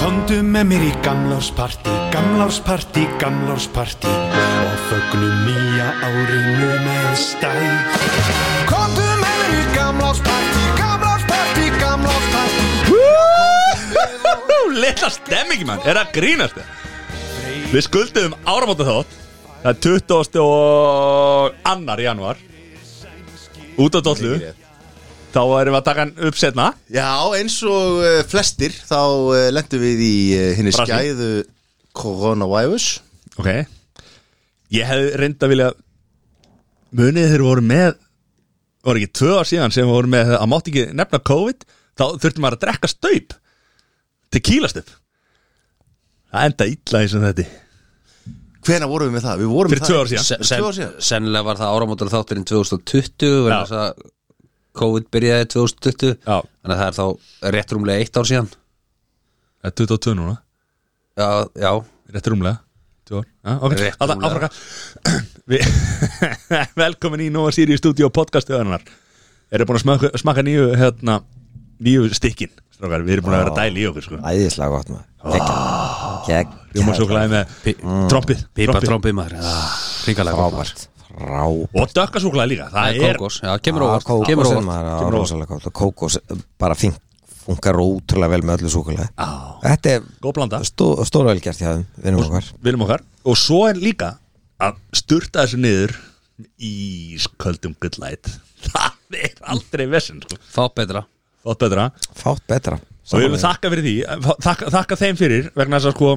Komdu með mér í gamlársparti, gamlársparti, gamlársparti og fögnum nýja árinu með stæl. Komdu með mér í gamlársparti, gamlársparti, gamlársparti. Lilla stemming mann, er að grínast þér Við skuldum áramóta þátt Það er 20. og annar januar Út á dollu Þá erum við að taka hann upp setna Já, eins og uh, flestir þá uh, lendum við í uh, henni Brasi. skæðu coronavirus Ok Ég hefði reynd að vilja Munið þeir voru með Voru ekki tvö ár síðan sem voru með Að mátti ekki nefna COVID Þá þurftum maður að drekka staup Tequila staup Það enda illa eins og þetta Hvena vorum við með það? Við vorum Fyrir með tvö það- ár síðan. Se- Tvö ár síðan Sennilega var það áramótur þátturinn 2020 vegna Já. þess að COVID byrjaði 2020 Já. Þannig að það er þá rétt rúmlega eitt ár síðan Það er 22 núna Já, já Rétt rúmlega Tvö ár. Já, ok. Rétt Alltaf rúmlega. áfraka. Við- Velkomin í Nova Sirius Studio podcastöðunar Erum búin að smakka, smakka nýju hérna, Nýju stykkin strókar. Við erum búin að vera að dæla í okkur sko. Æðislega gott maður Kekk Rjómasjóklaði með trompið Pípa trompið. trombi maður Ah, Ringalega Frábært Frábært Og dökkasúklaði líka Það er Kókos, já, kemur óvart Kemur óvart Kókosinn Ah, maður á Kemur óvart. rosalega gott Og kókos bara fink, funkar ótrúlega vel með öllu súkulega Á. Þetta er góð blanda stó, stóra velgjart hjá þeim Vinnum okkar Viljum okkar Og svo er líka að sturta þessu niður Ísköldum good light Það er aldrei vesinn sko. Þá betra Þótt betra Fátt betra Og við viljum þakka fyrir því fa- þakka, þakka þeim fyrir vegna þess að sko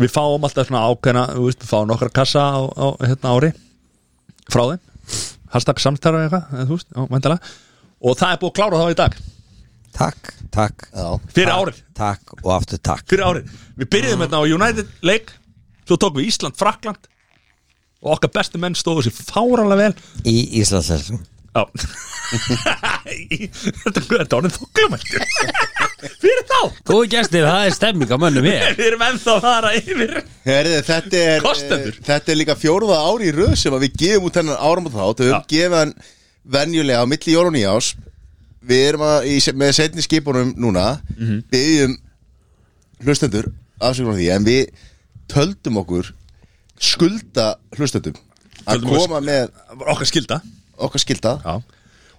Við fáum alltaf svona ákveðna þú veist, Við fáum nokkra kassa á, á hérna ári Frá þeim Hashtag samstarf eða eitthvað eða þú veist, já, væntanlega. Og það er búið að klára þá í dag Takk, takk Fyrir árið Takk og aftur takk fyrir árið Við byrjuðum hérna á United leik Svo tókum við Ísland, Frakland Og okkar bestu menn stóðu sér fáranlega vel Í Íslandsleisum Já Í- Þetta þetta er orðin þoklumæltur Fyrir þá Góði gestir, það er stemming á mönnum ég Við erum ennþá að fara yfir Herði, þetta er, Kostendur. eh, þetta er líka fjórða ári í röð sem að við gefum út hennan áram og þátt Við höfum gefið hann venjulega á milli jólun í ás Við erum að, í, se- með setni skipunum núna mm Mhm. -hmm. Byggjum hlustendur afsökunum því En við töldum okkur skulda hlustendum Að Töldum okkur- koma með Okkar skilda okkar skilda Já.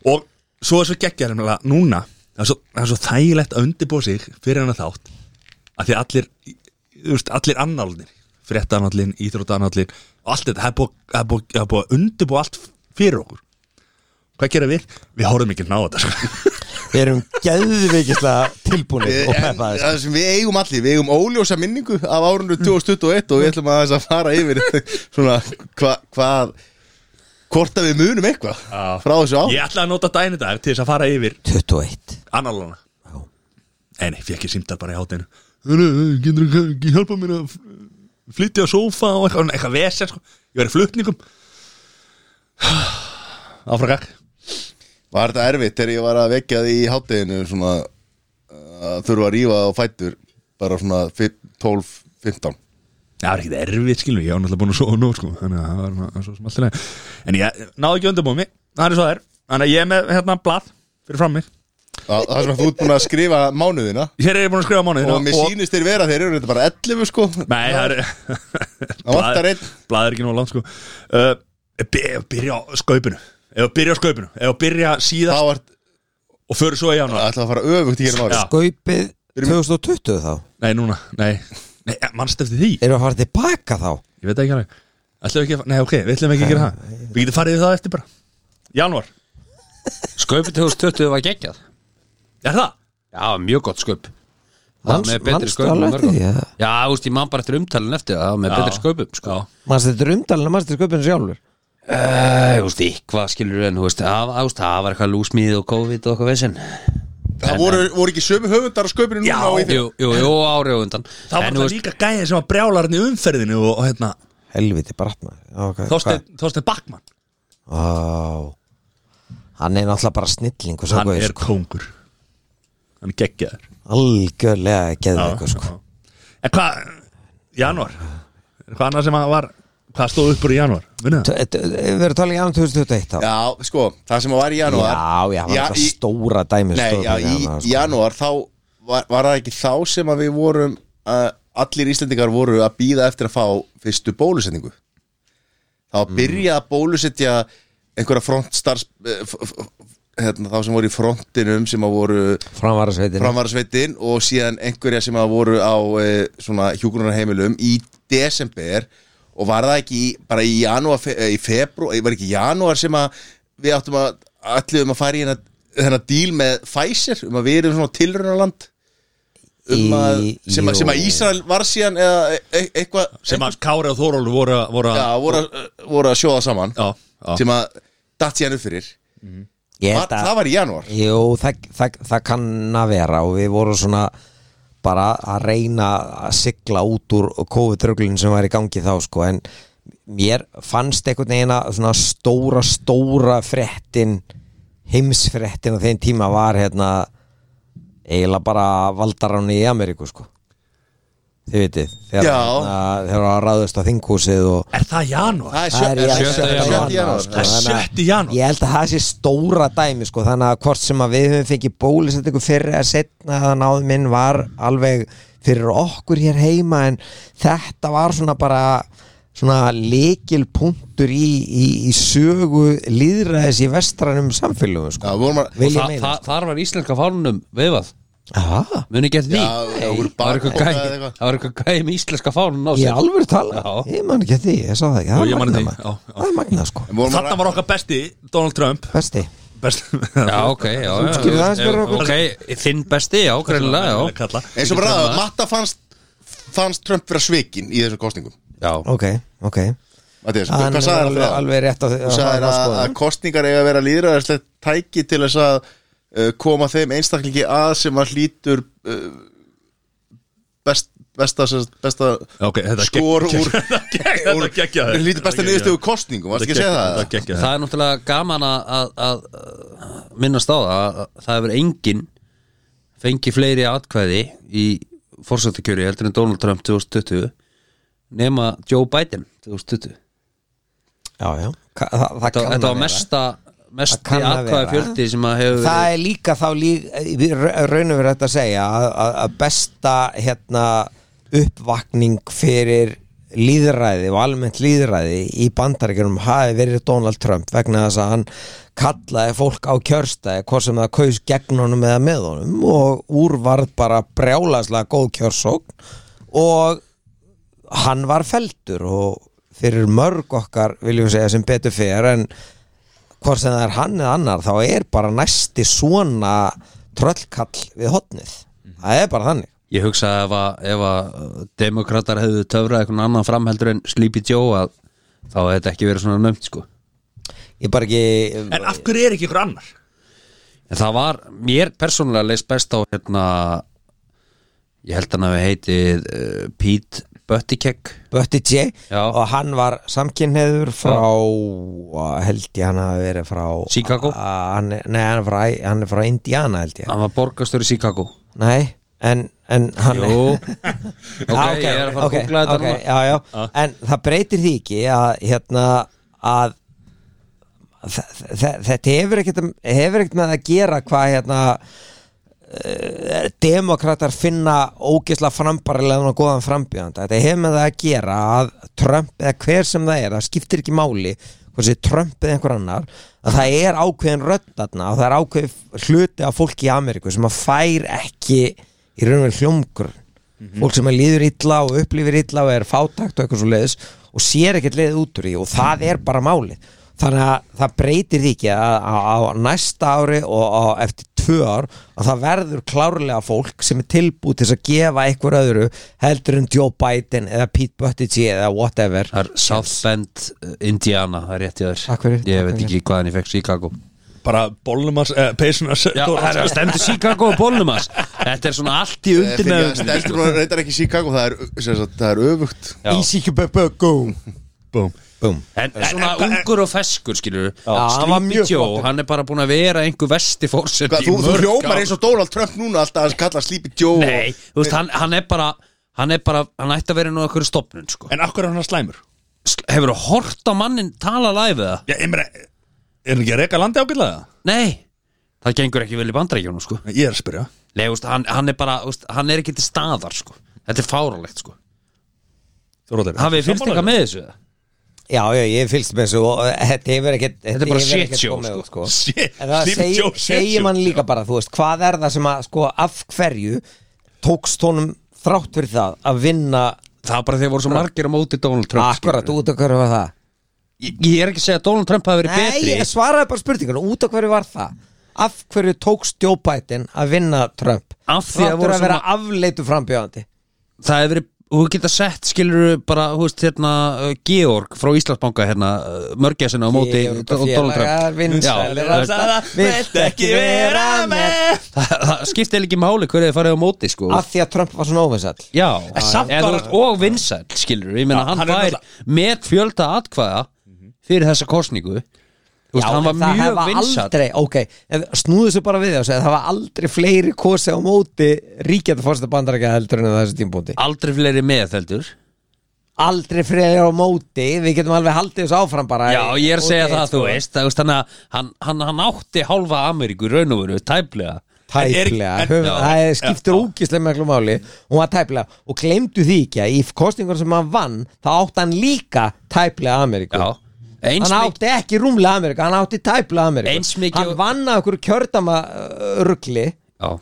Og svo er svo geggjar nefnilega núna það er, svo, það er svo þægilegt að undirbúa sig fyrir hennar þátt að því að allir, þú veist, allir annálnir fréttanallin, íþróttanallin og allt þetta, það er búið, það er búið, það er búið að undirbúa allt fyrir okkur Hvað gera við? Við horfum ekki ná þetta sko. Við erum geðvikislega tilbúinir Eh, Og En, peppaðir sko. það sem við eigum allir, við eigum óljósa minningu af árundu 2021 og við ætlum aðeins að fara yfir svona hvað hva, hvort að við munum eitthvað frá þessu á Ég ætlaði að nota dæni dag til þess að fara yfir 21 annálana En ég fekk ég símtal bara í hátinu Getur þú ekki hjálpa mér að flytja á sófa og eitthvað, eitthvað vesen sko. Ég var í flutningum Áfrakak Var þetta erfitt þegar ég var að vekja því í hátteginu svona að þurfa að rífa á fætur bara svona 12-15 Það var ekkert erfið skilum, ég var náttúrulega búin að sofa nú sko, þannig að það var svona- svo sem allt í lagi En ég náði ekki undirbúið mig, það er svo það er Þannig að ég er með hérna blað fyrir fram mig Það það sem að þú ert búin að skrifa mánuðina Hér er ég búin að skrifa mánuðina og mér sýnist þeir vera þeir eru þetta bara 11 sko Nei, það er vantar einn. Blað er ekki nóg langt sko uh, by- Byrja á skaupinu Ef að byrja á skaupinu, ef að byrja þá síðast er og förum svo í januar alltaf að fara öfugt í Já. hérna ári Gaupið 2020 þá Nei, núna, nei, nei mannst eftir því Erum við að fara tilbaka þá Ég veit það ekki alveg Ætlum við ekki að, nei ok, við ætlum ekki að gera það Við getum farið við það eftir bara Januar, Skaupið 2020 var geggjað er það? Já, mjög gott skaup Það var Manst- með betri manstu skaupum en alveg mörgum. eftir því, eða? Já, þú veist, ég man bara eftir umtalin eftir það Það var með Já. betri skaupum sko. Manstu þetta umdalina, manstu þetta sköpun sjálfur Æ, Þú veist, eitthvað skilur en þú veist, það það- það var eitthvað lúsmíð og COVID og eitthvað vesen Það voru, voru ekki sömu höfundar á sköpinu núna og í þeim Jú, jú, jú, árið og undan Það var En, það þú veist, líka gæðið sem að brjála hann í umferðinu og, og hérna, Helviti bratt maður okay, Þorsteinn Þorsteinn Backmann Ó, Hann er náttúrulega bara snilling og svo Hann gauð, er sko. kóngur Hann er geggjaður Algjörlega Já, geðveikur sko. já. En hvað, januar Er Hvað annað sem að var, hvað stóð upp úr í januar? Munið það? T- t- Við erum talað í annan 2021 þá Já, sko, það sem var í Já, janúar já, Já, hann var alltaf hérna, sko. í- stóra dæmi um Nei, stóra já, dæmi í hann, í janúar þá var, var það ekki þá sem að við vorum að allir Íslendingar voru að býða eftir að fá fyrstu bólusetningu þá Mm. að byrja að bólusetja einhverja frontstarfs eh, f- f- hérna, þá sem voru í frontinum sem að voru Framvara sveitin framvarasveitin og síðan einhverja sem að voru á e, svona hjúgrunarheimilum í desember og var það ekki í, bara í janúar fe, eh, í februar, var ekki í janúar sem að við áttum að allir um að fara í hérna, hérna díl með Pfizer um að við erum svona tilraunaland um að, Í- sem, að, sem að jú. Ísrael var síðan eða e, e, eitthvað sem að Kári og Þórólu voru, að- voru að já, voru, að- voru að sjóða saman já, já. sem að datt síðan upp fyrir Ég var, held að það var í janúar Jú, það, það, það kann að vera og við vorum svona bara að reyna að sigla út úr COVID-ruglun sem var í gangi þá sko en mér fannst einhvern veginn að svona stóra, stóra fréttin heimsfréttin á þeim tíma var hérna eiginlega bara valdaráni í Ameríku sko þið vitið þegar, Já. hérna, þegar að ráðust á þinghúsið og Er það janúar? það er Það er sjö- í- sjötta sjötta janúar, janúar, janúar, sko, Það er þannig að sjötti janúar. Ég held að það sé stóra dæmi sko, þannig að hvort sem að við höfum fengið bólusetningu fyrr eða setna að náðum minn var alveg fyrir okkur hér heima en þetta var svona bara svona lekilpunktur í, í, í sögu líðræðis í vestranum samfélögum Já, sko. við vorum að Vil ég Þa, meina þa, sko. þar var íslenska fánunum veifað Aha, muni gett því Já, Nei, það voru það var eitthvað bakpoka gæmi- eða eitthvað. það var eitthvað gæmi íslenska fánun á Ég sér. er alveg tala, Já. ég man ekki að því Ég sá það ekki, Jú, það ég er man magnað eftir því, maður. já, já. Það er magnað sko Við vorum að Þarna var okkar besti Donald Trump Besti Besti já ok já, já, Útskýrðu það aðeins fyrir okkur. ok þinn besti já greinlega já Kalla. eins og bara að Matta fannst fannst Trump vera svikin í þessum kostningum já Ok, ok Mattias, Hann hvað er sagði hann alveg, það? alveg rétt á því Þú sagði að, að kostningar eiga að vera líðræðarslegt tæki til þess að uh, koma þeim einstaklingi að sem að hlýtur uh, best, besta, sem sagt, besta Já, ok, þetta skor gekk- úr Þetta gekkja úr- hlýtur besta niðurstöðu úr kostningum, varstu ekki að segja það? gekkja það er náttúrulega gaman að, að, að minnast á það að að það hefur enginn fengið fleiri atkvæði í fórsættakjöri heldur en Donald Trump 2020 nema Joe Biden 2020 Já, já Ka það, það þetta, kann þetta var að vera. mesta mest kann að vera. atkvæði fjöldi sem að hefur Það er líka þá líka raunum við þetta að segja að- að að besta hérna uppvakning fyrir líðræði og almennt líðræði í bandaríkjunum hafi verið Donald Trump vegna þess að hann kallaði fólk á kjörstæði hvort sem það kaus gegn honum eða með honum og úr varð bara brjálaslega góð kjörsókn og hann var feldur og fyrir mörg okkar viljum segja sem betur fer en hvort sem það er hann eða annar þá er bara næsti svona tröllkall við hotnið Mhm. það er bara þannig Ég hugsa ef að, ef að demokrater hefðu töfrað einhvern annan framheldur en Sleepy Joe að þá hefði þetta ekki verið svona nöfnt sko ég bara ekki En af hverju er ekki ykkur annar? En það var, mér persónulega leist best á hérna ég held hann að við heitið uh, Pete Buttigieg Bötti J Já. og hann var samkynneður frá held ég hann að verið frá Chicago? A- hann, er- nei hann er, frá, hann er frá Indiana held ég Hann var borgastur í Chicago nei en, en hann Jú Ok, Ah, ég er að fara ok, að googla þetta ok, núna já, já. En það breytir því ekki að, hérna, að þ- þ- þetta hefur ekkert, um- hefur ekkert með að gera hvað hérna, eh, demokratar finna ógisla frambarilegan og góðan frambjöðanda þetta hefur með það að gera að Trump eða hver sem það er, það skiptir ekki máli hvort sé Trump eða einhver annar að það er ákveðin röddarna og það er ákveðin hluti af fólki í Ameríku sem að fær ekki í raun og veru hljómgrunn Mhm. fólk sem er líður illa og upplifir illa og er fátakt og eitthvað svo leiðis og sér ekkert leið út úr því og það er bara málið þannig að það breytir því ekki að á- á næsta ári og á, eftir tvö ár að það verður klárlega fólk sem er tilbúið til þess að gefa einhver öðru heldur en Joe Biden eða Pete Buttigieg eða whatever Það er South Bend, uh, Indiana, það er rétt í þess Takk fyrir, Ég takk veit fyrir. ekki hvaðan ég fekk Chicago Bara bólnumars, eh, peysunars Já, það er stendur Chicago og bólnum hans Þetta er svona allt í Eh, undir fyrir með sko. að Steldur nú reyndar ekki Chicago, það er, sem sagt, það er öfugt Já. Easy Kubebe, go Búm Boom. En, en svona ungur og feskur skilur hann var Sleepy mjög Joe, flottur. hann er bara búin að vera einhver vesti fórsett Hvað, Þú, þú hljómar eins og Donald Trump núna alltaf að kalla Sleepy Joe og- Nei, þú veist, hann, hann er bara Hann er bara, hann ætti að vera nú einhverju stopnun sko. En af hverju er hann slæmur? Sk- Hefurðu hort á mannin tala læfið það? Já, ég meina Er hann ekki að reka landi ágætlega? Nei, það gengur ekki vel í bandrækjónu sko. Ég er að spyrja Nei, þú veist, hann, hann er bara, þú veist, hann er ekki til staðar sko. Þetta er fáralegt sko Þóroddur Hafið þið fylgst eitthvað með þessu? eða? Já, já, ég fylgst með þessu og eh, þetta hefur ekkert Þetta er bara hefur shit ekkert show, komið sko. út, sko. Shit, En það shit segi, show, shit show. segir mann líka bara, þú veist, hvað er það sem að, sko, af hverju tókst honum þrátt fyrir það að vinna Það var bara þegar voru svo margir á móti Donald Trump akkurat skilurðu. út af hverju var það? ég, ég er ekki að segja að Donald Trump hafi verið Nei, betri ég svaraði bara spurningunum, út af hverju var það? Af hverju tókst Joe Biden að vinna Trump? Af því að Þrátt voru fyrir að svo vera afleitu frambjóðandi Það hefur verið og þú geta sett, skilur bara, hú veist, hérna, uh, Georg frá Íslandsbanka, hérna, mörgjarsina á móti Georg og Don- Donald félagar, Trump vinsælir Já, að sagða, vilt ekki vera með það, það skiptir eiginlega ekki máli hverju þið farið á móti, sko Af því að Trump var svona óvinsall Já, samt en, bara- bara... og vinsæl, skilur ég meina, Já, hann, hann er fær með fjölda atkvæða fyrir þessa kosningu Þú veist, Já, hann en var það mjög hafa vinsæl aldrei, ok, en snúðu sér bara við þess að það var aldrei fleiri kosi á móti ríkjandi fórsta bandarækja heldur en á þessu tímpúti aldrei fleiri með, heldur aldrei fleiri á móti, við getum alveg haldið þessu áfram bara Já, í- ég er að segja ókei, það, þú sko. veist það, þú veist, Þannig að hann, hann, hann átti hálfa Ameríku í raun og veru, tæplega er- tæplega, en- höfum- já, það já, skiptir já. ógislega meglu máli hún var tæplega og glemdu því ekki að í kostningur sem hann vann þá átti hann líka tæplega Ameríku Já, eins mikið hann átti ekki rúmlega Ameríku, hann átti tæplega Ameríku Eins mikið- hann vann að okkur kjördama uh, rugli Já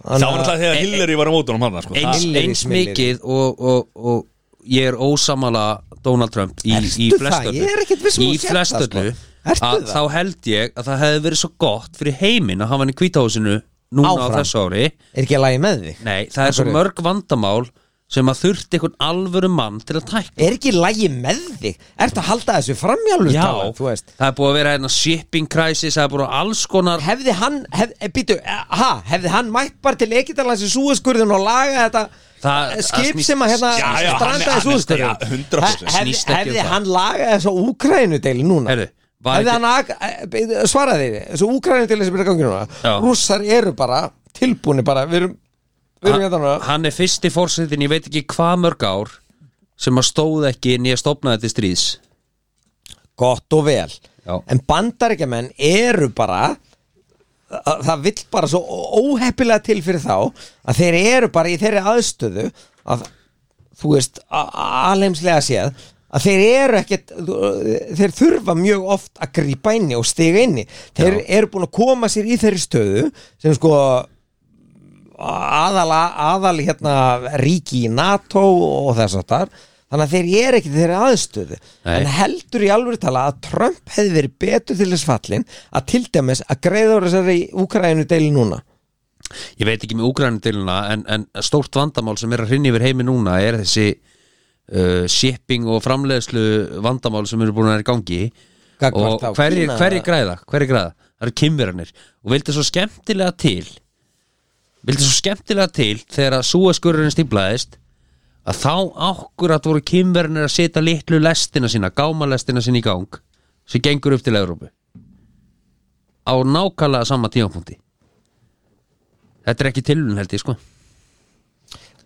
Það var náttúrulega Eh, þegar Hillary var á mótunum hann sko. eins, Hillary eins Smilleri. mikið og, og, og ég er ósamala Donald Trump í, Ertu í það? flestöldu Ég er ekkert viss um í að þú sért það, flestöldu sko. Ertu að það? þá held ég að það hefði verið svo gott fyrir heiminn að hafa hann í kvítahúsinu núna á Áfram. þessu ári er ekki að lagi með þig nei, það er svo Akkur- mörg vandamál sem að þurfti einhvern alvöru mann til að tækla er ekki lægi með þig ertu að halda þessu framjálfur Já, þú veist það er búið að vera hérna shipping crisis, það er búið að alls konar hefði hann, hef, e, býtu, e, ha, hefði hann mætt bara til ekkitalans í súðaskurðin og laga þetta Það- eh, það skip snýst- sem að hérna Já, já, hann- strandaði hann- súðaskurðin já, 100% hefði, snýst ekki um hefði það. hann lagað þessu úkrænudeili núna Heyrðu, var hefði ekki- hann ag, e, býtu, svaraði því þessu úkrænudeili sem er að gangi núna Já. rússar eru bara tilbúni bara við erum, við erum hérna núna hann er fyrsti fórsetin, ég veit ekki hvað mörg ár sem að stóð ekki en ég stopnaði til stríðs gott og vel Já. en bandaríkjamenn eru bara það það vill bara svo óheppilega til fyrir þá að þeir eru bara í þeirri aðstöðu að þú veist a- a- alheimslega séð að þeir eru ekkert þú- þeir þurfa mjög oft að grípa inni og stiga inni þeir eru búin að koma sér í þeirri stöðu sem sko aðal, aðal hérna, ríki í NATO og þess að þar þannig að þeir eru ekki í þeirri aðstöðu Nei. en heldur í alvöru tala að Trump hefði verið betur til þess fallin að til dæmis að greiða úr þessari Úkraínu deili núna ég veit ekki með úgrænindiluna en, en stórt vandamál sem er að hrinni yfir heimi núna er þessi uh, shipping og framleiðslu vandamál sem eru búin að vera í gangi Gagnvart og þá hverjir Kína, hverjir eða? græða, hverjir græða það eru kynverjanir og vildi svo skemmtilega til vildi svo skemmtilega til þegar að súaskururinn stíflaðist að þá akkurat voru kynverjanir að setja litlu lestina sína, gámalestina sína í gang sem gengur upp til Európu á nákvæmlega sama tímapunkti Þetta er ekki tilun held ég sko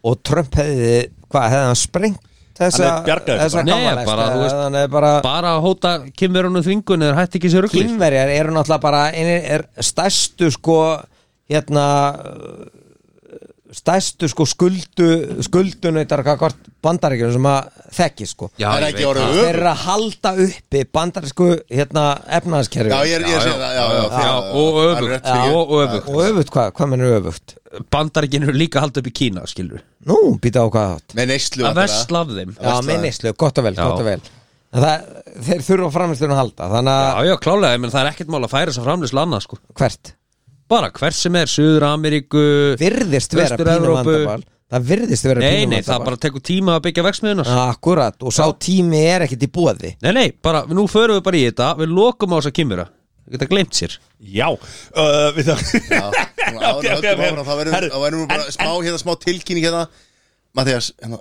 og Trump hefði, hvað, hefði hann sprengt þessa, Hann hefði bjargað þessu þessa bara. Nei, gámalesta, bara, þú veist, hann hefði bara Bara að hóta kynverunum þvingun eða hætti ekki sér rugli kynverjar eru náttúrulega bara einir er stærstu sko hérna uh, stærstu sko skuldu skuldunautar kakvart bandaríkjum sem að þekki sko Já, Það er ég ekki veit orðið það. öfugt. þeir eru að halda uppi bandarísku hérna efnaðaskerfi Já, ég er ég er að segja það, já, já, Já, já, og það er rétt öfugt fyrir ég. Og öfugt og öfugt hvað, hvað mennur öfugt Bandaríkinn eru líka haldið upp í Kína skilur nú, býta á hvað þátt Með neyslu Að væntanlega. vestla af þeim já, veistla. minnislu, gott og vel, Já. gott og vel En það, þeir þurfa framlistunum að halda þannig að Já, já, klálega, menn það er ekkert mál að færa svo framleyslu annað sko hvert Bara hvers sem er, Suður Ameríku virðist vera pínum Vestur-Evrópu. vandabal það virðist vera Nei, pínum nei, það vandamál. bara tekur tíma að byggja veksmiðunar Akkurat, og sá tími er ekkit í bóði Nei, nei, bara, nú förum við bara í þetta Við lokum á þess að kynvera Við geta gleymt sér Já uh, Við það Já, svona áður en höldum áfram, þá verðum- þá verðum við bara smá hérna, smá tilkynning hérna Mattias, hérna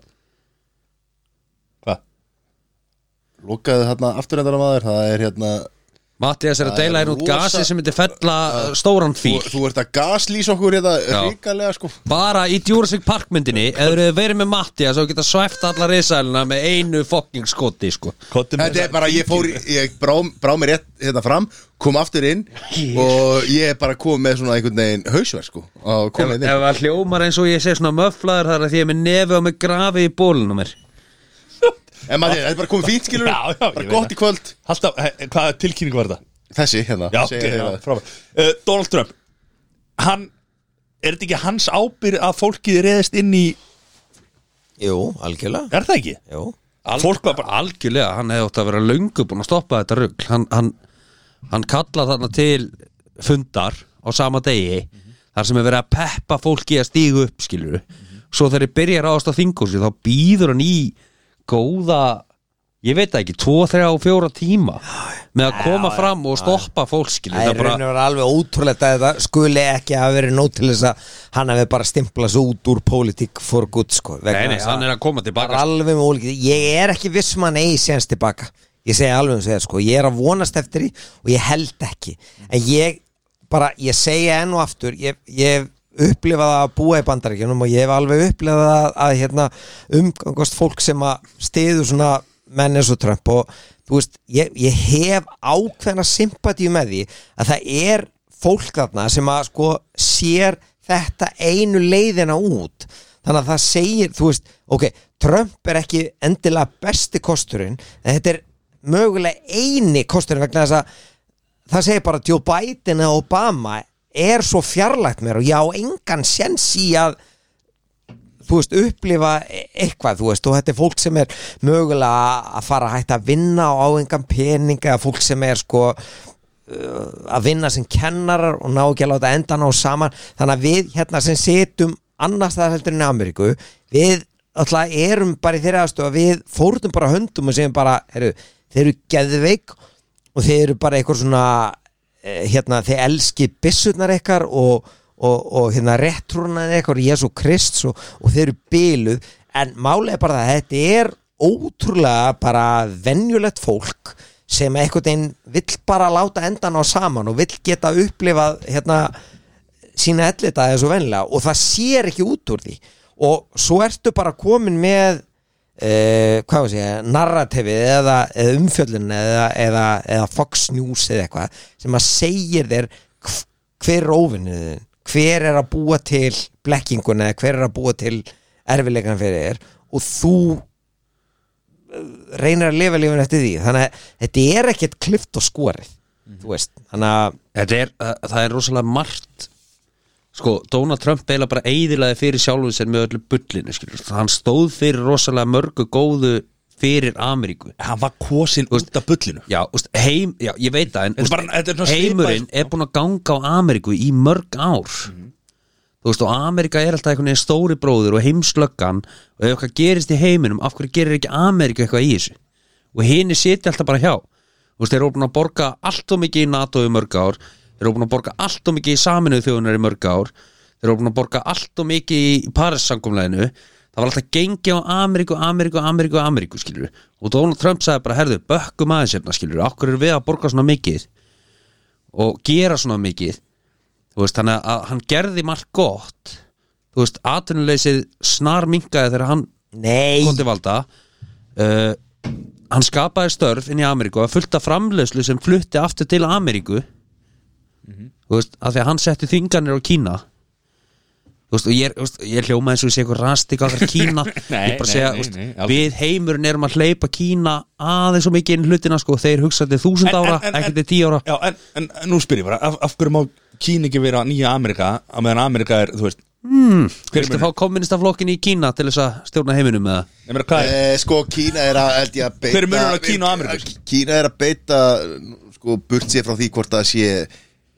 Hvað? Lokaðu hérna afturhendara maður, það er hérna Mattias er að Það deila er hér út rosa- gasi sem myndi fella uh, stóran Þú, fíl þú ert að gaslýsa okkur hérna Já. ríkalega sko Bara í Jurassic Park myndinni eða eru verið með Mattias og geta svæft alla risalina með einu fucking skoti sko. Þetta er bara, ég fór, í- ég brá, brá mér rétt hérna fram, kom aftur inn og ég er bara kom með svona einhvern veginn hausverð sko og kom Ef með ef að hljómar eins og ég sé svona möflaður þar að því ég er með nefi og með grafi í bólinu á mér En maður, þetta er bara komið fínt skilur Já, já, ég Bara veit gott það. í kvöld Alltaf, he- hvaða tilkynning var þetta? Þessi, hérna, Já, segja já, þeir já það. frábært. uh, Donald Trump Hann, er þetta ekki hans ábyrð að fólkið reyðist inn í Jú, algjörlega Er það ekki? Jú. Fólk var bara Algjörlega, hann hefði ótt að vera löngu búin að stoppa þetta rugl Hann, hann, hann kalla þarna til fundar á sama degi Þar sem er verið að peppa fólki að stígu upp, skilur Svo þegar ég byrja að ráðast á þinghúsi Þá býður hann í góða, ég veit það ekki, tvo, þrjá, fjóra tíma Með að koma fram og stoppa fólk, skilur Það er rauninu var alveg ótrúlegt að þetta skuli ekki að vera nót til þess að hann hafi bara stimplað svo út úr politík for good sko Nei, nei, hann er að koma bara tilbaka alveg með ólíkið Ég er ekki viss um að hann eigi séns tilbaka Ég segi alveg um segja sko Ég er að vonast eftir því og ég held ekki En ég bara, ég segja enn og aftur Ég, ég hef upplifað að búa í bandaríkjunum og ég hef alveg upplifað að, að hérna, umgangast fólk sem að stiður svona menn eins og Trump og þú veist, ég, ég hef ákveðna sympatíu með því að það er fólk þarna sem að sko sér þetta einu leiðina út þannig að það segir, þú veist ok, Trump er ekki endilega besti kosturinn, en þetta er mögulega eini kosturinn vegna þess að það segir bara Joe Biden og Obama er svo fjarlægt mér og ég á engan sjens í að þú veist, upplifa e- eitthvað, þú veist, og þetta er fólk sem er mögulega að fara að hætta að vinna og á engan pening eða fólk sem er sko uh, að vinna sem kennarar og ná ekki að láta endan á saman þannig að við hérna sem situm annars það heldur en í Ameríku við alltaf erum bara í þeirra aðstofa við fórnum bara höndum og segjum bara heru, þeir eru geðveik og þeir eru bara eitthvað svona eh, hérna, þeir elski byssurnar ykkar og, og, og hérna réttrúnar ykkar, Jésu Krist og, og þeir eru byluð en málið er bara það, að þetta er ótrúlega bara venjulegt fólk sem einhvern veginn vill bara láta endan á saman og vill geta upplifað hérna sína ellita þessu venlega og það sér ekki út úr því og svo ertu bara komin með uh, hvað sé, ég, narrativið eða, eða umfjöllun eða, eða, eða Fox News eða eitthvað sem að segir þér hv- hver er óvinniðin hver er að búa til blekkinguna eða hver er að búa til erfileikan fyrir þér og þú eh, reynir að lifa lífun eftir því þannig að þetta er ekkert klift og skorið Mhm. þú veist, þannig að Þetta er, það, það er rosalega margt Sko, Donald Trump eila bara eiðilaði fyrir sjálfuð sér með öllu bullinu, skilur Hann stóð fyrir rosalega mörgu góðu fyrir Ameríku Hann var kosin út af bullinu Já, úst, heim, já, ég veit það en, Þetta er bara- þetta er svona svipað- sko. heimurinn er búin að ganga á Ameríku í mörg ár Mhm. Þú veist, og Ameríka er alltaf einhvern veginn stóri bróður og heimslöggan og ef eitthvað gerist í heiminum, af hverju gerir ekki Ameríku eitthvað í þessu? Og henni sitja alltaf bara hjá Þú veist, þeir eru búin að borga allt og mikið í NATO í mörg ár Þeir eru búin að borga allt og mikið í saminuð þjóðunar í mörg ár Þeir eru búin að borga allt og mikið í Paris-sangumleginu Það var alltaf gengi á Ameríku, Ameríku, Ameríku, Ameríku, skilur Og Donald Trump sagði bara, herðu, bökkum aðeins hérna, skilur Akkur eru við að borga svona mikið og gera svona mikið Þú veist, þannig að hann gerði margt gott Þú veist, atvinnuleysið snar minkaði þegar hann nei, kom til valda uh, Hann skapaði störf inn í Ameríku að fullta framleiðslu sem flutti aftur til Ameríku Mhm. Þú veist, að því að hann setti þinganir á Kína Þú veist, og ég, er- þú veist, ég hljóma eins og ég sé eitthvað rastik á þar Kína Nei, Ég bara nei, segja, nei, þú veist, nei, alveg. við heimurinn erum að hleypa Kína aðeins og mikið inn í hlutina sko, þeir hugsaði þúsund ára, ekki til tíu ára Já, en, en, en nú spyr ég bara Af, af hverju má Kín ekki vera nýja Amerika á meðan Amerika er, þú veist mm, Hver Viltu fá kommunistaflokkin í Kína til þess að stjórna heiminum með það? Ég meina, hvað er Eh, Sko, Kína er að, held ég að beita Hver er munurinn á Kína og Ameríku? Kína er að beita, sko, burt sér frá því hvort það sé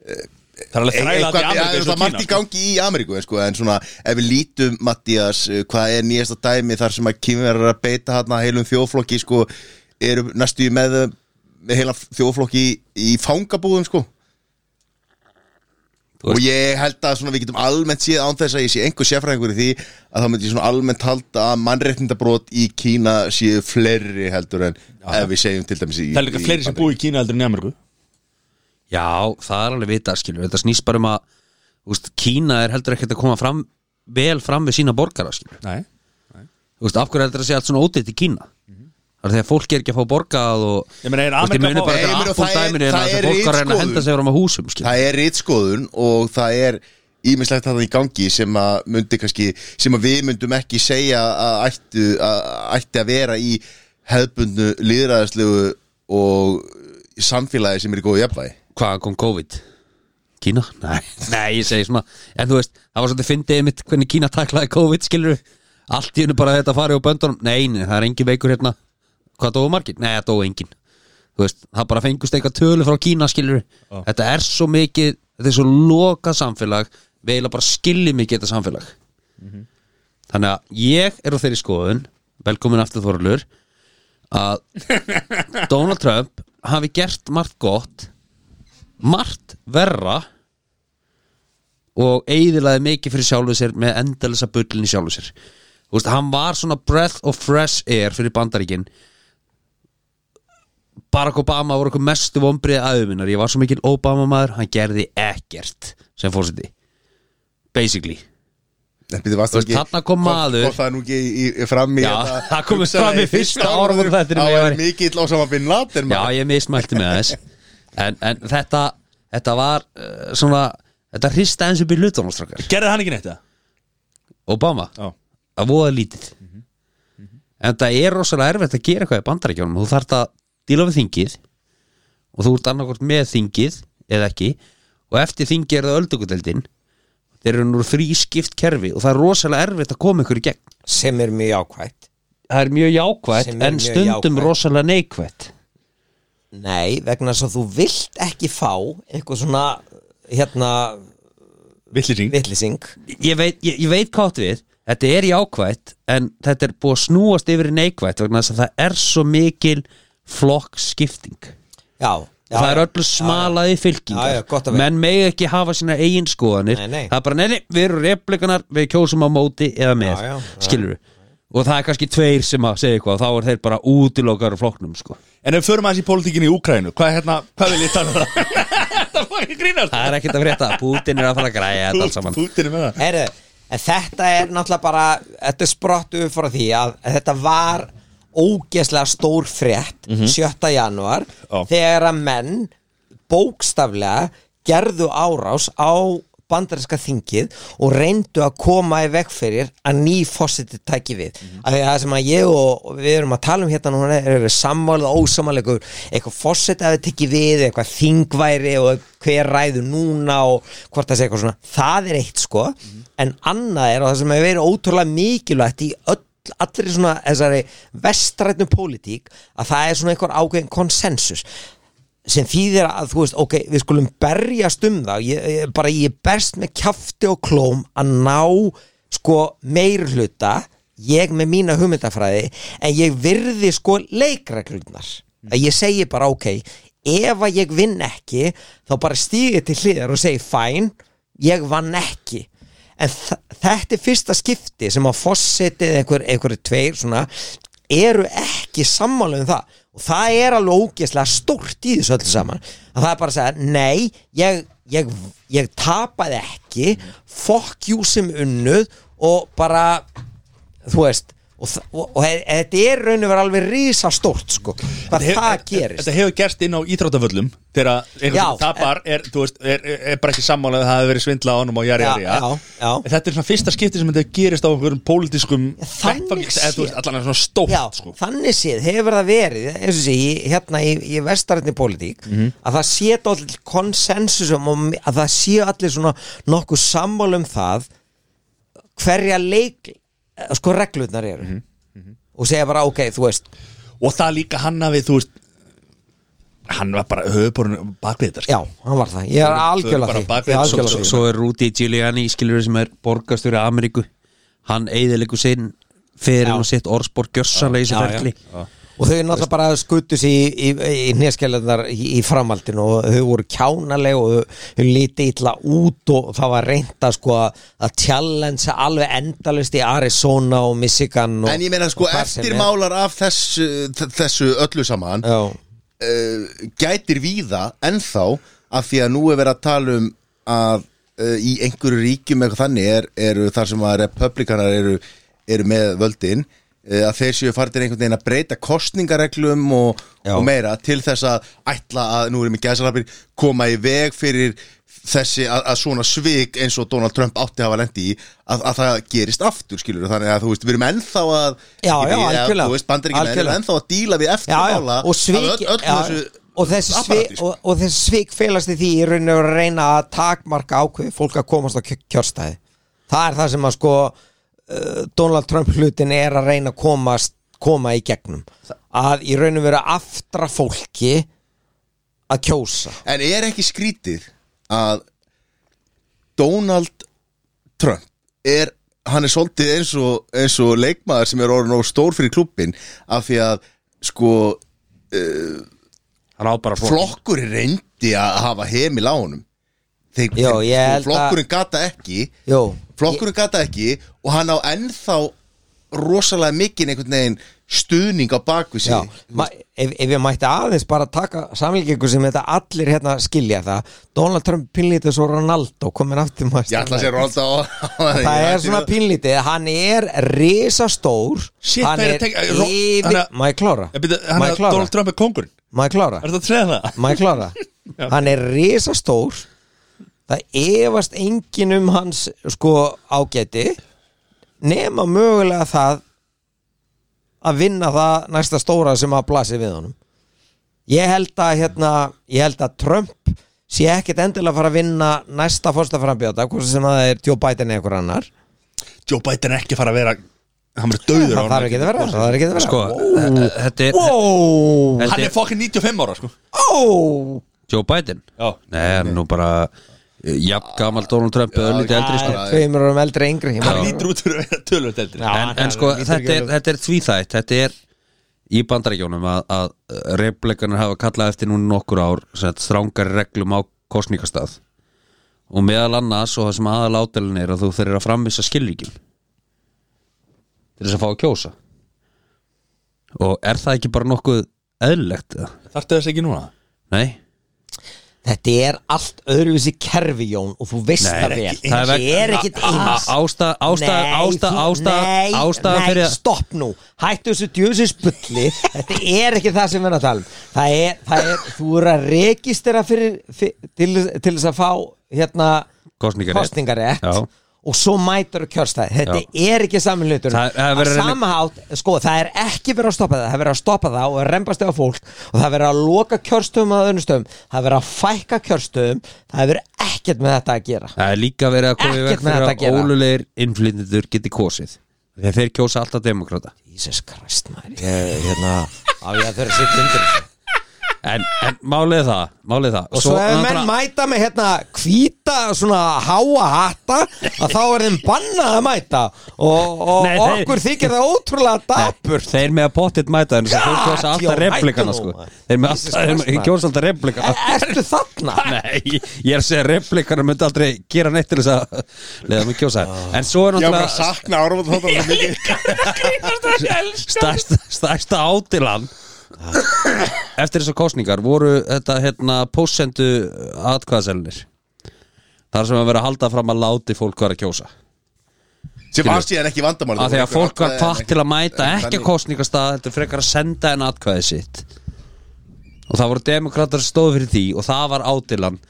Það er alveg þræla Eh, eitthvað- að það er Amerika eins svona og margt í Kína gangi í Ameríku en sko, en svona, ef við lítum Mattias, hvað er nýjasta dæmi þar sem að Kína er að beita hann að heilum þjóflokki sko, eru næstu í með með heila þjóflokki í, í fangabúðum sko Þú veist- og ég held að svona, við getum almennt séð án þess að ég sé einhver sérfræðingur í því að þá myndi ég svona almennt halda að mannréttindabrót í Kína séu fleiri heldur en ef við segjum til dæmis í Það er líka í fleiri sem Bandaríkjunum. búi í Kína heldur en í Ameriku Já, það er alveg vita skilur Þetta snýst bara um að úst, Kína er heldur ekkert að koma fram vel fram við sína borgara skilur Nei úst, Af hverju heldur að sé allt svona ódýrt í Kína Það er þegar fólk er ekki að fá borgað og Ég meina, er Ameríka muni fá- bara Nei, ég þetta meina, Apple það er- dæminu en það að er þegar fólk er að reyna að ritskoðun. henda sig fram að húsum skilur það er rítskoðun og það er ímislegt að það í gangi sem að myndi kannski, sem að við myndum ekki segja að ættu að, ætti að vera í hefðbundnu líðræðislegu og samfélagi sem er í góðu jafnvægi Hvað kom COVID? Kína? Nei, nei, ég segi svona En þú veist, það var svolítið fyndið mitt hvernig Kína taklaði COVID skilur Allt í hennu bara þetta farið á böndunum Nei, nei, það er engin veikur hérna Hvað dóu margir? Nei, það dóu engin Þú veist, það bara fengust eitthvað tölu frá Kína skilur Þetta er svo mikið Þetta er svo lokað samfélag Við eiginlega bara skiljum ekki þetta samfélag Þannig að ég er á þeirri skoðun Velkomin aftur Þorlur Að Donald Trump hafi gert margt gott margt verra og eigðilaði mikið fyrir sjálfu sér með endalisa bullin í sjálfu sér Þú veist, hann var svona breath of fresh air fyrir bandaríkin Barack Obama voru okkur mestu vombriði aðuminnar ég var svo mikil Obama maður, hann gerði ekkert sem fórseti basically En byrju, varstu Þú veist, ekki- þarna kom hvort- maður. hvort það er nú ekki í, í, fram í Já, þetta- það kom hugsaði fram í í fyrsta fyrsta áramót þættinum, Það ég var væri- mikill ásama bin Laden Já, maður. ég mismælti með þess en, en þetta, þetta var uh, svona, þetta hrista eins upp í hlutunum strákar, Gerði hann ekki neitt það? Obama Já að voða lítið Mhm. en það er rosalega erfitt að gera eitthvað í bandarækjónum þú þarft að díla við þingið og þú ert annarkvort með þingið eða ekki og eftir þingið er það öldugudeldin þeir eru nú þrískipt kerfi og það er rosalega erfitt að koma ykkur í gegn sem er mjög ákvæmt það er mjög jákvætt Sem er en mjög stundum jákvætt. rosalega neikvætt Nei, vegna þess að þú vilt ekki fá eitthvað svona hérna Villising vitlising ég veit, ég, ég veit hvað átt við þetta er jákvætt en þetta er búið að snúast yfir í neikvætt vegna þess að það er svo mikil flokkskipting Já, já það er já. öllu smalaði fylkingar Já, já, gott að veit. menn megi ekki hafa sína eigin skoðanir Nei, nei. það er bara neini, við erum replikanar við kjósum á móti eða með Já, já, já. skilur við og það er kannski tveir sem að segja eitthvað og þá er þeir bara útilokar úr flokknum sko. En ef við förum aðeins í pólitíkinni í Úkrænu Hvað, er hérna, hvað vil ég tala um það? það var ekki grínast það er ekkert að frétta, Putin er að fara að græja þetta allt saman Pútinu með það Heru, en þetta er náttúrulega bara þetta er sprottu frá því að þetta var ógeðslega stór frétt 7. januar Já. þegar að menn bókstaflega gerðu árás á bandarinska þingið og reyndu að koma í veg fyrir að ný fósiti tæki við af því að það sem að ég og og við erum að tala um hérna núna eru sammálið og ósamáleikur eitthvað fósiti að við tekki við eitthvað þingværi og hver ræður núna og hvort það sé eitthvað svona það er eitt sko en annað er og það sem hefur verið ótrúlega mikilvægt í öll allri svona þessari vestrætnu pólitík að það er svona einhver ákveðin konsensus sem þýðir að þú veist, ok, við skulum berjast um það, ég, ég, bara ég berst með kjafti og klóm að ná sko meir hluta ég með mína hugmyndafræði en ég virði sko leikreglurnar að ég segi bara ok ef að ég vinn ekki þá bara stígi til hliðar og segi fæn, ég vann ekki en þ- þetta er fyrsta skipti sem að fossetið einhver, einhverju tveir svona eru ekki sammála um það og það er alveg ógeðslega stórt í þessu öllu saman að það er bara að segja nei, ég, ég, ég tapaði ekki fokk jú sem unnuð og bara þú veist og, þa- og, og, og þetta er raun og vera alveg risa stórt sko hvað það gerist Þetta hefur gerst inn á íþróttaföllum Þegar einhvern Já. sem tapar er, þú veist, er, er, er bara ekki sammálað að það hefur verið svindla á honum og jari, Já, jari, já, já. Þetta er svona fyrsta skipti sem þetta gerist á einhverjum pólitískum þannig vettvangi, eða, þú veist, séð. Allan er svona stórt Já, sko. þannig séð hefur það verið eins og sé, í- hérna í, í vestarðni pólitík Mhm. að það sé allir konsensusum og mi- að það sé allir svona nokkuð sammál um það hverja leik eh, sko reglurnar eru Mhm, og segja bara ok, þú veist Og það líka hann hafi, þú veist Hann var bara höfuborun bakvið þetta sko. já, hann var það, ég er algjörlega bara því bak Ég er við- algjörlega svo, því. svo er Rudy Giuliani skilur sem er borgarstjóri Ameríku hann eigðilegu sinn fyrir Já. hann sitt orðspor gjörsanlega í þessu Já, já. ferli og þau náttúrulega bara skutus í, í, í neskjælunar í, í framhaldinu og þau voru kjánaleg og þau- þau lítið illa út og það var reynda sko að að challenge alveg endalist í Arizona og Michigan og, En ég meina sko og hvar sem er. eftirmálar af þessu, þessu öllu saman Já, uh, gætir víða ennþá af því að nú er verið að tala um að uh, í einhverju ríkjum eitthvað þannig er, eru þar sem að republikanar eru, eru með völdin uh, að þeir séu fardir einhvern veginn að breyta kostningareglum og, Já. og meira til þess að ætla að, nú erum við gæsalapir koma í veg fyrir þessi að, að svona svik eins og Donald Trump átti að hafa lendi í að, að það gerist aftur skilur þannig að þú veist, við erum ennþá að Já, já, við, algjörlega. þú veist, bandaríkjum er Algjörlega. ennþá að díla við eftir já, já, mála og svik öll, öll já, þessu og þessi svik, apparati, sko. og, og þessi svik félast í því í rauninu að reyna að takmarka ákveði fólk að komast á kjö- kjörstæði það er það sem að sko uh, Donald Trump hlutin er að reyna að komast, koma í gegnum að í rauninu vera aftra fólki að kjósa En er ekki skrítið að Donald Trump er, hann er svolítið eins og, eins og leikmaður sem er orðin og stór fyrir klubbin af því að sko hann á bara flokkurinn reyndi að hafa heimil á honum Þeir, Já, þeir- ég held að- flokkurinn gata ekki Jó, flokkurinn gata ekki og hann á ennþá rosalega mikinn einhvern veginn stuðning á bakvið Já, sig ma- ef, ef ég mætti aðeins bara taka samlíkingu sem þetta allir hérna skilja það Donald Trump pinlítið svo Ronaldo komin aftur maður ég ætla að sé Ronaldo á- á- það ég er ætla- svona pínlítið hann er risastór Shit, hann það er er að tengja- Ro- yfir hann er- maður klára Ég byrja, hann Má ég að klára? Donald Trump er kongurinn maður klára Er þetta að segja það? maður klára hann er risastór það efast engin um hans sko ágæti nema mögulega það að vinna það næsta stóra sem að blasi við honum ég held að hérna, ég held að Trump sé ekkit endilega að fara að vinna næsta fórstaframbjóta, hvort sem að það er Joe Biden eða einhver annar Joe Biden er ekki að fara að vera Hann verður döður það þarf ekki að vera það þarf ekki að vera Sko, eh, eh, þetta er wow, þetta Hann er fokkin 95 ára sko wow. Joe Biden Já. Nei, hann er nú bara eh, Jafn gamal Donald Trump eða lítið eldri sko. tveimur árum eldri yngri ég Hann man ekki. lítur út fyrir að vera tölvöld eldri Já, en, hann- en sko, hann lítur þetta ekki er, alveg- þetta er tvíþætt Þetta er í bandaríkjónum að, að reyfleikarnir hafa kallað eftir núna nokkur ár sett, strángari reglum á kosningastað og meðal annars og það sem aðal ádelin er að þú þeir eru að framvisa skilvíkjum til þess að fá að kjósa og er það ekki bara nokkuð eðlilegt? eða? Þarftu þess ekki núna? Nei, þetta er allt öðruvísi kerfi Jón og þú veist Nei, það ekki vel eins. Það er það veg- er ekkit eins ástæða ástæða Nei, ástæða þú- nei, ástæða ástæða nei, fyrir að stopp nú, hættu þessu djöðsins bulli þetta er ekki það sem við erum að tala um það er, það er, þú eru að rekistera fyrir, fyrir, til, til þess að fá hérna Kosningarétt. kosningarétt Já. og svo mætur og kjörstæð þetta er ekki samin hlutur Það- það er að verið að reyna- samahátt, sko, það er ekki verið að stoppa það það er verið að stoppa það og að rembast eða fólk og það er verið að loka kjörstöðum að önnustöðum það er verið að fækka kjörstöðum það er verið ekkert með þetta að gera Það er líka verið að koma í veg Ekkert með fyrir að þetta að gera. ólulegir innflytjendur geti kosið Þegar þeir kjósa alltaf demokrata Jesus Christ, maður ég, hérna, á ég að þurfa að sitja undir þessu En, en málið er það, málið er það og svo ef menn mæta með hérna hvíta svona háa hatta að þá er þeim bannað að mæta og, og Nei, þeir- okkur þykir það ótrúlega dapur Nei, þeir með að pottit mæta þeim Þeir God, kjósa Jón, alltaf hættu replikana nú, sko maður. Þeir með Jesus alltaf, þeir Christ, með- maður. kjósa alltaf replikana E- ertu þarna? Nei, ég er að segja að replikana myndi aldrei gera neitt til þess að leiða mig kjósa En svo er Ég var bara að náttúrulega sakna Ármund Þóttar svo mikið stærsta, stærsta ádilan eftir þessar kosningar voru þetta hérna pósendu atkvæðaselnir þar sem að vera að halda fram að láti fólk vera að kjósa sem var síðan ekki vandamál af því að fólk var hvatt til að mæta ekki að koma kosningastað þetta er frekar að senda en atkvæði sitt og það voru demokrater sem stóðu fyrir því og það var ádilan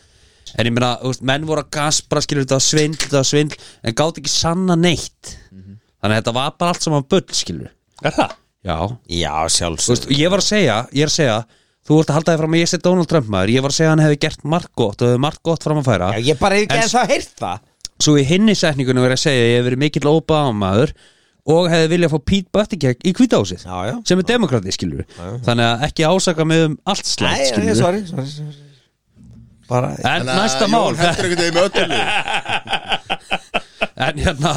en ég meina, þú veist, menn voru að gaspra skilur þetta var svindl, þetta var svindl en gátt ekki sanna neitt þannig að þetta var bara allt saman bull skilur Er það? já, já Þú veist, sjálfsög ég var að segja, ég er að segja Þú ert að halda þér fram að ég sé Donald Trump maður Ég var að segja að hann hefði gert margt gott og hefði margt gott fram að færa já, ég bara hef ekki En eins að heyrt það Svo í hinni setningunum verið að segja að ég hef verið mikill óbaða maður og hefði viljað fá Pete Buttigieg í kvítahúsið Já, já. sem er demokrati, skilur Þannig að ekki ásaka mig um allt slæmt, nei, nei, skilur sorry, sorry, sorry. bara En næsta mál Jón heldur einhvern veginn með öllu En hérna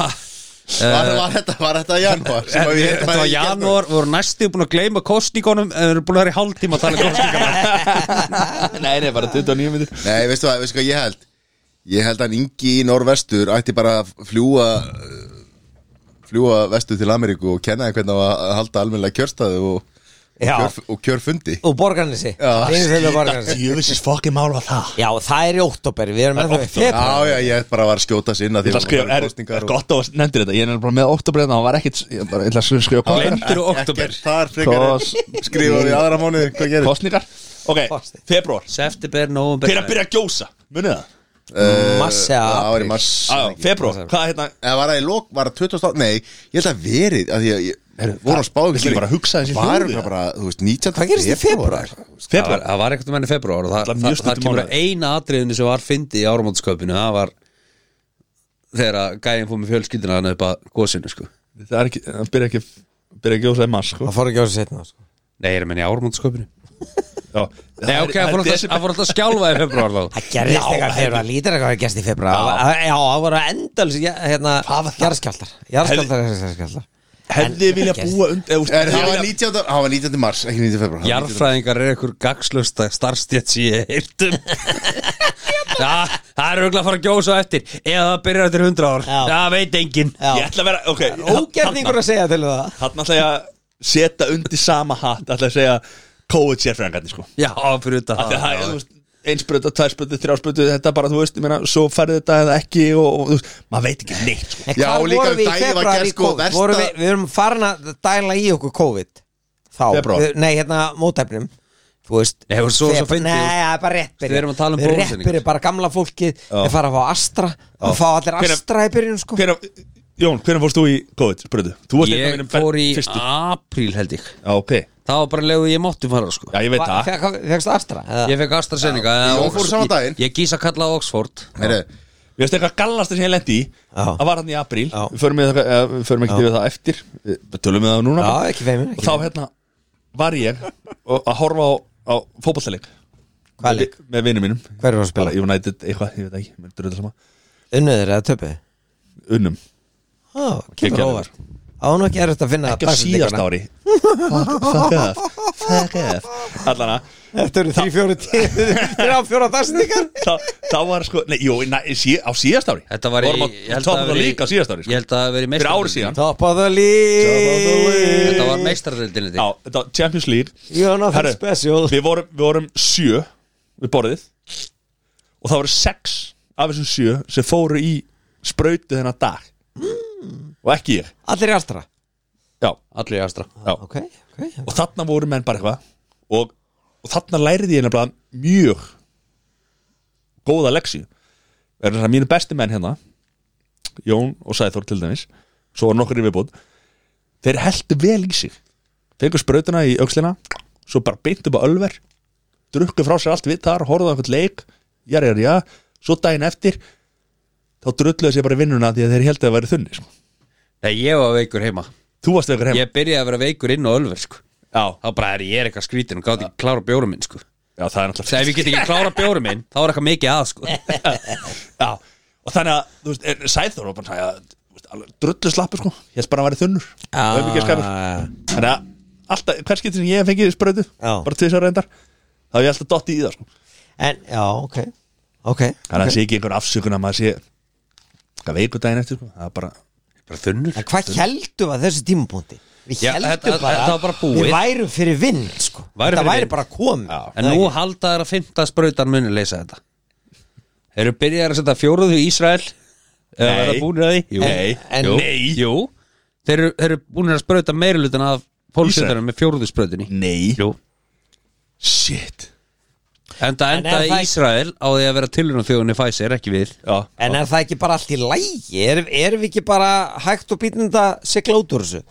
var, var, þetta, var þetta janúar sem að við- Þetta var ég- janúar, voru næstu búin að gleyma kostningunum en eru búin að vera í hálftíma að tala um kostningunum Nei, nei, bara 29 myndir Nei, veistu hvað, veistu hvað ég held Ég held að Ingi í Norvestur ætti bara að fljúa fljúa vestur til Ameríku og kenna þeim hvernig á að halda almennilega kjörstaði og, Já. kjör, og kjörfundi og borgarnesi Já. Vinnuþjóðlega Borgarnesi. Jöfisins fokkin mál var það Já, það er í óttóber, við erum Það er ennþá í október. februar Já, já, ég bara var að skjóta sinna Ég ætla að skrifa, er, er gott að nefndir þetta Ég er bara með oktobrið Það var sko, ekkit, ég bara ég ætla að skrifa Glemdur oktober Þar frekar Kos- en skrifa við aðra mánu Hvað gerir? Kostningar Ok, Kosning. februar September, november Hver að byrja að gjósa? Munið það? Massi Já, Það var í að mars Já, já, februar Hvað er hérna? Eða var það í lok, var það 20 átt Nei, ég held að verið að ég, ég voru á spáðum viltu bara hugsa þessi Var hljóði, það eða? bara, þú veist, 19. Hvað gerist í februar? Það var, Februar það var eitthvað menn í februar og það, Það er það, mjög það, stuttur kemur að mánuður. eina atriðinu sem var fyndi í áramótasköpinu það var þegar að gæðin fór með fjölskyldina hann upp að gósinu sko. Það er ekki, það byrja ekki Byrja að gjósa í mars sko. Það fór ekki á þessu setna sko. Nei, ég er að menn í áramótasköpinu Já, Nei, ok, það fór alltaf- það fór alltaf að skjálfa í februar þá Það gerðist eitthvað fyrir að lítir eitthvað gerst í februar Það var- Já, það voru endals hérna, jarðskjáltar Jarðskjáltar, jarðskjáltar Hefði vilja búa und, eð, Er, það var 19. Það var 19. mars, ekki 19. februar það var 19. Jarðfræðingar er einhver gagslösta starfstjætt sem ég heyrtum Já, það er auðvitað að fara að gjósa á eftir eða það byrjar eftir 100 ár Já. Það veit enginn Ég ætla að vera, ok Ógerningur að segja til um það Þannig ætla ég að setja undir sama hatt Þannig að segja Kóið sérfræðingarnir sko Já, fyrir þetta Af því að það er, þú veist, einspröta, tværspröta, þrjáspröta þetta bara, þú veist, ég meina, svo færði þetta eða ekki og, og þú veist, maður veit ekki neitt sko. En Já, hvar og líka vorum við um í daginn var febrúar gert í sko COVID? versta- Vorum við, við erum farin að dæla í okkur COVID Þá, Febrúar. við, nei, hérna mótæfnum Þú veist Nei, og svo- svo feb- fyndið. Nei, það er bara rétt byrjun. Við erum að tala um Við Rétt bólusetningar. byrjun, bara gamla fólkið Við fara að fá Astra Við fá allir Hvenær- Astra í byrjun, sko Hver, Jón, hvernig fórst þú í COVID, sprötu? Þú varst einn af Ég mínum fór í fyrstu. apríl held ég Já, ok, Það var bara leiðu ég mátti fara sko já, ég veit það Fegst Astra? eða? Ég fekk AstraZeneca eða Jón fór Oxford- sama daginn. Ég, ég gís að kalla það Oxford Heyrðu, Við veist eitthvað gallast sem ég lendi í Já. Það var hann í apríl, Já. við förum, við, eh, við förum ekki til það eftir Við tölum við það núna Já, ekki feimur Og þá hérna var ég og- að horfa á, á fótballtæleik Hvað leik? Með vinnum mínum Hver var að spila? Bara United, eitthvað, ég veit ekki, mér dröðu sama Unnuður eða töpu? Unnum, Ó, kemur Geggjaður. óvart Án og ekki erut að finna ekki á síðast dagsetninguna. ári Fuck fuck off, fuck off Allana, Þetta eru því fjóru tíð Þrjá fjóra dagsningar þá, þá var sko Nei, jú, na, sí, á síðast ári Þetta var í Vorum ég held að Tóðum hafi það verið í- líka á síðast ári Ég sko. held að það hafi verið Fyrir í ári meistaradeildinni. síðan Top of the league Þetta var meistardeldinni Já, þetta var Champions League You're nothing Herru, special Við vorum, við vorum sjö Við borðið Og það voru sex af þessum sjö Sem fóru í sprautu þennan dag Og ekki ég Allir í Astra Já, Allir í Astra já Ok, ok Og þarna voru menn bara eitthvað og, og þarna læriði ég nefnilega mjög góða leksi er það mínu besti menn hérna Jón og Sæþór til dæmis svo var nokkur í viðbúð þeir heldu vel í sig fengur sprautuna í aukslina svo bara beint upp á ölver drukku frá sér allt við þar, horfðu á einhvern leik jari, jari, já, svo daginn eftir þá drulluðu sér bara í vinnuna því að þeir heldur að væri þunni sko. Nei, ég var veikur heima þú varst veikur heima Ég byrjaði að vera veikur inn á Ölver sko já, Þá bara er ég er eitthvað skrítin og gáði ekki klára bjórum minn sko já, það er náttúrulega Þegar ef ég get ekki klára bjórum minn Þá er eitthvað mikið að sko Já, og þannig að, þú veist, er- Sæþór var bara að drullu slappur sko, ég held bara að væri þunnur Ah. og ekki skapur þannig að alltaf, hver skipti sem ég hef fengið spröðu Já. bara til þess að reyndar, þá hef ég alltaf dotti í það sko. En, já, ok Ok þannig að það sé ekki einhver afsökun að maður sé hvað veikur daginn eftir sko, það er bara Bara þunnur En hvað heldum við að þessu tímapunkti? Við Já, heldum þetta- bara þetta var bara búið. Við værum fyrir vinn, sko Værum Þetta fyrir væri vinn. bara komið En nú halda þær að fymta sprautan muni leysa þetta Þeir eru byrjaðar að setja fjóruðu í Ísrael Eða Nei. vera búinir að því Jú. Nei. En- Jú. Nei. Jú. Þeir, eru, þeir eru búinir að sprauta meiri lutin af pólsetarinn með fjóruðu sprautinni nei, Jú. shit En það En er endaði það- Ísrael á því að vera tilhörnum þjóðunni Pfizer, ekki við já, En er það ekki bara allt í lægi? Er, erum við ekki bara hægt og býtnenda sigla út úr þessu?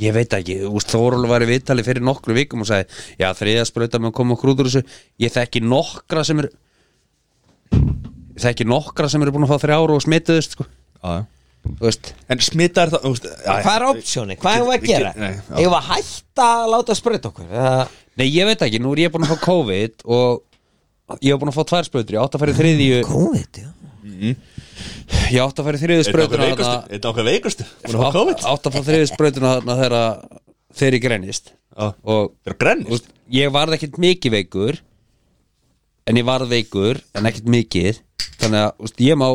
Ég veit ekki, úst, Þóról var í viðtali fyrir nokkru vikum og sagði, já þriðja sprauta með að koma okkur út úr þessu, ég þekki nokkra sem eru ég þekki nokkra sem eru búin að fá þrjáru og smituðust sko. já, já. Þú veist, en smita er það, þú veist já, Hvað er opsjóni? Hvað erum við að Við gera? getum- nei, já. Erum við að hætta að láta sprauta okkur? Eða- nei ég veit ekki, nú er ég búin að fá COVID og ég hef búin að fá tvær sprautur, ég átt að fara í þriðju Covid, já ég átt að fara í þriðju er það sprautuna okkar veikustu, þarna- er það okkar veikustu hún hafa átt COVID, átt að fá þriðju sprautuna þarna þegar að- þegar ég greinist Já. það og er sko. grennist Úst, ég varð ekkert mikið veikur en ég varð veikur en ekkert mikið þannig að úst, ég má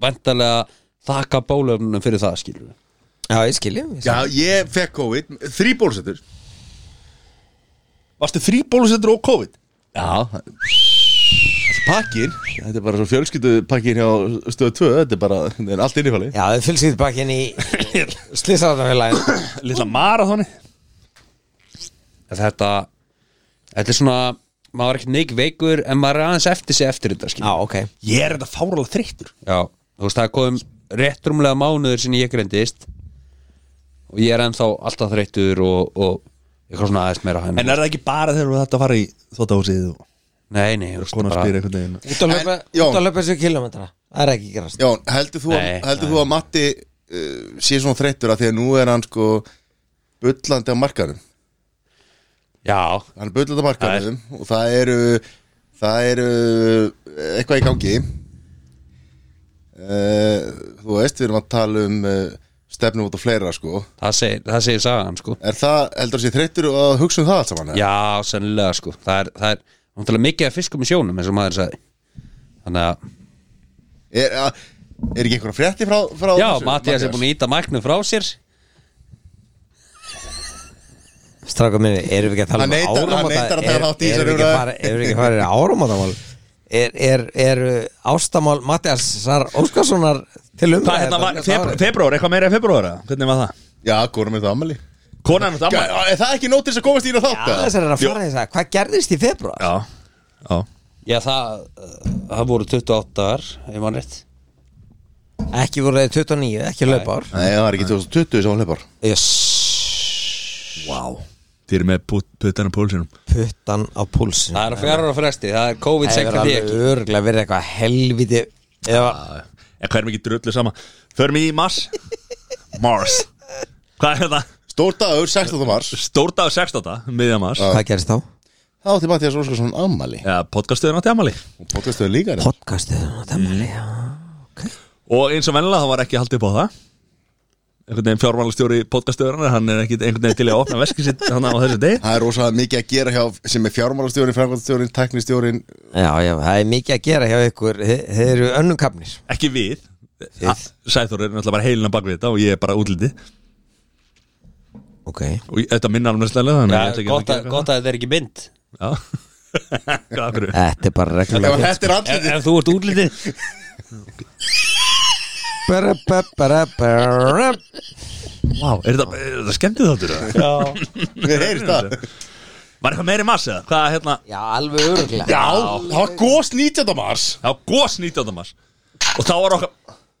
vantarlega þakka bólöfnunum fyrir það skilur við Já, ég skilji Já, ég fekk COVID Þrý bólsetur Varstu þrý bólusettur og COVID? Já Þessi pakkin Þetta er bara svo fjölskyldu pakkin hjá stöðu 2 Þetta er bara, þetta er allt innifali Já, þau fylgst bakinn í slisarðanfélagin Lilla marathoni þetta þetta er svona, maður er ekkert neik veikur en maður er aðeins eftir sig eftir þetta Já, skilur. ok Ég er þetta fáralega þreyttur já, þú veist það er komum rétt rúmlega mánuður sinni ég greindist og ég er ennþá alltaf þreyttur og, og eitthvað svona aðeins meira En er það ekki bara þegar við þetta að fara í þóttahúsið og nei, nei, þú veist, konar bara- spyrir einhvern veginn Út að En, löpa, Jón. út að löpa þessu kilometra Það er ekki gerast Jón, heldur þú, Nei, heldur þú að Matti uh, sé svona þreyttur að því að nú er hann sko bullandi á markanum já, Hann er bullandi á markanum og það eru það eru eh, eitthvað í gangi uh, Þú veist, við erum að tala um uh, stefnum út og fleira sko það segir, það segir sagan sko Er það, heldur þú að sé þreyttur að hugsa um það allt saman? eða? já, sennilega sko það er, það er náttúrulega mikið að fiskum í sjónum eins og maður sagði þannig að, Er, er ekki einhverja frétti frá, frá já, þessu, Mattias er búin að íta mæknu frá sér Stráka minni, erum við ekki að tala Hann neitar- um hann áramóta neitar að taka Er- þátt í þessari Erum við ekki að umræðu. fara- erum við ekki að fara í áramótamál Er, er, er ástamál Mattiasar Óskarssonar til umræðu Hvað hérna var, næsta febr- árið? februar, eitthvað meira en februar eða? Hvernig var það? Já, góra með það ammali Konan er þetta ammæli Er það ekki nót til þess að komast í hérna þátt? Já, eða? þessar er að fara í þess að Hvað gerðist í februar? Já, já Já, það, uh, það voru 28 dagar, ef mann rétt Ekki voru þeir 29, ekki löpa ár Nei, það er ekki 2020 sem hún hleypar Jöss Vá Þið eru með put- puttan á pólsinum Puttan á púlsin Það er að fjara ára fresti, það er COVID Það er seinkaði alveg ekki örglega verið eitthvað helviti Eða En hvað er mikið drullu sama? Förum í Mars Mars Hvað er það? Stór dagur, 16. mars Stórdagur 16. miðja Mars hvað gerist þá? Þá átti Mattias Óskarsson ammali Já, podcastuðin átti ammæli Og podcastuðu líka reyndar. Podcastið mm. Og eins og vennilega það var ekki haldið upp á það Einhvern veginn fjármálastjóri podcastöðurinn Hann er ekkit einhvern veginn til í að opna veskið sitt Þannig á þessu deg Það er rosa mikið að gera hjá sem er fjármálastjórin, framkvæmstjórin, teknistjórin Já, já, það er mikið að gera hjá ykkur Þi- Þið eru önnum kapnir Ekki við Sæþór er náttúrulega bara heilina bak við þetta Og ég er bara útlitið Ok Og ég- þetta minna alveg næstlega Þannig ég Já, ætla ekki gott, að að, gera gott að þetta er ekki mynd eitthvað. Já Hvað fyrir Þetta er bara Ef reglulega þetta er Ef, allir ef þú ert útlitið bara, bara, bara, bara. Vá, er þetta, er þetta skemmtið þáttur? eða? Við heyrist það Var eitthvað meiri mars eða? Hvað hérna? Já, alveg örglega Já, það var gos 19. mars Já, gos 19. mars Og þá var okkar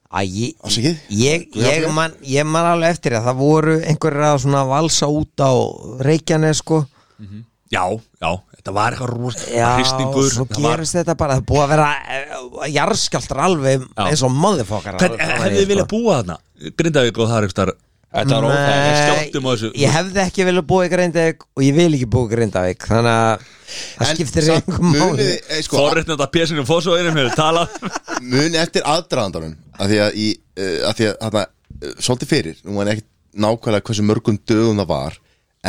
Æ, ég, Afsakið. ég, ég, man, ég man alveg eftir að það voru einhverjir að svona valsa út á Reykjanes sko Já, já, þetta var eitthvað rúst Já, Hristingur svo það var- gerist þetta bara Það er búið að vera jarðskjaldar alveg eins og motherfuckar Hvern, Hefðu þið sko. viljað búa þarna? Grindavík og það er eitthvað Þetta var Nei. óþægilegt skjálftum á þessu. Ég hefði ekki viljað búa í Grindavík og ég vil ekki búa í Grindavík þannig að það skiptir einhver máli munið, eh, sko, Forréttin þetta pésinu fósóinum hefur talað muni eftir aðdraðandanum að því að, í, uh, að, því að þarna, uh, svolítið fyrir, nú er ekki nákvæmlega hversu mörgum dögum það var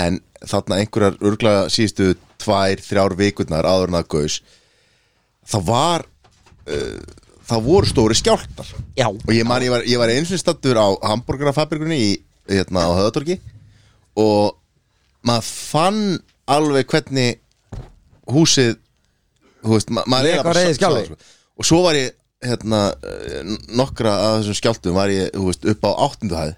en þarna einhverjar örgla síðustu tvær, þrjár vikurnar áður en að gaus það var uh, það voru stóri skjáltar Já. og ég man, ég var, ég var eins og stattur á hamburgerafabrikunni í, hérna á höðatorki og maður fann alveg hvernig húsið þú veist, ma maður Lék eiginlega á bara reiði sa- skjálfi. sa- sko. og svo var ég hérna, eh, nokkra af þessum skjáltum var ég þú veist, upp á áttundu hæð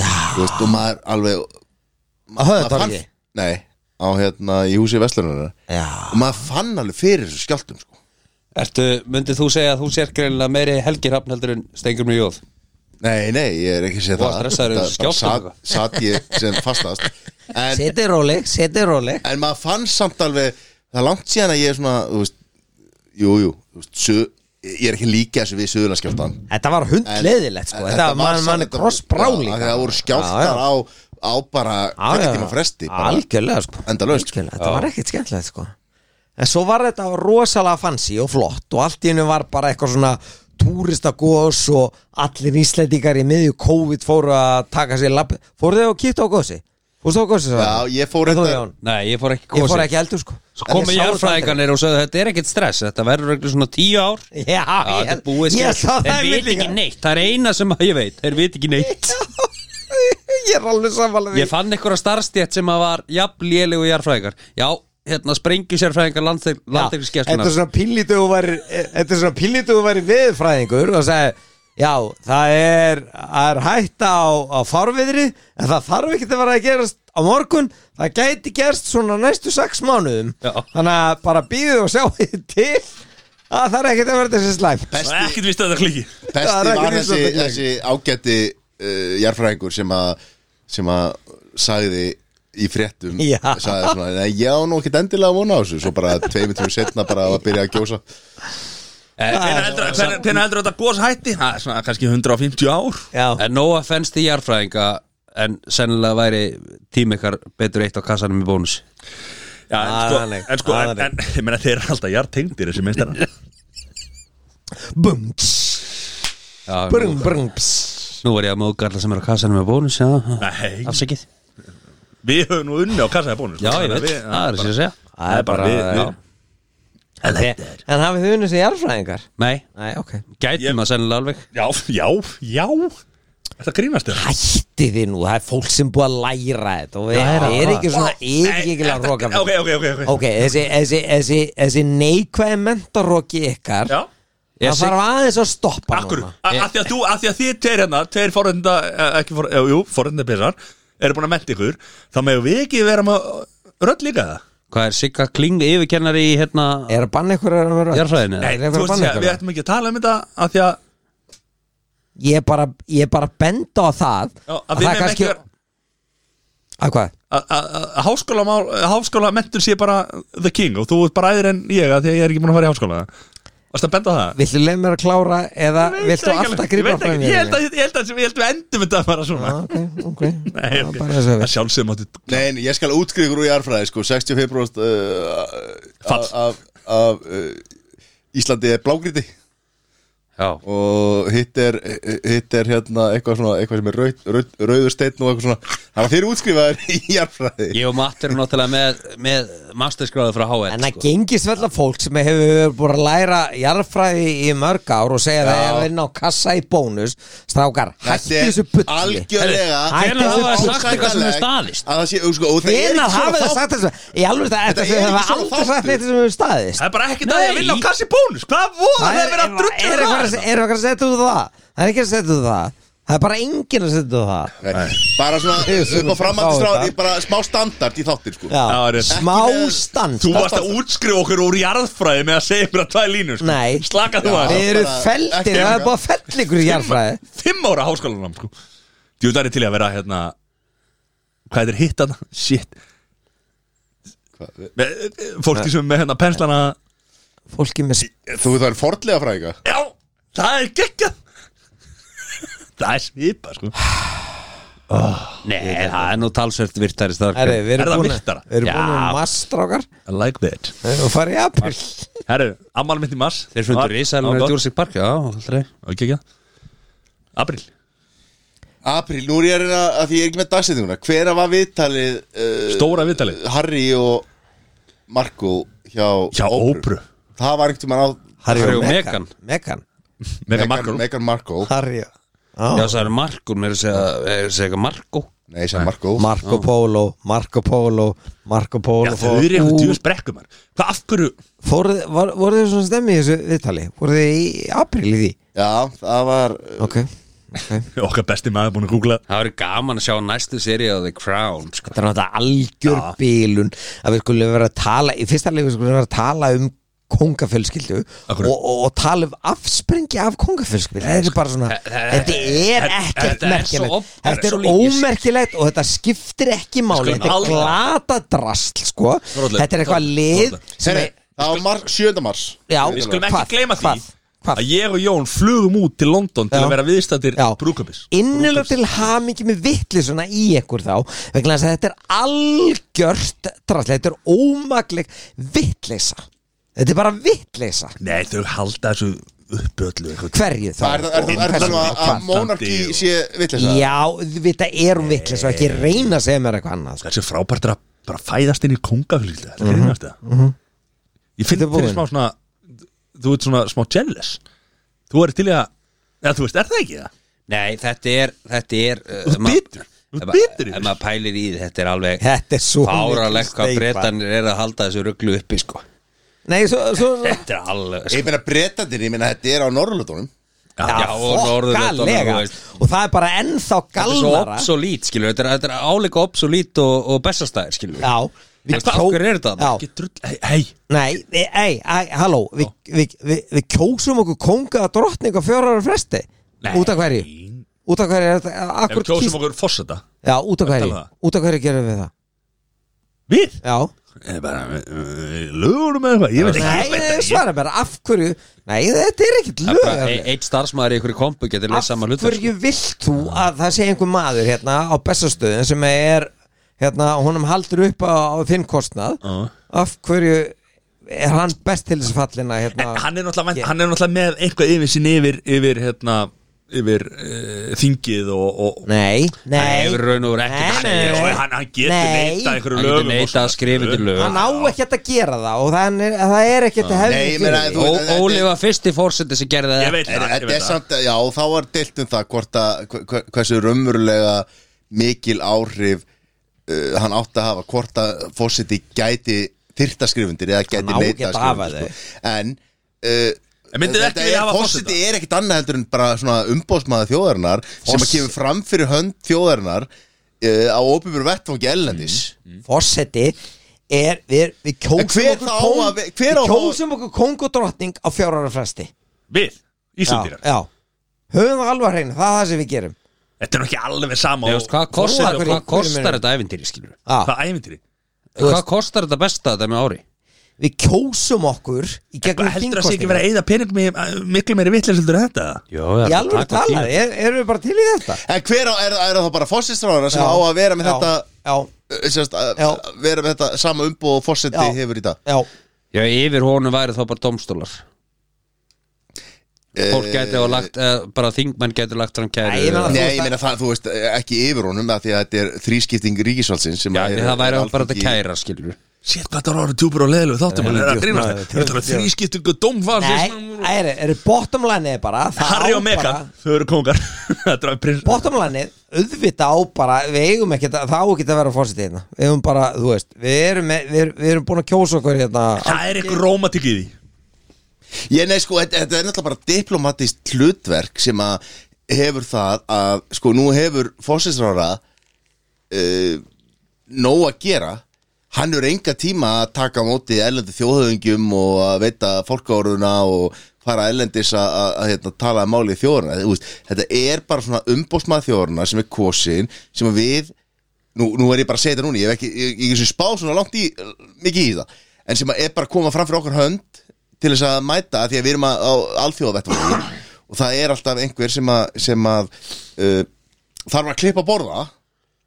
Þú veist, og maður alveg Á maður fann- höðatorgi nei, á hérna í húsi Vestlunar Já. og maður fann alveg fyrir þessum skjáltum sko. Ertu, myndið þú segja að þú sér greinilega meiri helgi hrafn heldur en stengur mjög jóð nei, nei, ég er ekki að segja Þú það varst stressaður yfir Þetta bara skjálftum, sat, sat ég sem fastast en, Setið róleg, setið róleg en maður fann samt alveg það er langt síðan að ég er svona þú veist, jú, jú, þú veist, sö, ég er ekki líka þessu við söðurlandskjálftan Þetta var hundleðilegt sko En Þetta var mann mann þetta- krossbráling Já, af því Það voru skjálftar á, á bara klukkutíma fresti bara. Algjörlega sko Endalaust. Algjörlega, Þetta var ekkert skemmtilegt sko En svo var þetta rosalega fancy og flott og allt í hennu var bara eitthvað svona túristagos og allir íslendingar í miðju COVID fóru að taka sér lapp Fóru þau og kýttu á gósi? Fórstu á gósi? Já, ég fór þetta þetta- Nei, ég fór ekki Ég fór kosið ekki eldur sko Svo komu jarðfræðingarnir og sagði þetta er ekkert stress Þetta verður ekki svona tíu ár Já, Já, ég, þetta er búið ég sá skjálft Þeir það einmitt veit líka. ekki neitt, það er eina sem ég veit Þeir veit ekki neitt Já, ég er alveg samanlega Ég fann einhverja starfstjætt sem að var jafn lélegu jarfræðingar Já, hérna sprengjum sérfræðingar Þetta er landegliskestunar svona pínlítið og væri Þetta er svona pínlítið og væri viðfræðingur og segi Já, það er, það er hætta á, á farviðri en það þarf ekkert að vera að gerast á morgun það gæti gerst svona næstu sex mánuðum Já. þannig að bara býðu og sjá því til að það er ekkert að vera þessi slæm Það er ekkert vist að þetta klíki Það er Besti ekki var nýtt þessi, að það þessi ágætti uh, jarfræðingur sem að sem að sagði í fréttum Já. sagði svona, "Nei, ég á nú ekkert endilega að vona á þessu svo bara tveimur tveimur setna bara að byrja að gjósa Hvernig heldur þetta gos hætti? Það er svona kannski 150 ár Já, En nóa fennst í jarfræðinga En sennilega væri tími ykkar betur eitt á kassanum í bónus Já, en sko, Aðaleg, en, sko en, aðaleg. en ég meina þeir eru alltaf jartengdir þessi meistarar bum tss, Já, brum, nú, brum, pss. nú var ég að móðga alla sem er á kassanum í bónus Já, Nei. afsakið Við höfum nú unni á kassaði bónus Já, ég veit, Við- það er sér að segja Það er bara við, já. við. En þið- Eh, en hafið þið unnið sem jarðfræðingar? Nei, Nei, ok gætum að sennilega alveg Já, já, já Þetta grínast þér Hætti þið nú, það er fólk sem búið að læra þetta og Læra það er hvað? ekki svona yfirgengilega roka Ok, ok, ok, ok. Ok, þessi, þessi, þessi, þessi neikvæði mentaroki ykkar Já, Það þarf aðeins að stoppa akkur núna Af því að þú, af því að þið tveir hérna Tveir forrenda, eh, ekki forrenda, jú, forrenda pesar Eru búin að menta ykkur Þá meðum við ekki vera með rödd líka það Hvað er Sigga Kling yfirkennari í hérna Er að banna ykkur að vera Jarðfræðinni, eða? Nei, Nei, þú veist að við ættum ekki að tala um þetta Af því að, Ég er bara, ég er bara að benda á það já, að að við það er meðum kannski ekki Að hvað? að- að að háskólamál, háskóla mentur sé bara the king og þú ert bara æðir en ég að því að ég er ekki búin að fara í háskóla Varst að benda á það? Viltu leið mér að klára eða Ég veit viltu ekki alltaf alveg, grípa ég veit ekki, ég held að, ég held að, ég held að við endum þetta bara svona Ok, ok Nei, Það ok. er bara þess að Það við sjálfsögum áttu Nei, nei, ég skal útskriður úr jarfræði sko, 65% uh, Fall. af, af, af uh, Íslandi er blágríti Já, og hitt er, hitt er hérna eitthvað, svona, eitthvað sem er raut, raut, rauður steinn og eitthvað svona það var þeir útskrifaðir í jarfræði ég og Matt erum náttúrulega með, með masterskráðu frá HL En það sko. gengis vel að fólk sem hefur búin að læra jarðfræði í mörg ár og segja það að vinna á kassa í bónus Strákar, hættu þessu putli algjörlega Hættu Hvenær hafa þessu þeir sagt eitthvað sem er staðist? að það sé, sko, og það er Hvenær ekki hafa svona þið þátt- sagt þessu? Í alveg það, Þetta þetta er þið ekki svona hafa aldrei sagt þáttur. neitt sem hefur staðist Það er bara ekkert að ég Nei. vinna á kassi bónus Hvað voru það Það að um vera að er drullu er eitthvað að- er eitthvað að setja út á það Það er ekki að setja út á það Það er bara enginn að setja út á það Nei, bara svona, upp á Sá framhaldistráð þetta. bara smá standard í þáttir sko. Já, Já, er- smá Ekki með- stand Þú varst að útskrifa okkur úr jarðfræði með að segja mér að tvað línu sko. Nei. Slaka þú Já. að Við Bara- eru ekki- feldir, það er búið að fell ykkur í jarðfræði Fimm ára háskólanum sko. Djúðar er til í að vera hérna Hvað er hitt hann? Shit Hvað- Með- Fólki sem er með hérna penslana Fólki með sp- þú það er fordlega fræðinga Já, það er geggjað Það er svipa sko Nei, það er nú talsvert virtari Herri, starf Við Er erum það búin virtara? að- við erum búin Já. að mastrákar I like that og farið í april Herru, ammál mitt í mars Þeir fundur risalinn að Jurassic Park Já, alltaf Júrsi April April, nú er ég að reyna að því ég er ekki með dagsettinguna Hvena var viðtalið uh, Stóra viðtalið Harry og Marko hjá, Hjá Óbru Það var einhvern tímann á Harry og Meghan. Megan Mega Marko Megan Marko Harry Já, það er Marko, mér er að segja, er að segja eitthvað Marko Nei, ég sagði Marko Marco Polo, Marco Polo Marco Já, Polo þau fór- eru eitthvað Ú, djúðis brekkum hann Hvað af hverju Fóruð, var, voruð þið svona stemmi í þessu viðtali? Voruð þið í april í því? Já, það var uh, Ok, okay. Okkar besti maður búin að googla Það verður gaman að sjá næstu seri á The Crown sko. Þetta er náttúrulega algjör bílun að við skulum vera að tala í fyrsta leik við skulum vera að tala um kongafjölskyldu og, Akkurat. og, og tala um afsprengi af kongafjölskyldu þetta er bara svona, þetta er ekkert þetta er svo merkilegt op- þetta er svo lítið. ómerkilegt og þetta skiptir ekki máli skulum þetta er aldrei- glata drast sko, Þorvaldur, þetta er eitthvað Þorvaldur, lið Þorvaldur. sem Herri, er, það var mar 7. mars já, Við skulum ekki hvað, gleyma því hvað, hvað? Að ég og Jón flugum út til London Til Já. að vera viðstættir Já. brúkabis innilega til hamingi með vittlisuna í ykkur þá vegna þess að þetta er algjört drastlega, þetta er ómagleg vittlisa þetta er bara vittlisa Nei, þau halda þessu uppi öllu eitthvað. hverju þá Það er, er, er, er, er, er, Hversu- er hvað? að Monarki sé vitleysa já, við þetta erum vittlisa ekki Eh. reyna að segja mér eitthvað annað sko. Þessi frábært er að bara fæðast inn í kongafylgildu Þetta er einnast það Ég finn Mhm. Þetta er fyrir búin. smá svona Þú ert svona smá jealous Þú er til í að Já, þú veist, er það ekki það? Nei, þetta er, þetta er Þú ert bitur. Þú ert Ef ma- bitur ef yfir maður pælir í því, þetta er alveg Þetta er svo fáralegt mikil hvað steypa. breytanir er að halda þessu rugglu uppi sko. Nei, svo, svo þetta er alveg sko. Ég meina breytandir, ég meina þetta er á Norrlöndunum já, og Norðurlöndunum, fokkalega. þú veist. Og það er bara ennþá þetta er svo galnara obsolít skilur, þetta er, þetta er áleika obsolít og, og bestastæðir skilur Já En hvað- af hverju er þetta? Já. Ekki drull Hei, hei Nei, ei, ei, ei, halló Við vi, vi, vi kjósum okkur konga og drottning á fjóra ára fresti Nei. Út af hverju? Út af hverju? er þetta- eh, Ef við Akkur kjósum kýst okkur fórseta Já, út af hverju? Tala það. Út af hverju gerum við það? Við? Já Eh, bara, eh, Lögunum eða eitthvað Ég veit Nei, ekki ég veit nei, ekki. svara bara, af hverju Nei, þetta er ekkert lög Af eitt starfsmæður í ykkur kompu getur leið saman hlutur hverju sko. vilt þú að það sé einhver maður hérna á bestastöðin sem er hérna, honum haldur upp á, á þinn kostnað Já. Af hverju er hann best til þess fallina En hérna hann er náttúrulega, Ég- yeah. hann er náttúrulega með eitthvað yfir sín yfir, yfir, hérna, yfir uh, þingið og, og Nei, nei Hann hefur raun og veru ekkert að Nei, Nei, nei, og nei. hann, hann getur Nei. neitað einhverju Hann lögum getur neitað að skrifa undir lög. Hann á ekkert að gera það og það er, það er ekkert að hefði Nei, ég meina, þú- Ó- Óli var fyrsti fórseti sem gerði Ég það veit En það, ég þetta veit er það samt, já, þá var deilt um það hvort að, hver- hver- hversu raunverulega mikil áhrif uh, hann átti að hafa, hvort að fósiti gæti þyrtaskrifundir eða Hann gæti á neita ekki að hafa skrifundir sko. En uh, En myndirðu ekki þetta vilja er, hafa fósiti forseta? er ekkit annað heldur en bara svona umbóðsmaða þjóðarinnar sem að Forseti. kemur fram fyrir hönd þjóðarinnar uh, á opinveru vettfangi ellendis Mm, Fossetti er, við, við En kjósum hver okkur þá kóng að Við vi- hver á þá- kjósum okkur kóng og drottning á fjóra ára fresti Við, Já, Íslandýrar já Höfum það alveg að reyna, það er það sem við gerum Þetta er nú ekki alveg sama Nei, og- veist, hvað kostar, Óli, hvað hverju- kostar hverju þetta ævintýri skilur Já, Hvað æfintýri Þú hvað veist- kostar þetta besta þetta með ári Við kjósum okkur í gegnum Heldur það sé ekki þingkostningar verið að eyða pening með eh, miklu meiri vitleisildur en þetta Jó, Í alveg talað, er, erum við bara til í þetta? En hver á, er, er það bara fósitstráðara sem Já. á að vera með Já. þetta Já, uh, sérst, að, Já. að vera með þetta sama umbóð og fósiti Já. hefur í dag já, Já, yfir honum væri þá bara domstólar Fólk gæti á lagt, eh, bara þingmenn gæti lagt fram kæru Nei, ég meina- eða- Nei, ég meina það, þú veist, eh, ekki yfir honum að því að þetta er þrískipting ríkisvaldsins sem Já, að en er, það væri er bara þetta Alþingi- kæra skilur Sétt hvað það eru djúpur og leðilegu þáttum Það er að grínast Það er að þrískiptingu domfars nei, æri, eru bottom line er bara það Harry á og Megan, bara- þau eru kongar Þetta er prins Bottom line er, auðvitað á bara við eigum ekki, að- það á ekki að vera fórsetið hérna við eigum bara, þú veist, við erum, með, við, erum- við erum búin að kjósa okkur hérna Það er eitthvað rómatik í því Ég nei, sko, þetta, þetta er náttúrulega bara diplomatist hlutverk sem að hefur það að, sko, nú hefur fósitstráðara uh, nóg að gera hann hefur enga tíma að taka á móti erlendu þjóðhöfingjum og að veita fólkáruðuna og fara erlendis að, að, að hérna, tala um máli þjóðurna veist, þetta er bara svona umbóðsmað þjóðurna sem er kosin, sem að við nú, nú er ég bara að segja þetta núna ég hef ekki, ég, ég, ég spá svona langt í mikið í það, en sem að er bara að koma fram fyrir okkar hönd til þess að mæta því að við erum að, á alþjóðavettvangi og það er alltaf einhver sem að, sem að uh, þarf að klippa borða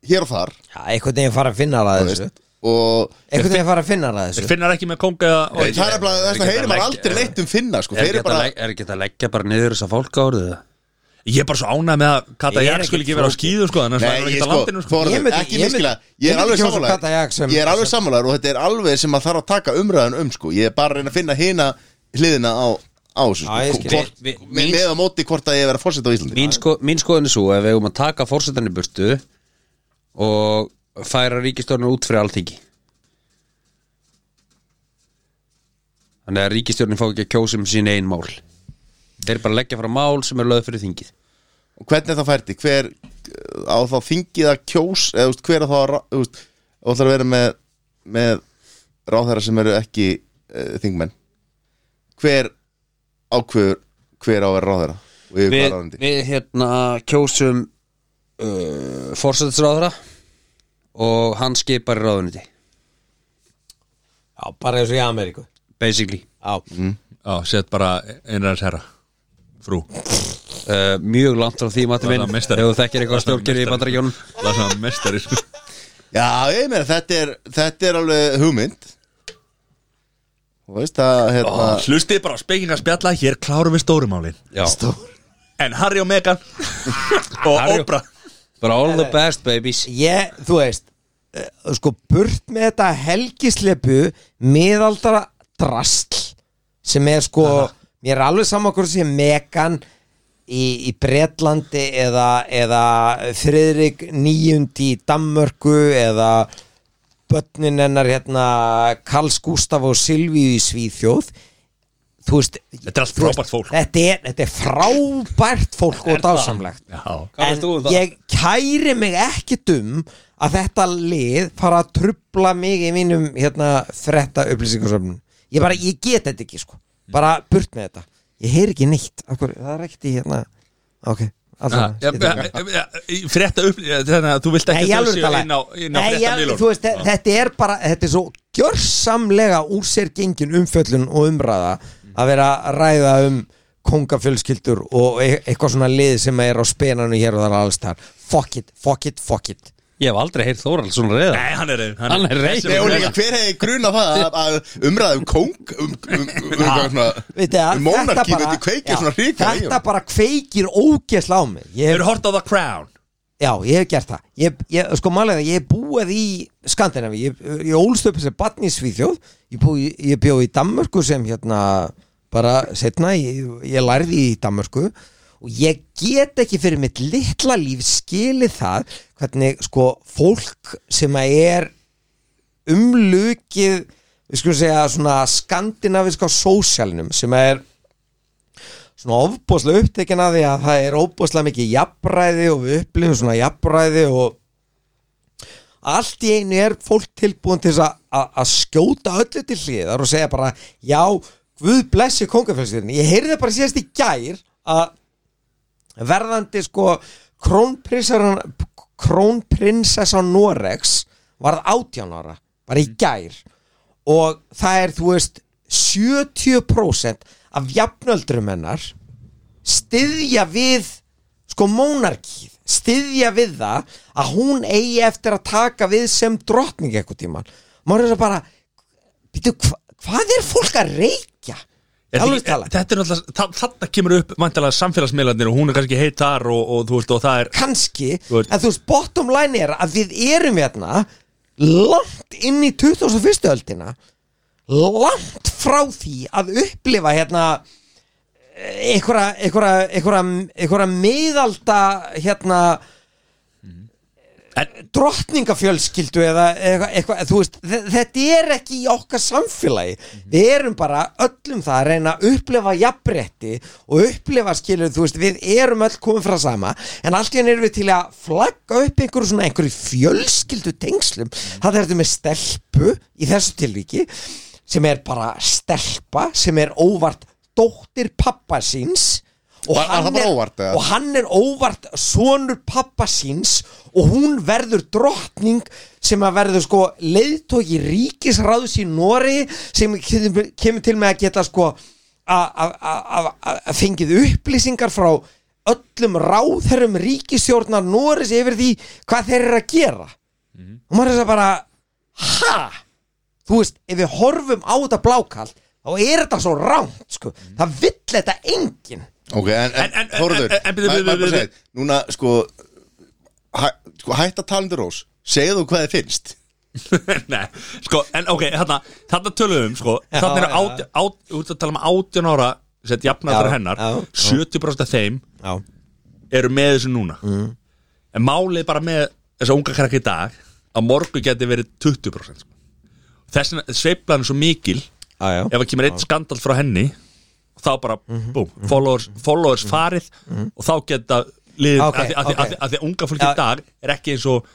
hér og þar já, einhvern veginn fara að finna það að þessu veist, og einhvern veginn fara að finna það að Þeir þessu finnar ekki með konga Nei, það er bara, þess Þeir að geta heyri maður legg- aldrei neitt um finna sko. Er þeir ekki eru bara, hægt að legg- er að leggja bara niður þessa fólk árið það? Ég er bara svo ánægð með að Kata Ég er Jark ekkert skuli ekki vera á flókin. skíðum sko Þannig að nei, það er ég ekki á sko, landinu sko Ég forðum, myndi- ekki ég myndi- miskilega ég ég er myndi alveg kjósa Kata sammálaður Jak sem- ég er alveg sammálaður og þetta er alveg sem maður þarf að taka umræðan um sko. ég er bara að reyna að finna hina hliðina á, á þessu, Já, ég sko. skil. Hvort- Vi- vi- með mín- með á móti hvort að ég er að vera fórsett á Íslandi mín, sko, mín skoðan er svo ef við eigum að taka fórsetan í burtu og færa ríkistjórnir út fyrir alþingi þannig að ríkistjórnir fá ekki að kjósa um sín einn mál þeir bara leggja frá mál sem er löð fyrir þingið Og hvernig er það færdi, hver uh, á þá þingið að kjós eða þú veist, hver á þá að ra- þú veist, þú ætlar að vera með, með ráðherra sem eru ekki uh, þingmenn hver ákveður hver á að vera ráðherra og yfir hvað við, ráðandi við hérna kjósum uh, fórsetisráðara og hann skipar í ráðuniti já, bara eins og í Ameríku basically já, Já, sett bara einræðis herra Frú uh, mjög langt frá því mati minn Lasa ef meistari. þú þekkir eitthvað Lasa stjórnir í meistari. bandaríkjónum Lasa mestari sko Já, ég meina, þetta er, þetta er alveg hugmynd Þú veist að hérna, Hlustið bara á spekinga spjalla Hér klárum við stórumálin Já. En Harry og Megan Og Harry og- Oprah bara all the best babies ég, þú veist eh, sko, burt með þetta helgislepu miðaldara drastl sem er sko, mér er alveg saman hvort sem megan í, í Bretlandi eða, eða Friðrik níundi í Danmörku eða börnin hennar hérna Karls Gustaf og Silvíu í Svíþjóð þú veist Þetta er allt þú veist, frábært fólk. þetta er, þetta er frábært fólk og dásamlegt Já. Hvað en veist þú um það? ég kæri mig ekki um að þetta lið fara að trubla mig í mínum hérna fretta upplýsingarsöfnun ég bara, ég get þetta ekki sko bara burt með þetta, ég heyri ekki neitt Akkur, það er ekkert í hérna ok, Já, alltaf já, já, já, í- Frétta upp Þannig að þú vilt Nei, ekki að ég þau alveg séu tala inn á, inn á Nei, frétta ég- þú veist, þe- Þetta er bara, þetta er svo gjörsamlega úr sér gengin umfjöllun og umræða að vera að ræða um kongafjölskyldur og e eitthvað svona lið sem er á spenanu hér og þar alls þar Fuck it, fuck it, fuck it Ég hef aldrei heyrt Þóral svona reyða Nei, hann er reyð Hann er reiður. Nei, og líka, hver hefði grunað það að- að umræða um kóng um, um, um, um, um, Veit svona, þið, um þetta mónarki bara- þetta kveikir já, svona ríka í Þetta honum. bara kveikir ógesla á mig ég hef, Hefur hort á The Crown Já, ég hef gert það ég, ég, Sko málega, ég hef búið í Skandinavi Ég, ég ólst upp sem barn í Svíþjóð Ég, búi, ég bjó í Danmörku sem hérna bara setna, ég, ég lærði í Danmörku og ég get ekki fyrir mitt litla líf skilið það hvernig sko fólk sem að er umlukið við skulum segja svona skandinaviska á sósjalnum sem að er svona ofbóðslega upptekin að því að það er ofbóðslega mikið jafnræði og við upplifum svona jafnræði og allt í einu er fólk tilbúin til þess að- að að skjóta öllu til hliðar og segja bara já, Guð blessi kongafjölskyldin ég heyrði bara síðast í gær að verðandi sko krónprinsar krónprinsessa Norex varð 18 ára bara Mm. í gær og það er þú veist 70% af jafnöldrum hennar styðja við sko mónarkið styðja við það að hún eigi eftir að taka við sem drottning eitthvað tíman maður er svo bara býtu, hva, hvað er fólk að reykja? Er þetta Alveg ekki- eh, tala, Þetta er náttúrulega Þetta kemur upp Mæntalega samfélagsmiðlarnir Og hún er kannski heitar Og, og þú veist Og það er kannski Þú ert- en þú veist, bottom line er að við erum hérna langt inn í 2001. öldina langt frá því að upplifa hérna eh, einhverja einhverja, einhverja, einhverja miðalda hérna En- drottningafjölskyldu eða eitthvað, eitthvað þú veist, þe- þetta er ekki í okkar samfélagi Mhm. við erum bara öllum það að reyna að upplifa jafnbretti og upplifa skilur, þú veist, við erum öll komin frá sama, en allt í enn erum við til að flagga upp einhverju svona einhverju fjölskyldu tengslum, Mhm. það er þetta með stelpu í þessu tilvíki sem er bara stelpa sem er óvart dóttir pappa síns og Var- var hann, það bara er, óvart, eða? og hann er óvart sonur pappa síns og hún verður drottning sem að verður sko leiðtóki ríkisráðs í Nóri sem kemur kemur til með að geta sko að- að að- að- að fengið upplýsingar frá öllum ráðherrum ríkisstjórnar Nóris yfir því hvað þeir eru að gera og maður er þess að bara ha? þú veist, ef við horfum á þetta blákall þá er þetta svo rámt sko. það vill þetta enginn Ok, en, En- en, en- en- Þórður en- en- bíðu, bíðu, maður- maður bíðu, bara segir, Núna, sko, hæ, sko hætt að tala um þér Rós Segðu þú hvað þið finnst Nei Sko En ok Þarna Þarna tölum við um, sko Já, Þarna er já. át át- Þú ert að tala um 18 ára Sett jafnaldra Já, hennar já. 70% af þeim Já. eru með þessu núna Mm. en málið bara með þessa unga krakka í dag að morgu geti verið 20% sko. þess vegna sveiflan er svo mikil Já, já. Mhm. ef það kemur eitt skandal frá henni og þá bara, búm, followers, followers farið og þá geta liðið, Ok, okay, að, því- að, ok. okay. að því að unga fólk Já. í dag er ekki eins og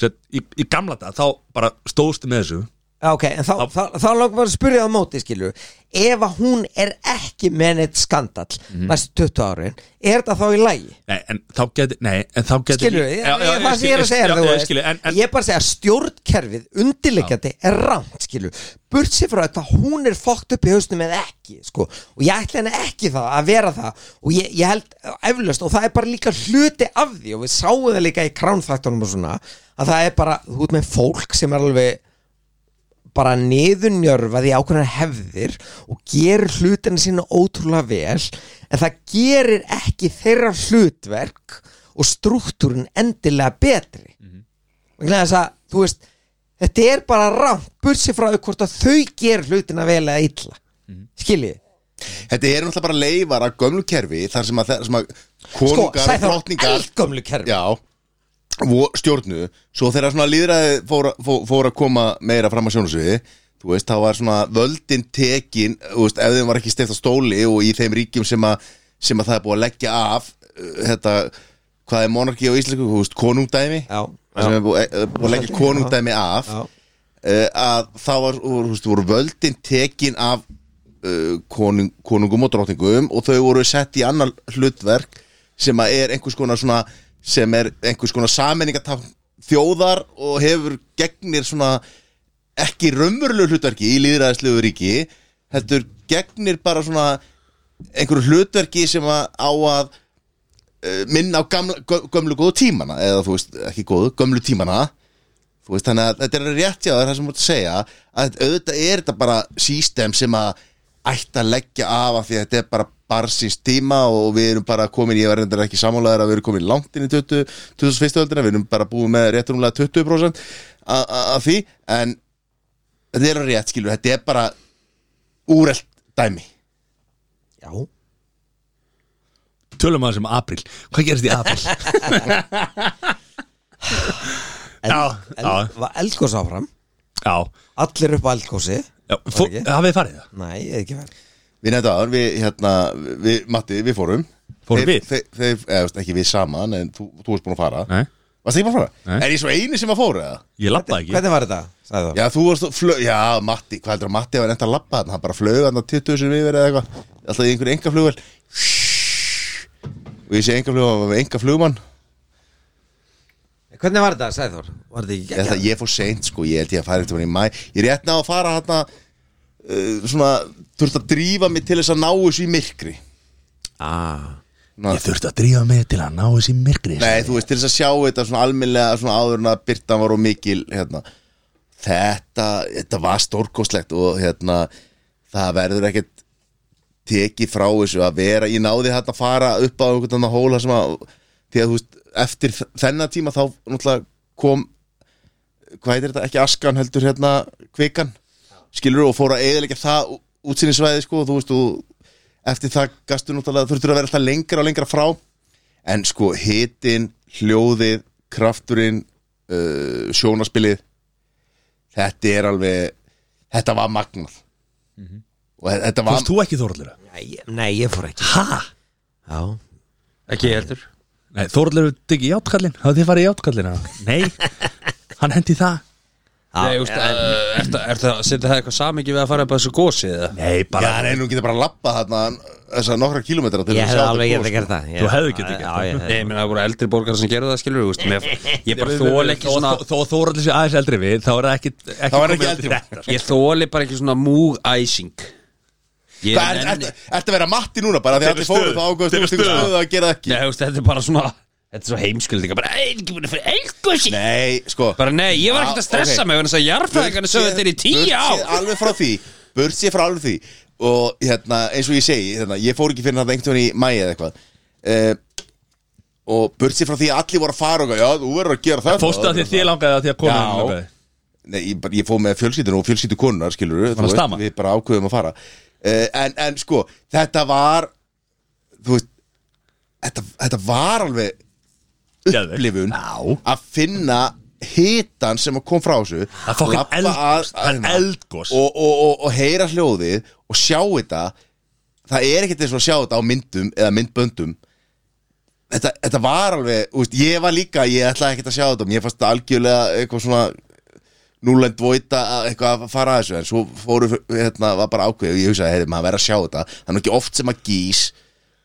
set, í, í gamla dag, þá bara stóðstu með þessu Já, ok, en þá, þá, þá langar maður að spyrja það á móti, skilju Ef að hún er ekki með neitt skandall Mhm. næstu 20 árin, er þetta þá í lægi? nei, en þá geti, nei, en þá geti Skilju, Já, ég, já, ég, það skil- sem ég er að segja já, þú já, veist. skilju, en, en, Ég er bara að segja að stjórnkerfið undirleikjandi er rámt, skilju Burt sér frá þetta, hún er fókt upp í hausnum eða ekki, sko Og ég ætla henni ekki það að vera það Og ég, ég held eflaust, og það er bara líka hluti af því Og við sáum það líka í kránþættunum og svona Að það er bara, þú ert með fólk sem er alveg bara niðurnjörfað í ákveðna hefðir og gerir hlutina sína ótrúlega vel en það gerir ekki þeirra hlutverk og struktúrin endilega betri Mhm. vegna þess að þú veist þetta Mhm. er bara rangt bursi frá því hvort að þau gerir hlutina vel eða illa mm -hmm. skiljið Þetta er náttúrulega bara leifar af gömlu kerfi þar sem að, þar sem að konungar, Sko, Sæþór, drottningar eldgömlu kerfi. Já, vo, stjórnu Svo þegar svona líðræði fór, fór, fór að koma meira fram að sjónusviði Þú veist, þá var svona völdin tekin þú veist, ef þeim var ekki steyft á stóli og í þeim ríkjum sem að, sem að það er búið að leggja af uh, þetta, hvað er monarki á íslensku, þú veist, konungdæmi Já, Það sem er búið, eh, búið að leggja konungdæmi af Já. uh, að þá var, voru, þú veist, voru völdin tekin af uh, konung, konungum og drottningum og þau voru sett í annan hlutverk sem að er einhvers konar svona sem er einhvers konar sammenningatákn þjóðar og hefur gegnir svona ekki raunverulegu hlutverki í líðræðislegu ríki heldur gegnir bara svona einhverju hlutverki sem að á að eh, minna á gamla, gö- gömlu góðu tímana eða þú veist, ekki góðu, gömlu tímana þú veist, þannig að þetta er rétt hjá þér það sem mútu að segja að auðvitað er þetta bara sístem sem að ætti að leggja af af því að þetta er bara barsins tíma og við erum bara komin ég verður ekki sammálaður að við erum komin langt inn í 20, 21. öldina, við erum bara búið með rétt rúmlega 20% a- a- af því en þetta er rétt skilur, þetta er bara úrelt dæmi já Tölum aðeins um april Hvað gerist í april? já, já, Var eldgós áfram já, Allir upp á eldgósi já Fó, ekki? Hafið þið farið það? Nei, ég er ekki verið Við nefndu aður, við, hérna, við, Matti, við fórum Fórum við? Þeir, þeir, þeir eða, þú veist, ekki við saman, en þú, þú varst búin að fara Nei, Varst ekki búin að fara? Nei. Er ég svo eini sem að fóra eða? ég labba ekki Hvernig var þetta? Sagði það Já, þú varst, flög, já, Matti, hvað heldur að Matti var enda að labba þarna? Hann bara flög hann á 20 sem við verið eða eitthvað Alltaf í einhverju enga flugvel Og ég sé enga flugvel, hann var með enga flugmann Hvernig var þetta, sagði Þór? Var þetta ekki Ég, það, ég fór seint sko, ég held ég að fara eitthvað í mæ Ég er rétt ná að fara hérna uh, Svona, þurft að drífa mig til þess að ná þessu í myrkri ah. Ná, Ég þurfti að drífa mig til að ná þessi myrkri Nei, þú veist, til þess að sjá þetta svona almennlega svona áður en að byrtan var og mikil hérna. þetta, þetta var stórkostlegt og hérna það verður ekkert tekið frá þessu að vera, ég náði hérna að fara upp á einhvern annan hóla sem að því að þú veist, eftir þennan tíma þá náttúrulega kom hvað heitir þetta, ekki askan heldur hérna kvikan, skilur og fór að eðilegja það ú- útsýnisvæði sko, þú veist, og eftir það gastu náttúrulega, þurftur að vera alltaf lengra og lengra frá en sko hitin, hljóðið, krafturinn uh, sjónaspilið þetta er alveg þetta var magnað og þe- þetta var Fórst þú ekki Þorallur? nei, ég- nei, ég fór ekki Ha? Já Ekki ég heldur Nei, Þorallur teki játkallin Hafið þið farið í játkallin? Nei, hann hendi það Nei, úst, uh, er, er það, setja það eitthvað samingi við að fara upp að þessu gósi eða? Nei, já, bara nei, nú getur bara að lappa þarna þessar nokkra kilómetra til Ég að hefði sjá alveg þetta gos, getað gert það Þú hefðir getað gert það. það sko. Já, ég Nei, menn það voru eldri borgar sem gerðu það, skilur úst, mér, Ég bara þóli ekki svona Þó Þorallur sé aðeins eldri við Þá er það ekki Þá er ekki komið eldri. undir þetta, sko. Ég þóli bara ekki svona múgæsing Ég Hvað, er- nenni- ertu- Ertu að vera matti núna bara því að allir fóru þá ágöðst og stöðu að gera það ekki Nei, þú veist, þetta er bara svona Þetta er svo heimskuldinga, bara "Ei, ekki búin að fyrir eldgósi Nei, sko Bara nei, ég var ekkert að Ah, stressa ok. mig vegna þess að jarðfræðingarnir sögðu þetta er í tíu Burtséð á alveg frá því Burtsið frá alveg því Og hérna, eins og ég segi hérna, Ég fór ekki fyrir þetta einhvern veginn í mæi eða eitthvað uh, Og burtsið frá því að allir voru að fara og eitthvað, Já, þú verður að gera þetta Fórstu að því að þið langaði að því að Já. konan þín langaði Nei, ég, bara- ég fór með fjölskyldinu og fjölskyldu konunar skilur Var að stama? Við bara ákveðum að fara uh, en, en sko, þetta var Þú veist Þetta, þetta var alveg Geðveikt. upplifun Já. að finna hitan sem kom frá þessu er fucking labba eldgos, að- það er að- eldgos. og, og, og, og heyra hljóðið og sjá þetta það er ekkert eins og að sjá þetta á myndum eða myndböndum þetta, þetta var alveg, úst, ég var líka ég ætlaði ekkert að sjá þetta, mér fannst þetta algjörlega eitthvað svona núlend dvoita að- eitthvað að fara að þessu en svo fóru, hérna, var bara ákveð og ég hugsaði, heyri, maður verður að sjá þetta, það er nú ekki oft sem að gís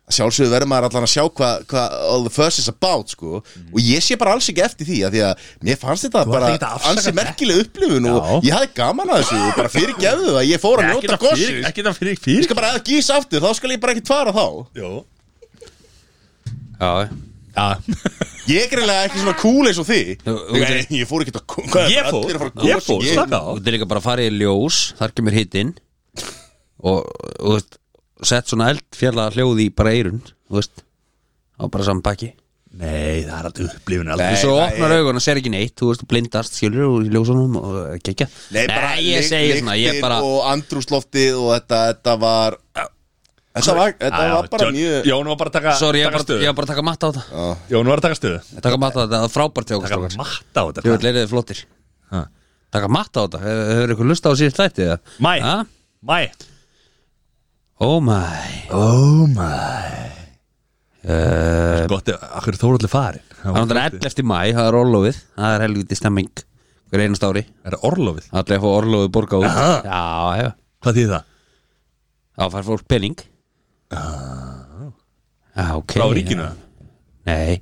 að sjálfsögðu verður maður allan að sjá hvað hva all the fuss is about sko. og ég sé bara alls ekki eftir því að því að mér fannst þetta Mhm. Þú ert ekkert bara að afsaka ansi þetta. merkileg upplifun og Já. ég hafði gaman að þessu og bara fyrirgefðu það, ég fór að Ekki njóta það gossi fyrir- ég Ekki það fyrir fyrir skal bara að gís aftur, þá skal ég bara ekki tvara þá Jó Já, Já, ég er greinlega ekki svona cool eins og því Þú- þú- ég, ég fór ekki að kú- hvað er Ég fór, allir að fara að ég kúsa? fór, slaka á og þetta er líka bara að fara í ljós þar kemur hitinn og, og þú veist, sett svona eldfjalla hljóð í bara eirun þú veist, á bara saman baki Nei, það er alltaf upplifun Nei, aldrei og svo það opnar augun og sér ekki neitt þú veist, blindast, skilur og í ljósunum og kekja Nei, bara ég lyk- segi svona, ég lyktin bara og andrúsloftið og þetta, þetta var Þetta var, þetta Já, já, var bara Jón- mjög Jón var bara að taka, Sorry, ég taka var bara, ég stöðu var bara að taka matta á þetta Já. Jón var að taka stöðu Taka matta á þetta, það er frábært hjá okkur Taka strákar. matta á þetta Ég vil leirið þið flottir Ha. Taka matta á þetta, hefur hef ykkur lusta á síðan þætti eða? Mæ, Ha? mæ Oh my Oh my uh, Gott, akkur er Þóraldur farin Það er náttúrulega 11. mæ, það er orlofið Það er helviti stemming Hver einast ári, Er það orlofið? allir að fá orlofið borga út Aha. Já, já, Hvað þýð það? þá fær fólk pening Já, ok Frá ríkinu? já. Nei,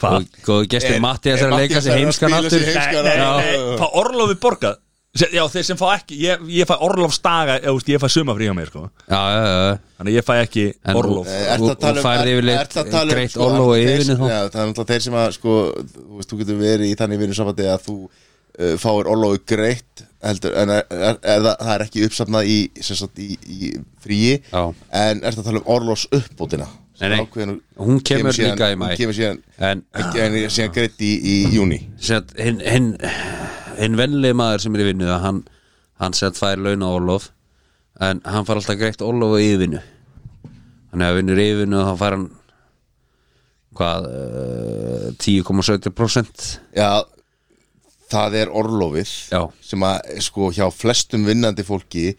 Hvað? og góðu gestur Er- Mattias er er að leika Matthías sig að heimskan spila sig aftur Nei, heimskan nei, Já. nei, nei, fá orlofið borgað Se- Já, þeir sem fá ekki, ég, ég fæ orlofsdaga ég, veist, ég fæ sumafrí á mér, sko Já, já, já Þannig að ég fæ ekki En- orlof Eh, ertu að Og- tala og um- færði er- yfirleitt ertu að tala um, greitt sko, orlof að í þeir- yfirinu þá? Já, það er náttúrulega þeir sem að sko, þú veist, þú getur verið í þannig vinnusambandi að þú uh, fáir orlofi greitt heldur, en er, er, er, það, það er ekki uppsafnað í, sem sagt, í, í fríi Já. en ertu að tala um orlofs uppbótina Nei, nei. Hún kemur líka í maí. Hún kemur síðan, En ekki, en er síðan greitt í, í júni set, hinn hin, hin venlegi maður sem er í vinnu hann, hann set fær launa orlof en hann fær alltaf greitt orlof á yfirvinnu hann er að vinnur yfirvinnu og þá fær hann hvað eh, 10,70% Já, það er orlofið Já. sem að sko hjá flestum vinnandi fólki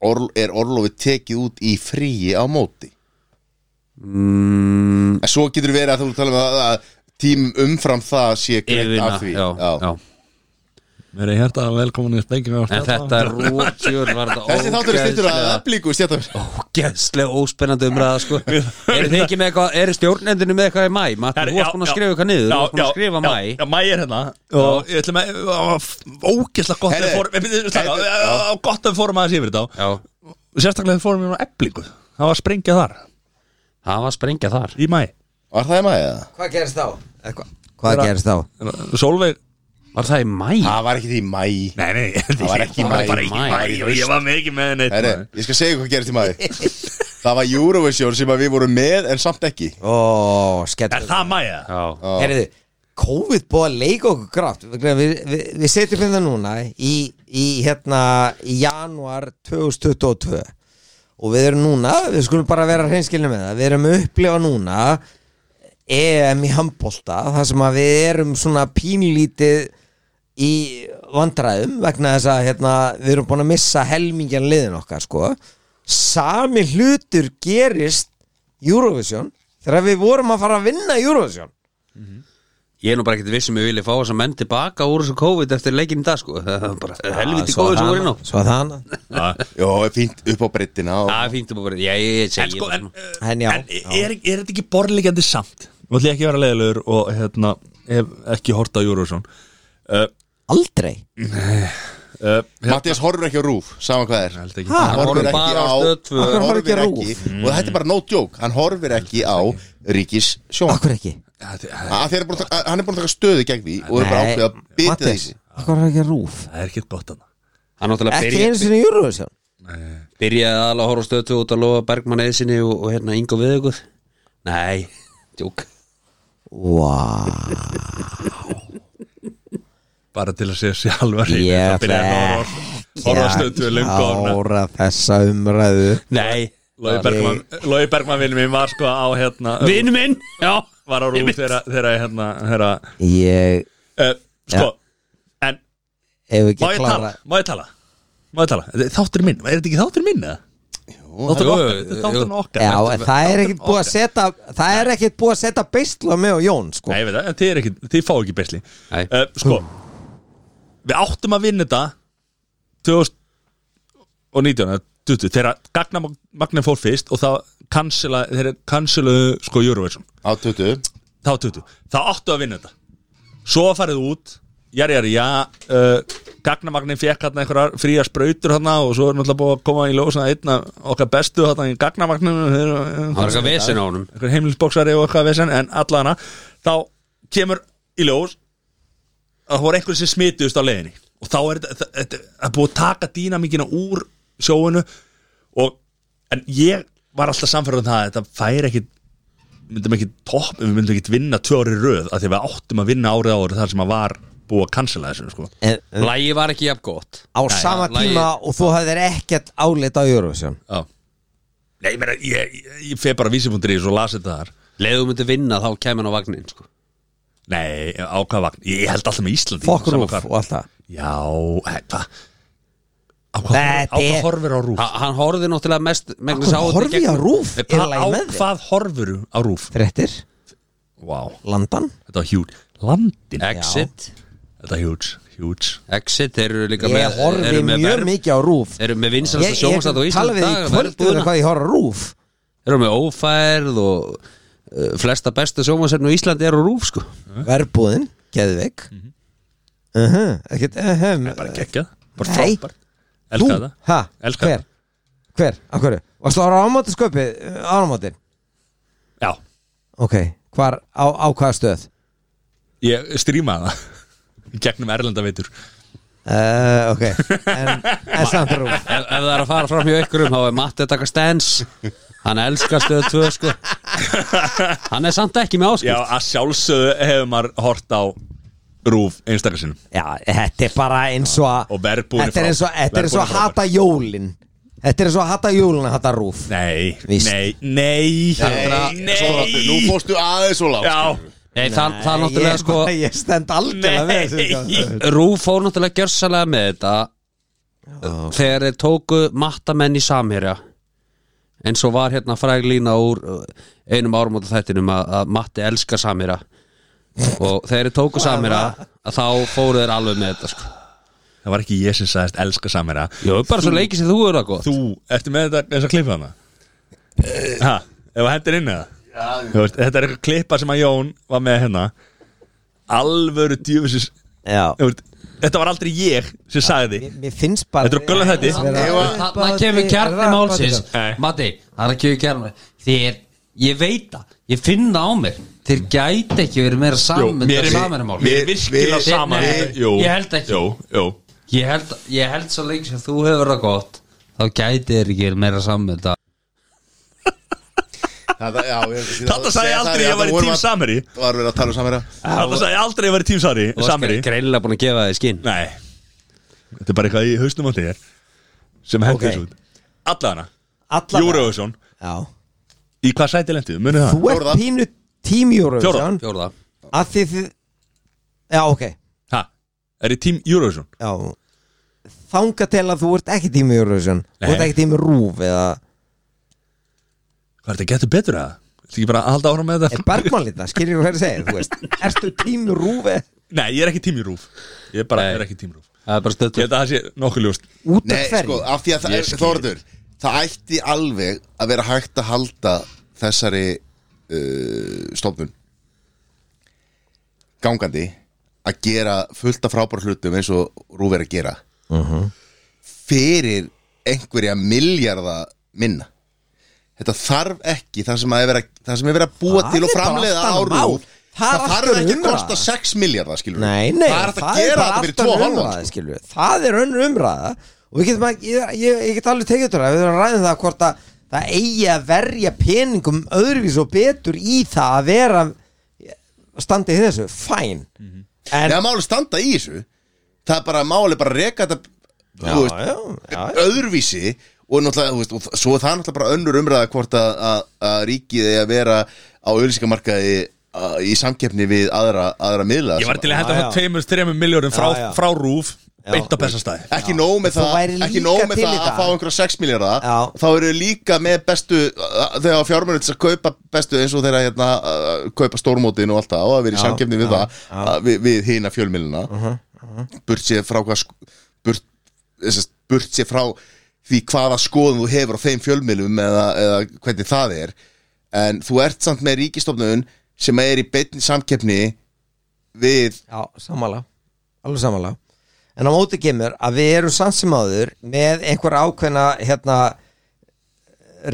orl, er orlofið tekið út í fríi á móti mm. En svo getur verið að þú tala um að, að tímum umfram það sé greitt yfirvinna af því já, já. Mér er hérna velkomin í spengjum en þetta er rótjör Þessi þáttur er styrtur að öflíku stjáttum ógeðslega óspennandi umræða sko. eru þið ekki með eitthvað eru stjórnendinu með eitthvað í mæ Matti, þú varst búin að skrifa eitthvað niður þú varst búin að skrifa mæ Já, mæ er hérna Og ég ætlum að Ógæslega gott að Herri, við fórum eh, byrju, slaka á, herri, eh, já. á, Gott að við fórum aðeins yfir þetta já, Sérstaklega við fórum yfir á eblingu Það var sprengja þar það var að sprengja þar í mæ Var það í maður eða? Hvað gerist þá? Eitthva? Hvað gerist þá? Solveig var það í mæ? Það var ekki því mæ Nei, nei Það var ekki í maí. bara ekki í Maí, maí, og Ég var með ekki með neitt Herre, maður. Ég skal segja hvað gerist í maður Það var Eurovision sem að við vorum með en samt ekki Ó, skemmt Er það mæ eða? já Herriðu, COVID búið að leika okkur grátt Við, við, við, við setjum hérna núna í, í hérna í januar 2022 og við erum núna, við skulum bara vera hreinskilni með það, við erum að upplifa núna EM í handbolta þar sem að við erum svona pínlítið í vandræðum vegna þess að hérna, við erum búin að missa helmingjan liðin okkar sko. sami hlutur gerist Eurovision þegar við vorum að fara að vinna Eurovision Ég er nú bara ekkert viss sem ég vilja fá þess að menn tilbaka úr þessu COVID eftir leikinn í dag sko Það er bara helviti svo COVID sem það voru inn á annað- Svo það hana Jó, fínt upp á breyttina og... Það er fínt um að bara, já ég ég En segi sko, en, bara- eh, En já, en er, er þetta ekki borðlegjandi samt? Nú ætlum ég ekki að vera leiðilegur og hérna, hef ekki horta á Júruðsson uh, Aldrei uh, hérna, Mattias horfur ekki á rúf, saman hvað er held ekki. Ha? Hann horfir horfir ekki bara á á Stöð tvö. Hann Hann horfir horfir ekki á ekki Mm. Og þetta er bara no joke Hann horfir ekki á Ríkis sjón Akkur ekki Þetta- Hann er búin að taka- hann er búin að taka stöðu gegn því Og er bara ákveð að bytja Mattis, þessi akkur er ekki rúf Það er ekki gott hann Hann náttúrulega Ekki byrja, einu sinni í Eurovision byrjaði aðalega að horfa á stöð 2 út að lofa Bergmann eðsinni og, og hérna Ingo við ykkur Nei, djúk Vá, bara til að segja sér alveg að Ég reyna byrja að ætla horfa horfa stöðu lengur orna Ára þessa umræðu Nei, Lói Bergman, Logi Bergman vinnum minn var sko á hérna vinn minn Já, var á rúf þegar þegar, hérna þeirra, Ég, uh, sko en ef ekki má ég tala klára má ég tala má ég tala Þetta er þáttur minn er þetta ekki þáttur minn eða þáttur jú, okkar jú, þetta er jú. þáttur okkar Já, Þetta en það er ekkit búið sko. að okkar. setja Það er ekkit búið að setja beisla með og Jón sko. Nei, ég veit það, en þið, er ekki, þið fá ekki besli Nei. uh, Sko Við áttum að vinna þetta 2019 eða 20, Þegar Gagnar fór fyrst Og það cancela, þeir canceluðu Sko Eurovision, Á tuttu þá 20 Þá áttu að vinna þetta Svo farið út, jari jari já uh, Gagnamagnin fekk hann einhverjar fríar sprautur hann og svo er náttúrulega búið að koma í ljósa einna okkar bestu hann í Gagnamagninu hann var eitthvað vesen á honum einhver heimilisboksari og eitthvað vesen en allana, þá kemur í ljós að það voru einhver sem smituðust á leiðinni og þá er þetta- þetta þetta- það er búið að taka dýnamíkina úr sjóinu og, en ég var alltaf samferður um það að þetta færi ekki myndum ekki topp, við myndum ekki vinna tvö ári röð að því að við áttum að vinna árið ári þar sem að var búið að cancela þessu sko. en, en, Lægi var ekki jafn gott á sama lagið- tíma og þú hafðir ekkert álit á Eurovision Já. Nei, ég meina, ég, ég, ég feg bara vísifundri og las þetta þar Leðu myndi vinna þá kemur hann á vagnin sko. Nei, á hvað vagn? Ég held alltaf með Íslandi Fokk sama rúf hvar. og allt það Já, he- hvað? Á hvað Þetta á hvað er- horfir á rúf? ha, Hann horfði náttúrulega mest Akkur horfi ég á rúf Nei, Er hva- lagi á með þig? hvað horfir á rúf? Frettir, Vá, landan þetta var hjúl Landin, Exit þetta er hjúls, hjúls Exit, þeir eru líka Ég með horfi eru með mjög verð- mikið á rúf Þeir eru með Ég, vinsalasta ég sjómastátt á tala Íslandi við í kvöldið hvað ég horf á rúf Þeir eru með ófærð og uh, flesta besta sjómastátt á Íslandi eru á rúf sko. Verbúðin, Geðvik Uh -huh, ekkert, uh Bara -huh. geggjað, bara Nei. frábært Elskar það ha, Elskar hver, hver, af hverju Varstu ára ámóti sköpið, áramóti Já, Ok, hvar, á, á hvaða stöð ég strímaði það í gegnum erlendaveitur Eh, uh, Ok, en, en samt rúf ef, ef það er að fara fram hjá ykkurum þá er Matti að taka stens Hann elskar stöðu tvö sko. Hann er samt ekki með Já, áskipt að sjálfsögðu hefur maður hort á rúf einstakarsinum Já, þetta er bara eins og að Og verbúðin er Þetta er frá- eins og, þetta er eins og að verbúðin er hata jólin Þetta er eins og að hata jólin að hata rúf Nei, Víst. nei, nei Nei, Svo, Nú nei fórstu aðeins og lágt Já, Nei, það, það er náttúrulega ég, sko bara- Ég stend aldrei að Nei. vera Rúf fór náttúrulega gjörsalega með þetta þegar þeir tóku mattamenn í samherja eins og var hérna fræg lína úr uh, einum árumóta þættinum að, að Matti elskar samherja og þegar þeir tóku samherja að þá fóru þeir alveg með þetta sko. það var ekki ég sem sagðist elska samera Jó, bara svo leikið sem þú eru að gott Þú, ertu með þetta eins og klippa hana? Ha, ef það hendur inn eða? Þú veist, Þetta er eitthvað klippa sem að Jón var með hérna Alvöru djöfisins Já þú veist, Þetta var aldrei ég sem sagði Mér- Mér finnst bara Þetta eru gulla þætti. Það kemur kjarni málsins Matti, það kemur kjarni Þér, ég veit það, ég finn það á mér Þér gæti ekki verið meira saman mér er- samanmál mér er virkilega við- sama nei, Jú, ég held ekki. Jú, jú ég held, ég held svo lengi sem þú hefur það gott Þá gæti þér ekki verið meira saman þetta Þetta sagði ég aldrei ég var í tím sameri Var verið að tala um samverja Þetta sagði ég aldrei ég var í tím sameri Þú Sameri varst greinilega búin að gefa þér skinn Nei Þetta er bara eitthvað í hausnum á þér Sem hendur Ok. þessu út Allana Allan Júruðsson Já Í hvað sæti lendið? Munið það? Þú ert Fjórða. pínu tím Eurovision Fjórða Að því þið Já, ok Ha? Er í tím Júruðsson? Já Þanga til að þú ert ekki tím Eurovision Þú ert Nei. ekki tím rúf eða Hvað er þetta getur betur að? Þetta ekki bara að halda ára með Er þetta? Bergmann lítið, skilur þú hvað ég segir, þú veist Ertu tím rúf eða Nei, ég er ekki tím í rúf Ég er bara, ég er ekki tím rúf Það er bara Ég stöttur held að það sé nokkuð ljóst út Nei, af hverju? sko, af því að það Ég er skil. Þorður Það ætti alveg að vera hægt að halda þessari uh, stofnun gangandi að gera fullt af frábár hlutum eins og Rúf er að gera Uh-huh. fyrir einhverja miljarda minna Þetta þarf ekki það sem að er verið að, það sem er verið að búa Það til og er bara framleiða á allt annað mál. Rúf Það er Það allt þarf ekki að önnur kosta umræða. 6 miljardar skilur Nei, nei, Það er hægt að gera þetta bara fyrir allt 2 önnur hálfan umræða, sko. skilur við. Það er önnur umræða og við getum að, ég, ég, ég get alveg tekið þetta við erum að ræða um það hvort að það eigi að verja peningum öðruvís og betur í það að vera standið í þessu, fæn Mm-hmm. en, Nei, máli standa í þessu Það er bara máli bara að reka þetta já, þú já, veist, já, já, öðruvísi og náttúrulega, þú veist, og þ- svo er það náttúrulega bara önnur umræða hvort að, að, að ríkið eigi að vera á auðlýsingamarkaði að- í samkeppni við aðra, aðra miðla Ég var til að henda Já, frá já. tveimur, þreimur miljónum frá, Já, já. frá rúf Já. Beint á bestastæði ekki nóg með Þú það, væri ekki líka nóg með til í það að það. fá einhverja 6 miljardar Já. þá eru þau líka með bestu að- þegar fjármjörnum til að kaupa bestu eins og þeirra hérna, að kaupa stórmótin og allt það og að vera í Já, samkefni við já, Uh-huh, það að við, við hina fjölmilina burt sér frá hvað sk- burt, þessast, burt sér frá því hvaða skoðum þú hefur á þeim fjölmilum eða, eða hvernig það er en þú ert samt með ríkistofnun sem er í beinni samkeppni við já, samanlega alveg samanlega en á móti kemur að við erum sansimáður með einhver ákveðna hérna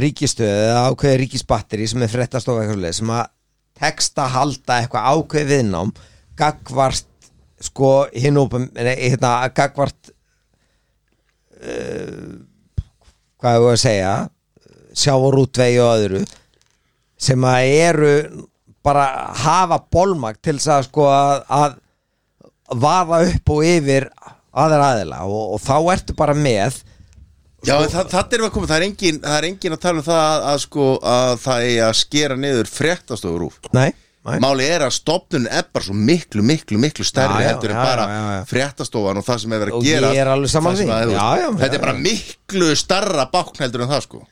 ríkistöð eða ákveði ríkisbatteri sem er fréttastofa eitthvað leið sem að tekst að halda eitthvað ákveði viðnám gagvart sko hinn opum hérna gagvart uh, hvað hefur að segja sjávarútvegi og öðru sem að eru bara hafa bólmag til þess að sko að, að vaða upp og yfir aðra aðila og, og þá ertu bara með Já, Sko- en það, það er að koma, það er, engin, það er engin að tala um það að, að sko að það er að skera niður fréttastofur úr Nei, Máli er að stofnun er bara svo miklu, miklu, miklu stærri Já, já, heldur en já, bara já, já. fréttastofan og það sem er verið Og að gera ég er alveg sammála því. Já, já, Þetta já, er bara já. miklu starra bákn heldur en það sko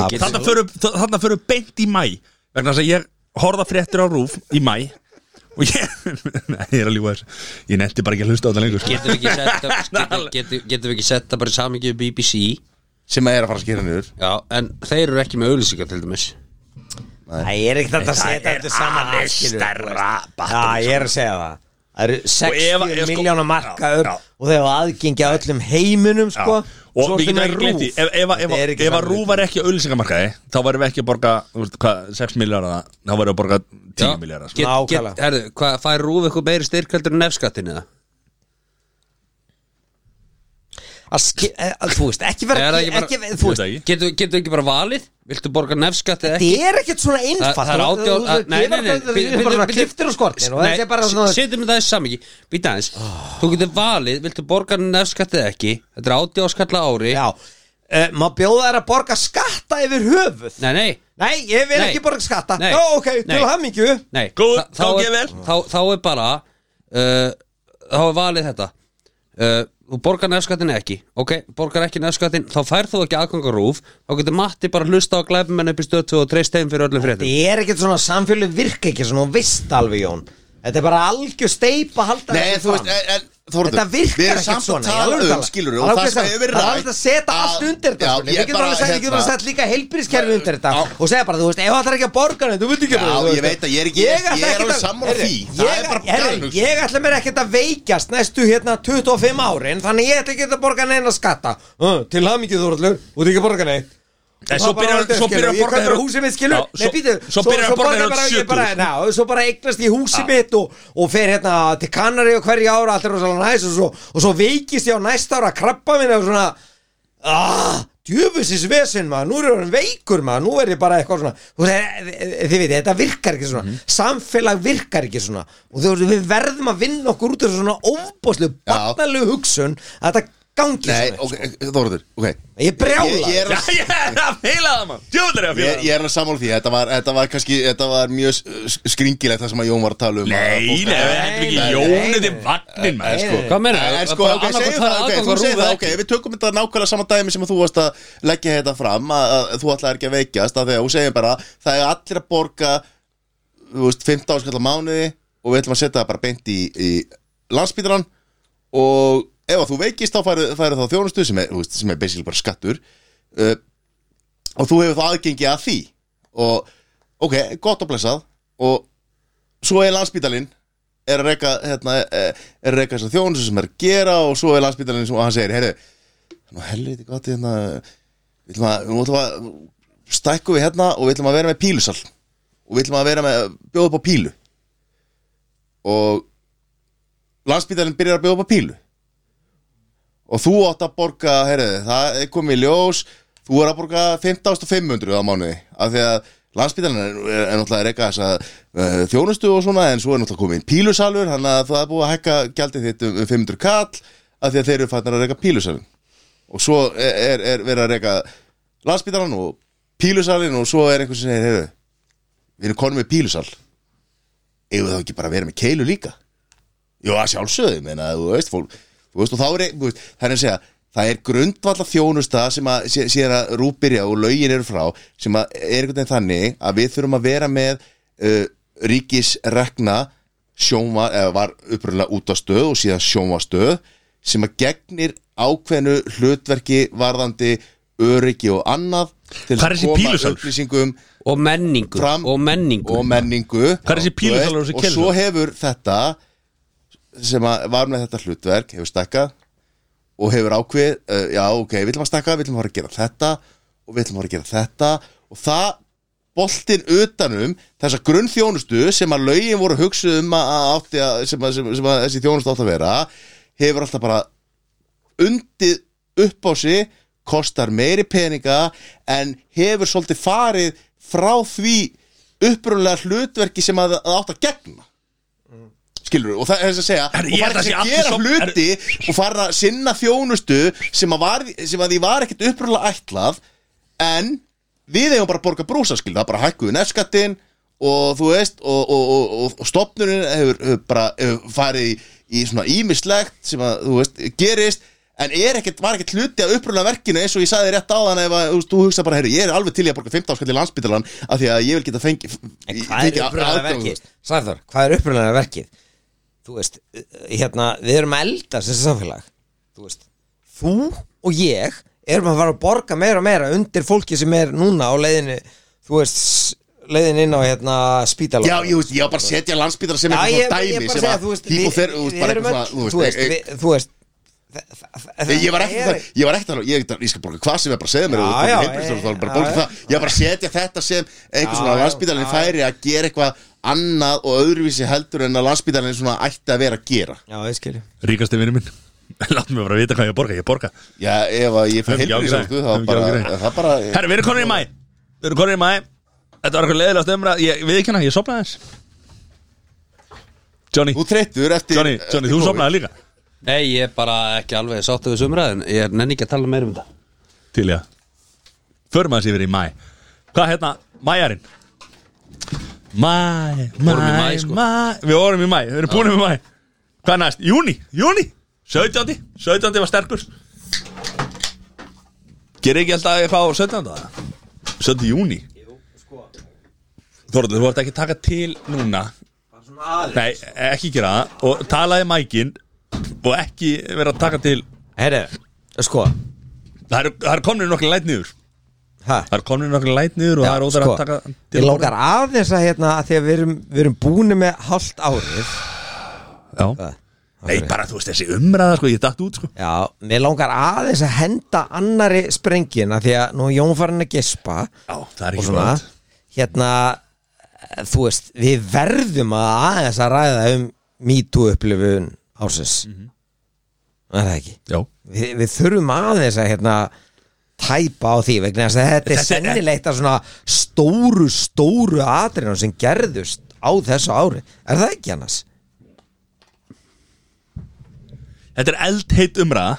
Þannig förum, þarna förum beint í mæ vegna þess að ég horfða fréttir á rúf í mæ og ég Nei, ég er að ljúga þessu Ég netti bara ekki að hlusta á þetta lengur sko. Getum við ekki setta getum, getum, getum við ekki setta bara í samingi við BBC sem er að fara að skera niður Já, en þeir eru ekki með auðlýsingar til dæmis það er ekkert hægt að setja þetta saman aðeins skilur, stærra þú veist. Já, ég er að segja það Það eru ef- 60 ef sko- miljónar markaður Já, já. og þau hafa aðgengi að öllum heiminum sko. og við Svo ertu getum með ekki gleymt því RÚV. ef, ef, ef, Þetta er ef, ef ekki að saman rúf var ekki á auðlýsingamarkaði þá varum við ekki að borga þú veist, hvað, 6 miljardar þá varum við að borga 10 miljardar sko. get, Nákvæmlega. get, herðu, hvað, fær Rúf eitthvað meiri styrkaldur en nefskattinu það? að ski- eh, að- þú veist, ekki vera Er það ekki, ekki bara- ekki, þú veist, Ég veit Getum getum við ekki bara valið? Viltu borga nefskatt eða ekki? þetta er ekkert svona Þa- einfalt það er Þú- átjá þú- þú- nei, nei, nei, þú- þú- þú- bara svona kliftir og skortir og þetta er bara svona Ah. setjum við það í samingi býta aðeins þú getur valið viltu borga nefskatt eða ekki þetta er átjá skalla ári já, uh, má bjóða þær að borga skatta yfir höfuð nei nei nei, ég vil Nei. ekki borga skatta Nei. já, ok, Nei. til hamingju Nei, Góð, þa- þá gangi er- vel. þá, þá er bara uh, Þá er valið þetta uh, Þú borgar nefskattin ekki Ok, borgar ekki nefskattin Þá færð þú ekki aðganga rúf Þá getur Matti bara hlusta á glæfumenn upp í stötu og treyst þeim fyrir öllum fréttum þetta er ekkert svona samfélug virka ekki svona og vist alveg Jón þetta er bara algjör steipa að halda Nei, þú þessu fram. veist, eh, en, en Þórður Þetta virkar við erum ekkert samt svona, að í tala alvöru um, talað. skilur Það og er það sem ágætt hefur verið Það er alveg að setja að- allt undir þetta sko. Já, skilur. Við ég getum bara, alveg sagt, við getum hérna, alveg sett líka heilbrískerfi undir þetta Já. Og segja bara, þú veist, ef það er ekki að borga neitt, þú veit ekki Já, bara, þú ég veist, veit að ég er ekki- ég ætla er alveg ekkert að- sammála Heyrðu, því. Það ég- er bara heyrðu, galnugsun. Ég ætla mér ekkert að veikjast næstu hérna 25 árin Þannig ég ætla ekki að borga neina skatta Uh, Til hamingið þú allur, þú veit ekki að borga neitt En svo Það bara byrjar- orðið, svo skilur. byrjar að Ég borga kaupir þér- húsið mitt, skilur. Já, Nei, svo- býtu, svo byrjar að borga þér borgar bara- öll ég bara- 70.000. Já, og svo bara eignast ég húsið mitt og, og fer hérna til Kanari og hverja ára allt er rosalega næs og svo, og svo veikist ég á næsta ára krabba minni og svona ah, djöfusins vesinn maður, nú er ég orðinn veikur maður, nú er ég bara eitthvað svona þú veist, eh, eh, þið veit, þetta virkar ekki svona Mhm. samfélag virkar ekki svona og þú veist, við verðum að vinna okkur út af svona óbóðslu, Já. barnalegu hugsun að þetta gangi Nei, svona ok, Þórður, ok Ég er brjálaður. Ég- ég er Já, að- ég er að feila það mann Djóðlega er ég að feila Ég, ég er að sammála því, þetta var, þetta var kannski, þetta var mjög s- skringilegt það sem að Jón var að tala um að Nei, fólk- nei, við hendur ekki Nei, nei, Jónið nei, í vagnin maður sko. Hvað meina? En sko, ok, segjum það, ok, þú segir það, ok, við tökum þetta nákvæmlega sama dæmi sem að þú varst að leggja þetta fram, að, að þú ætlaðir ekki að veikjast, af því að þú segir bara, það er allir að borga, þú veist, 15 áskall á mánuði og við ætlum að setja það bara beint í, í landsbýtran og ef að þú veikist þá færu, færu þá þjónustu sem er, þú veist, sem er basically bara skattur uh, og þú hefur þá aðgengi að því og ok, gott og blessað og svo er landsbítalinn er að reyka hérna, eh, er að reyka þessar þjónustu sem er að gera og svo er landsbítalinn sem hann segir heyrðu, nú helviti gott hérna, við ætlum að, nú ætlum að stækku við hérna og við ætlum að vera með pílusal og við ætlum að vera með bjóða upp á pílu og landsbítalinn byrjar að bjóða upp á pílu og þú átt að borga heyrðu, það er komið í ljós þú er að borga 15.500 á mánuði af því að landsbytarinn er, er, er náttúrulega að reyka þess að uh, þjónustu og svona en svo er náttúrulega komið inn pílusalur þannig að það er búið að hækka gjaldið þitt um um 500 kall af því að þeir eru fannir að reyka pílusalun og svo er, er, er verið að reyka landsbytarinn og pílusalinn og svo er einhvers sem segir heyrðu, við erum konum með pílusal eigum við þá ekki bara að vera með keilu líka Jó, að sjálfsögðu, ég meina, þú veist, fólk, þú veist, og þá er, þú veist, það er að segja, það er grundvalla þjónusta sem að, sé, sér að rúbyrja og lögin eru frá, sem að er einhvern veginn þannig að við þurfum að vera með uh, ríkisrekna sjónvar, eða var upprunlega út af stöð og síðan sjónvastöð, sem að gegnir ákveðnu hlutverki varðandi öryggi og annað til Hvar er þessi pílusalur? upplýsingum og menningu fram og menningu og menningu Hvað er þessi pílusalur og þessi og keilur? svo hefur þetta sem að var með þetta hlutverk hefur stakkað og hefur ákveð uh, já ok, við ætlum að stakka, við ætlum að fara að gera þetta og við ætlum að fara að gera þetta og það boltinn utanum þessa grunnþjónustu sem að lögin voru hugsuð um að að átti að, sem, að, sem, sem að þessi þjónustu átti að vera hefur alltaf bara undið upp á sig kostar meiri peninga en hefur svolítið farið frá því upprunlega hlutverki sem að það átt að gegna skilur og það er þess að segja Herri, og ég held fara að ekki sé að allir gera som- hluti og fara að sinna þjónustu sem að, var, sem að því var ekkert upprúlega ætlað en við eigum bara að borga brúsa skilur, það er bara hækkuðu nefskattin og þú veist og, og, og, og, og stopnunin hefur, hefur bara hefur farið í, í svona ímislegt sem að þú veist gerist en er ekkert, var ekkert hluti að upprúlega verkinu eins og ég saði rétt á þann ef að, þú, veist, þú hugsa bara, herri, ég er alveg til í að borga 15 skall í landsbytalan af því að ég vil geta fengi En hvað er upprunalega verkið? Sæður, hvað er upprunalega verkið? Þú veist, uh, hérna, við erum að eldast þessi samfélag Þú veist, þú og ég erum að fara að borga meira og meira undir fólki sem er núna á leiðinu Þú veist, s- leiðinu inn á hérna spítalóð Já, ég veist, ég var bara að setja landsbytara sem eitthvað svona dæmi sko. ég, ég bara sem segja, að þú veist, híp og þeir, þú veist, bara erum eitthvað öll- svona, Þú veist, ég- við- þú veist þa- þa- þa- Ég var ekki það þar, er- ég var ekki þar, ég, ég skal borga hvað sem er bara að segja mér og Já, já, borga heilbrigðisþjónustu, þá er bara að borga það já, Ég var bara að setja þetta sem einhvers Já, svona já, landsbytarinn já. færi að gera eitthvað annað og öðruvísi heldur en að landsbytarinn svona ætti að vera að gera Já, ég skilju Ríkasti vinnu minn Láttu mig bara vita hvað ég borga, ég borga Já, ef að ég fyrir Höfum ekki heilbrigðisþjónustu, áhyggjur af því, höfum þá ekki bara, áhyggjur af því. það bara Herri, við erum konur í mæ Við erum konur í mæ Þetta var eitthvað leiðilega stöðumra Ég við ekki hana, ég sopnaði þess Johnny, Þú treyttur eftir Johnny, Johnny, þú eftir COVID. sopnaði líka Nei, ég er bara ekki alveg sáttu við sumraðin Ég er nenni ekki að tala meira um þetta Til ég Förum að þessi yfir í mæ Hvað hérna, mæjarinn Mæ, mæ, Vorum í maí, sko. mæ Við vorum í mæ, við erum búin með mæ Hvað næst, júni, júni 17. 17. var sterkur Gerið ekki alltaf eitthvað á 17. eða? 17. júni Þorður, þú ert ekki að taka til núna Nei, ekki gera það Og talaði um mækin Og ekki vera að taka til Herri, sko, Það eru- það eru komnir nokkla læt niður hæ? Það er komin nokkru læt niður og það er óþar að taka Sko, Ég lókar aðeins að hérna að því að við erum, við erum búin með hálft árið Já Nei, bara þú veist þessi umræða sko, ég datt út sko Já, mér langar aðeins að henda annari sprengina því að nú er Jón farin að gespa Já, það er og ekki svona gott. hérna, þú veist við verðum að aðeins að ræða um MeToo upplifun ásins Mhm. er það ekki? Já Við, við þurfum aðeins að hérna tæpa á því vegna þess að þetta er Þetta er- sennilegt að svona stóru, stóru atriðan sem gerðust á þessu ári er það ekki annars? Þetta er eldheit umræða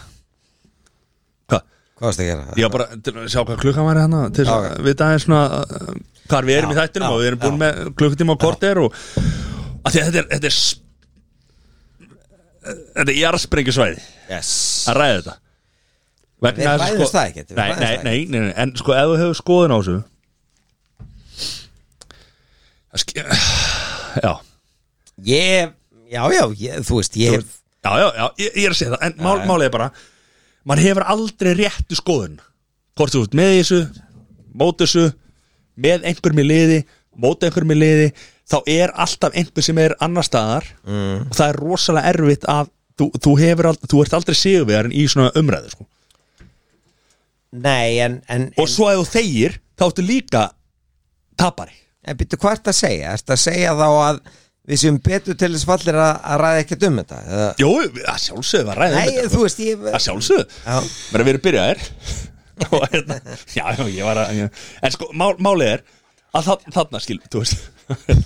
Hvað? Hvað varst að gera? Ég var bara til að sjá hvað klukkan var hérna til þess Já, að vita aðeins svona uh, hvar við erum Já, í þættinum já, og við erum búin já. með klukkutíma og korter og að því að þetta er þetta er, s- þetta er jarðsprengjusvæði Yes. að ræða þetta Við Vegna þess að, sko- ræðumst það ekkert, við nei, ræðumst nei, það nei, nei, nei, en sko ef þú hefur skoðun á þessu það ske- Já, Ég, já, já, ég, þú veist, ég þú veist- já, já, já, ég, ég er að segja það En mál, málið er bara Mann hefur aldrei réttu skoðun Hvort þú ert með í þessu, mót þessu Með einhverjum í liði Mót einhverjum í liði Þá er alltaf einhver sem er annar staðar Og það er rosalega erfitt að Þú, þú, hefur, ald- þú ert aldrei sigurvegarinn í svona umræðu sko. Nei, en, en, og en, svo ef þú þegir þá ertu líka tapari en býttu hvað ert að segja? Ertu að segja þá að við séum betur til þess fallir að, að ræða ekkert um þetta? eða- Jó, að sjálfsögðu var sko. ræðið Nei, þú veist, ég að sjálfsögðu, Já, bara við erum byrjaðir og hérna já, já, ég var að ég, en sko, mál, málið er að það, þarna skil, þú veist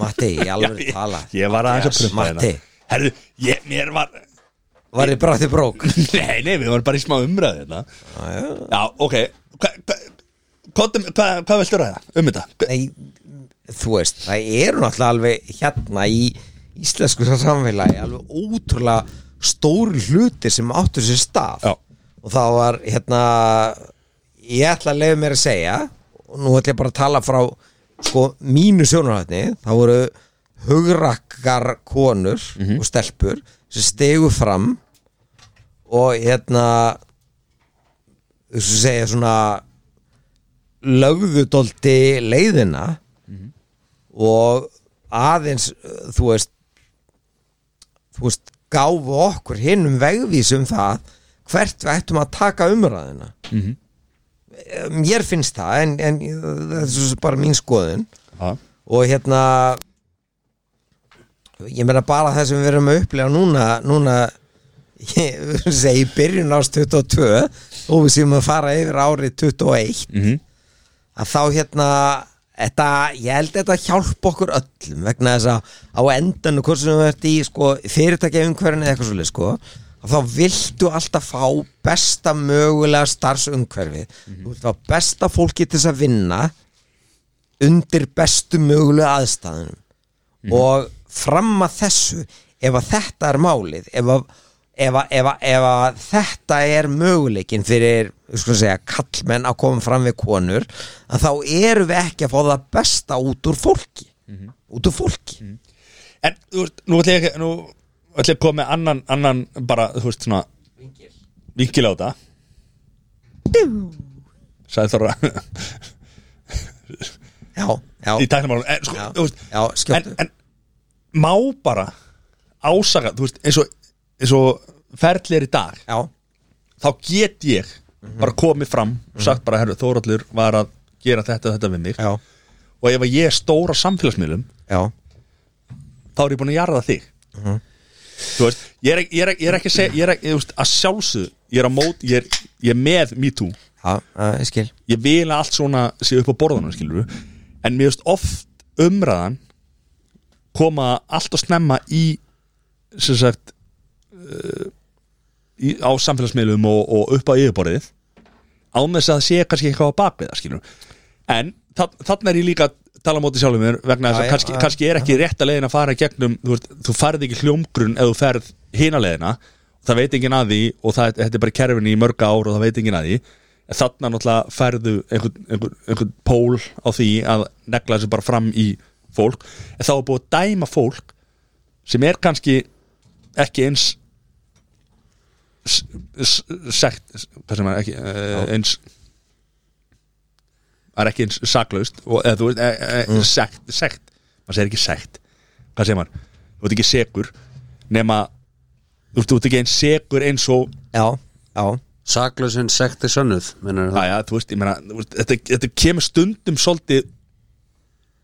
Matti, ég alveg ég, tala ég var aðeins að prumpa hérna. Matti, herðu, ég, mér var var ég brátti brók? nei, nei, við varum bara í smá umræði hérna já, ok hva, hva, hvað, hvað, hvað viltu ræða um þetta? Nei, þú veist, það eru náttúrulega alveg hérna í íslensku samfélagi alveg ótrúlega stóri hluti sem áttu sér stað Já. og það var hérna ég ætla að leiða mér að segja og nú ætla ég bara að tala frá sko mínu sjónarhætni það voru hugrakkar konur og stelpur sem stegu fram og hérna þess að segja svona lögðu dólti leiðina og aðeins uh, þú veist þú veist gáfu okkur hinn um vegvísum það hvert við ættum að taka umræðina mm mér finnst það en, en uh, það er svo bara mín skoðun Já. og hérna ég meina bara það sem við erum að upplega núna núna ég segi í byrjun ást 22 og við séum að fara yfir árið 21 Mhm. að þá hérna þetta, ég held að þetta hjálpa okkur öllum vegna þess að á endan og hvort sem þú ert í sko, fyrirtækja umhverfinu eða eitthvað svolítið sko að þá viltu alltaf fá besta mögulega starfsumhverfi þú vilt fá besta fólki til þess að vinna undir bestu mögulega aðstæðunum Mhm. og fram að þessu ef að þetta er málið ef að, ef að, ef að, ef að þetta er möguleikin fyrir við skulum segja, kallmenn að koma fram við konur að þá erum við ekki að fá það besta út úr fólki Mhm. út úr fólki En þú veist, nú ætla ég ekki Nú ætla ég að koma með annan, annan bara, þú veist, svona Vinkil á þetta Sæði þóra já, já, Í tæknumálum En, sko, já, þú veist, já en, skjóttu en má bara ásaka, þú veist, eins og, eins og ferðlir í dag já, þá get ég Mhm. bara komið fram og sagt bara, herru, Þóraldur var að gera þetta og þetta við mig já, og ef að ég er stór á samfélagsmiðlum já þá er ég búin að jarða þig Mhm. þú veist, ég er, ek- ég er, ek- ég er ekki að segja ég er ekki, þú veist, að sjálfsögðu ég er á mót, ég er, ég er með MeToo já, já, ég skil ég vil að allt svona sé upp á borðunum, skilur en mér veist oft umræðan koma allt og snemma í sem sagt uh, í, á samfélagsmiðlum og, og upp á yfirborðið án þess að það sé kannski eitthvað á bakvið það skilur en þa þannig er ég líka að tala á móti sjálfum mér vegna þess Já, að já, kannski, já. kannski er ekki rétt að leiðin að fara í gegnum þú, veist, þú ferð ekki hljómgrunn ef þú ferð hina leiðina það veit enginn að því og það, þetta er bara kerfin í mörga ár og það veit enginn að því En þarna náttúrulega ferðu einhvern, einhvern, einhvern pól á því að negla þessu bara fram í fólk en þá er búið að dæma fólk sem er kannski ekki eins s- s- sekt hvað sem er ekki uh, eins það er ekki eins saklaust og, eða, þú veist, e, e, Mm. sekt, sekt maður segir ekki sekt, hvað segir maður þú ert ekki segur nema þú veist, þú ert ekki eins segur eins og já, já, Saklausin sekti sönnuð meinar það aðja, þú veist, ég meina þú veist, þetta, þetta kemur stundum svolítið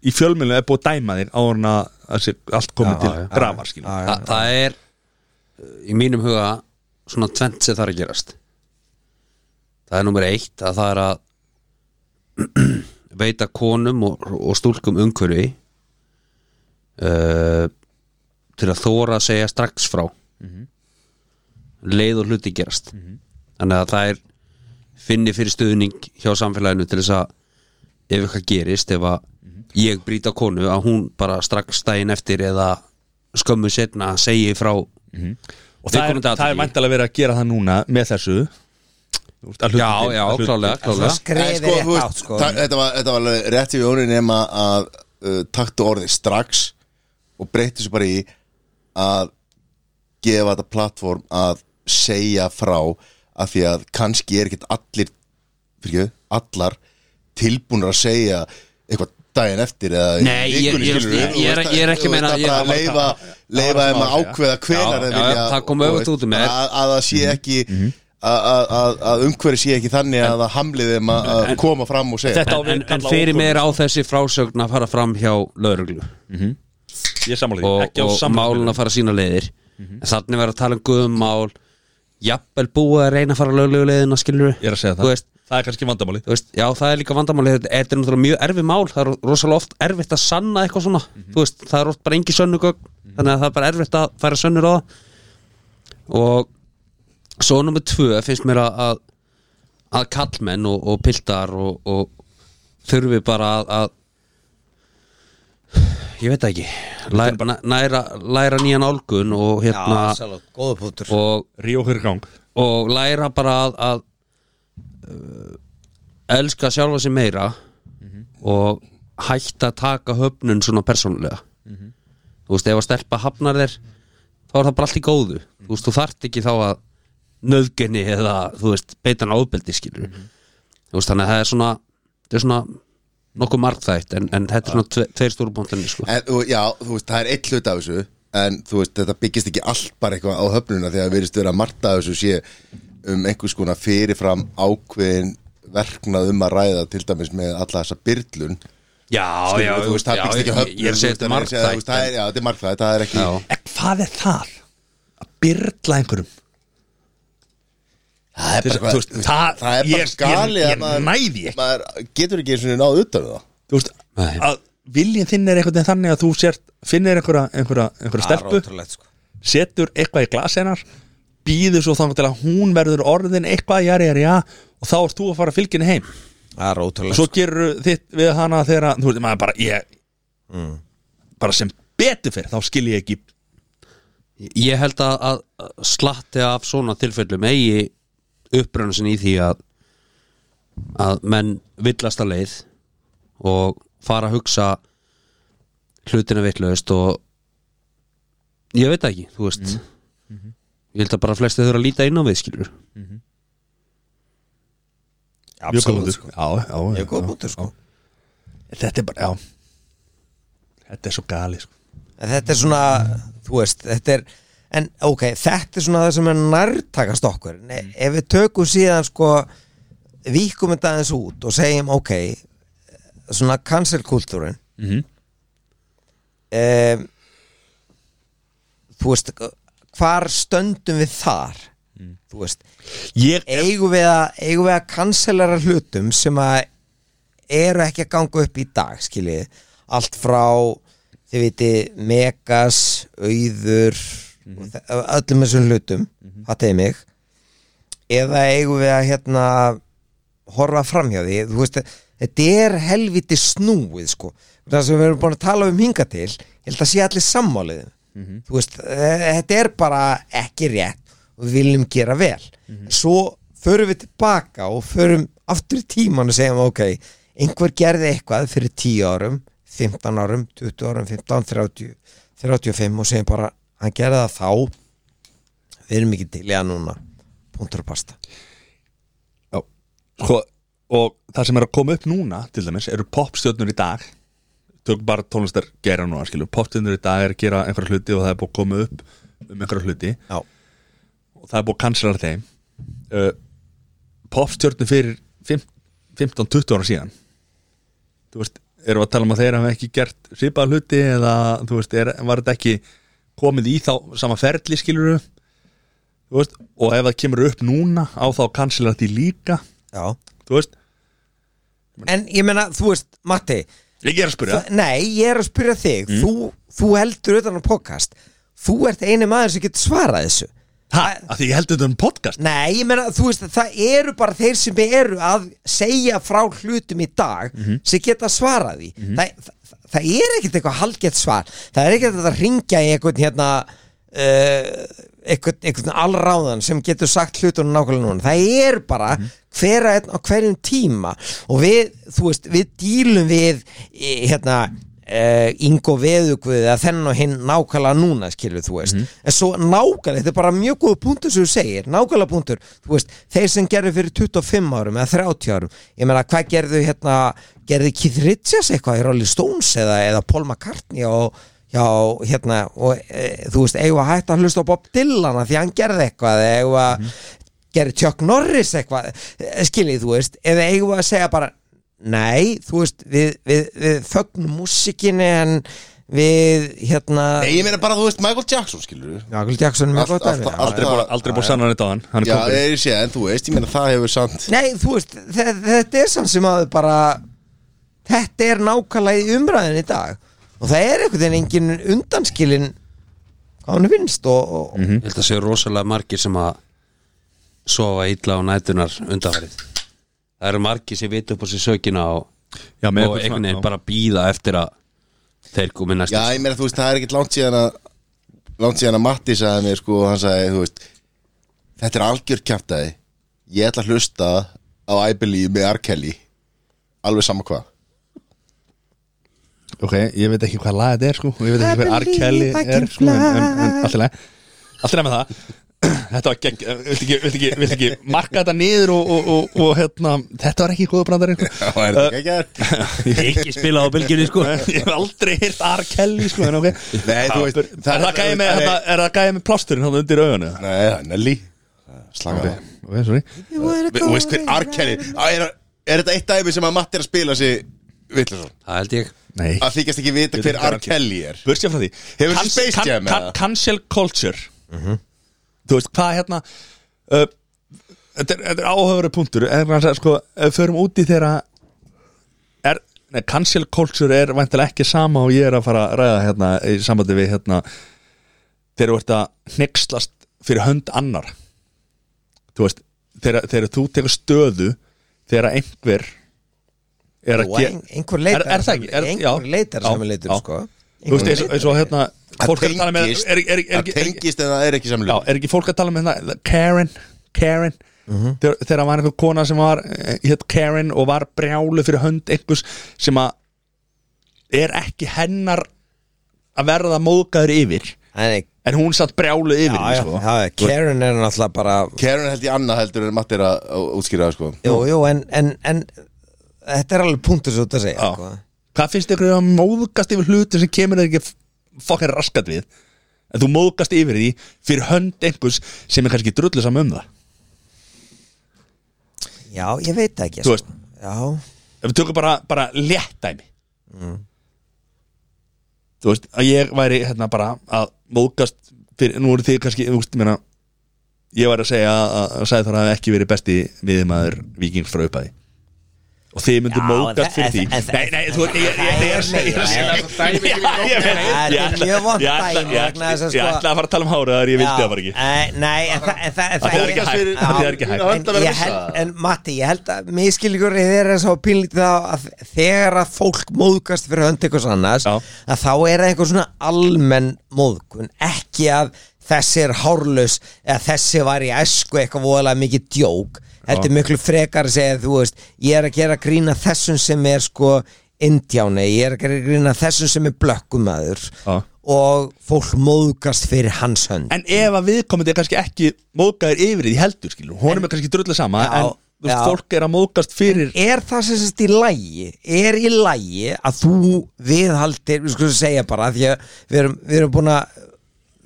í fjölmjölu er búið að dæma þér áður en að það sé allt komið Já, til já, já. grafar skilur. já, já, Þa, Það er uh, í mínum huga svona tvent sem þarf að gerast Það er nummer eitt að það er að veita konum og, og stúlkum umhverfi uh, til að þóra að segja strax frá Mhm. leið og hluti gerast þannig að það er finni fyrir stuðning hjá samfélaginu til þess að ef eitthvað gerist ef að Mhm. ég brýta konu að hún bara strax daginn eftir eða skömmu setna segi frá Mhm. og það er, Viðkomandi það er atviki. væntalega verið að gera það núna með þessu Þú veist, að hluta Já, til- já, að hluta til. klálega, það klálega skrifir En sko, þú rétt veist, átt sko það- Þetta var, þetta var alveg rétt í jónin nema að uh, taktu orðið strax og breytti svo bara í að gefa þetta plattform að segja frá af því að kannski er ekkert allir fyrir allar tilbúnir að segja eitthvað daginn eftir eða í Nei, ég- vikunni, ég- skilur við, ég- þú ég er- veist, ég er ekki þú veist, meina- að ég- bara leifa, leifa það þeim sem að á að segja. ákveða hvenar Já, þeir já, vilja það kom og öfugt veist, út úr mér. að- að það Mhm. sé ekki að- að- að- að umhverju sé ekki þannig að það hamlið þeim að að koma fram og segja Þetta á En, við en, en alla fyrir óþolandi. mér á þessi frásögn að fara fram hjá lauruglu Ég sammála því, og, ekki á Mhm. og málun samfélagsmiðlum. að fara sína leiðir en þannig verður að tala um guðum mál jafnvel búið að reyna að fara lauruglu leiðina skilur Ég er að segja þú það veist, Það er kannski vandamáli þú veist, já það er líka vandamáli þetta þetta er náttúrulega mjög erfið mál það er rosalega oft erfitt að sanna eitthvað svona þú veist, það er oft bara engi sönnugögn þannig að það er bara erfitt að færa sönnur á það og svo nummer tvö finnst mér að að, að kallmenn og, og piltar og, og þurfi bara að, að ég veit það ekki læra, læra, læra nýjan álgun og hérna Salot, góða pútur og Ríó fyrir gang og læra bara að, að uh, elska sjálfa sig meira og hætta að taka höfnun svona persónulega þú veist, ef að stelpa hafnar þér þá er það bara allt í góðu þú veist, þú þarft ekki þá að nöðgenni eða, þú veist, beitan ábeldi skilur þú veist, þannig að það er svona það er svona nokkuð margþætt en, en þetta er svona tve, tveir stóru bóndinni sko. En, og, já, þú veist, það er eitt hlut af þessu en þú veist, þetta byggist ekki allt bara eitthvað á höfnuna þegar við erum stöður að marta þessu sé um einhvers konar fyrirfram ákveðin verknað um að ræða til dæmis með alla þessa byrlun já, Skilur, þú veist, það já, byggst ekki ég- á höfnun ég er að segja þetta þú er veist, þannig að þú veist, það er- Já, margþætt þetta er margþætt, það er ekki Já. En hvað er það? Að byrla einhverjum það er Þess- bara, þú veist, það- það er ég- bara skali ég- að ég maður- næ því ekki. maður getur ekki eins og náðu utan um það þú veist, Nei. að viljinn þinn er einhvern veginn þannig að þú sért, finnir einhverja, einhverja, einhverja stelpu ótrúlegt sko setur eitthvað í glas hennar býður svo þannig til að hún verður orðin eitthvað, jari, jari, já og þá ert þú að fara að fylgja henni heim Það er ótrúlegt sko. svo gerur þitt við hana þegar að- þú veist, maður bara, ég Mm. bara sem betur fyrir, þá skil ég ekki Ég held að, að slatti af svona tilfellum eigi upprönnsin í því að að menn villast að leið og fara að hugsa hlutina vitlaust og ég veit það ekki, þú veist Mm. ég held að bara flesti þurfa að líta inn á við skilur Mjög góð Absolutt punktur. sko já, já, já, Mjög góð já. bútur sko þetta er bara, já þetta er svo gali sko. En þetta er svona, þú veist, þetta er en ok, þetta er svona það sem er nærtakast okkur, Nei, Mm. ef við tökum síðan sko, víkum þetta aðeins út og segjum ok svona cancel kultúrin mm Mhm. þú veist hvar stöndum við þar Mm. þú veist, ég, eigum við að eigum við að cancelara hlutum sem að eru ekki að ganga upp í dag skiljið, allt frá þið viti, megas auður Mhm. mm öllum þessum hlutum, það tegir mig eða eigum við að hérna horfa framhjá því þú veist, þetta er helviti snúið sko, það sem við erum búin að tala um hinga til, ég held að sé allir sammálið þú veist, eh, þetta er bara ekki rétt og við viljum gera vel svo förum við tilbaka og förum aftur í tíman og segjum ok einhver gerði eitthvað fyrir 10 árum 15 árum, 20 árum 15, 30, 35 og segjum bara, hann gerði það þá við erum ekki til í að núna punktur og pasta já, sko, og það sem er að koma upp núna til dæmis eru popstjörnur í dag tök bara tónlistar gera núna skilur, popstjörnur í dag er að gera einhverja hluti og það er búið að koma upp um einhverja hluti Já. og það er búið að cancelara þeim uh, popstjörnur fyrir fimm- 15-20 ára síðan þú veist, erum við að tala um að þeir hafa ekki gert svipað hluti eða þú veist, er, var þetta ekki komið í þá sama ferli skilur þú veist, og ef það kemur upp núna á þá cancelara því líka Já. þú veist, En ég meina, þú veist, Matti ég er að spyrja þa- Nei, ég er að spyrja þig þú, þú heldur utan á podcast Þú ert eini maður sem getur svarað þessu ha, að því ég heldur þetta um podcast Nei, ég meina, þú veist, það eru bara þeir sem eru að segja frá hlutum í dag sem geta svarað því það, það, það er ekkert eitthvað halgett svar það er ekkert að ringja í einhvern hérna uh, einhvern, einhvern allráðan sem getur sagt hlutunum nákvæmlega núna það er bara mm -hmm. hver að einn á hverjum tíma og við, þú veist, við dílum við eh, hérna uh, Ingo Veðugvið að þennan og hinn nákvæmlega núna skilur þú veist en svo nákvæmlega, þetta er bara mjög góð punktur sem þú segir, nákvæmlega punktur þú veist, þeir sem gerðu fyrir 25 árum eða 30 árum, ég meina hvað gerðu hérna, gerðu Keith Richards eitthvað í Rolling Stones eða, eða Paul McCartney og já, hérna og e, þú veist, eigum að hætta að hlusta á Bob Dylan af því hann gerði eitthvað eða eigum að gerði Chuck Norris eitthvað eh, skiljið þú veist, eða eigum við að segja bara nei, þú veist við, við, við fögnum músikinni en við hérna Nei, ég meina bara, þú veist, Michael Jackson, skilur Michael Jackson er mjög Allt- gott dæmi. allt- Já. aldrei búið aldrei búið sannan þetta á hann hann er Já, kompur ég sé, en þú veist, ég meina það hefur samt nei, þú veist, þe þetta er samt sem að bara þetta er nákvæmlega í umræðin í dag og það er einhvern veginn engin undanskilin hvað hann finnst og, og Mhm. Mm. Ég held að sé rosalega margir sem að sofa illa á nætunar undanverið Það eru margir sem vita upp á sér sökina og, Já, með eitthvað og einhvern svona, já. veginn bara býða eftir að þeir komi næst Já, ég meina, þú veist, það er ekkert langt síðan að langt síðan að Matti sagði mér, sko, hann sagði, þú veist Þetta er algjör kjartaði Ég ætla að hlusta á I Believe með R. Kelly Alveg sama hvað ok, ég veit ekki hvað lag þetta er sko og ég veit ekki I hvað R. believe Kelly I can er sko en, en, en fly. allt í lagi allt í lagi með það þetta var gegn, vilt ekki, vilt ekki, vilt ekki marka þetta niður og, og, og, og hérna þetta var ekki góða brandar sko. Það er þetta ekki að Ekki spila á bylginni sko ég hef aldrei hýrt R. Kelly sko en ok Nei, þú veist, er það gæði með, hérna, er það gæði með plásturinn hann undir augunni Nei, það er Nelly Slaka það ok, sorry Við- Þú veist hver Arkeli er, er þetta eitt dæmi sem að Matti er að spila sig Vittlason Það held ég nei Að þykjast ekki vita hver hver R. Arkeli er Börsja frá því Hefur þessi Space Jam, can, eða? Cancel culture Mhm. Þú veist, hvað hérna uh, Þetta er, þetta er áhöfður punktur En hann sagði, sko, ef við förum út í þeirra er, nei, nei, cancel culture er væntanlega ekki sama og ég er að fara að ræða hérna í sambandi við hérna þegar þú ert að hneykslast fyrir hönd annar þú veist, þegar, þegar þú tekur stöðu þegar einhver er að Jú, ein- einhver leitar er, er það ekki? Er, já, einhver leitar já, sem leitur já. sko Þú veist, eins og- eins og hérna fólk er að tala með tengist- er, er, er, er, það tengist en það er ekki Já, samlega er ekki fólk að tala með það Karen, Karen Mhm. þegar, þegar var einhver kona sem var eh, hét Karen og var brjálu fyrir hönd einhvers sem að er ekki hennar að verða móðgæður yfir Nei, nei, en hún satt brjálu yfir já, já, henni, sko. já, Karen er náttúrulega bara Karen held ég annað heldur en Matti er að að útskýra það, sko Jú, jú, en, en, en þetta er alveg punktur svo þetta að segja Já. sko. Hvað finnst ykkur um að móðgast yfir hluti sem kemur þér ekki fokkar raskat við en þú móðgast yfir því fyrir hönd einhvers sem er kannski drullu saman um það Já, ég veit það ekki Þú sko. Já, ef við tökum bara, bara léttæmi þú veist að ég væri hérna bara að móðgast fyrir, nú eru þið kannski þú veist, ég meina, ég væri að segja að, að Sæþór hafi ekki verið besti miðmaður vikings frá upphæði og þið myndu Já, móðgast en- fyrir því en- en- nei, nei, þú veist, ég, ég, ég, ég er að segja ég er að segja- ég veit, Þetta er ég ætla- mjög vont ég ætla- dæmi, ég vegna ætla- þess að ég sko- ætla að fara að tala um háraðar, ég vildi það bara ekki Eh, Nei, en það- en það en Það er ekki hægt, Já, það er ekki hægt. en ég held- En Matti, ég held að miskilgjur þeir er sá pínlítið á að þegar að fólk móðgast fyrir hönd einhvers annars Já. að þá er það einhver svona almenn móðgun, ekki að þessi er hárlaus eða þessi var í esku eitthvað voðalega mikið djók heldur miklu frekar að segja þú veist ég er að gera grína þessum sem er sko indjáni, ég er að gera grína þessum sem er blökkumæður Já. og fólk móðgast fyrir hans hönd en ef að viðkomandi er kannski ekki móðgæður yfir því heldur skilur, honum er kannski drullið sama Já, en þú veist, já. fólk er að móðgast fyrir er það sem sérst í lægi er í lægi að þú viðhaldir, við skulum segja bara því að við erum, við erum búin að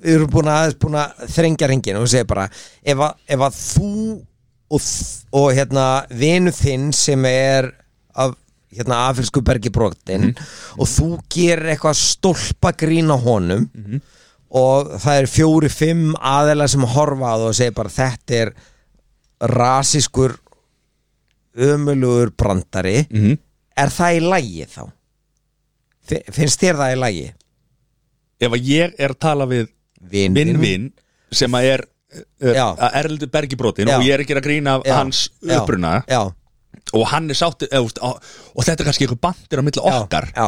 við erum búin að aðeins búin að þrengja ringin og við segja bara, ef að, ef að þú og, þ- og hérna vinu þinn sem er af hérna afilsku bergi brotin og þú gerir eitthvað stólpa grína honum og það er fjóri, fimm aðeila sem horfa á það og segja bara þetta er rasískur ömulugur brandari Mhm. er það í lægi þá? Fi- finnst þér það í lægi? ef að ég er að tala við Vin, vinn-vinn sem að er uh, Já. að erlendu bergibrotin Já. og ég er ekki að grína af Já, hans já, uppruna já, og hann er sáttur eða, þú veist, á- og þetta er kannski eitthvað bandir á milli já, okkar já,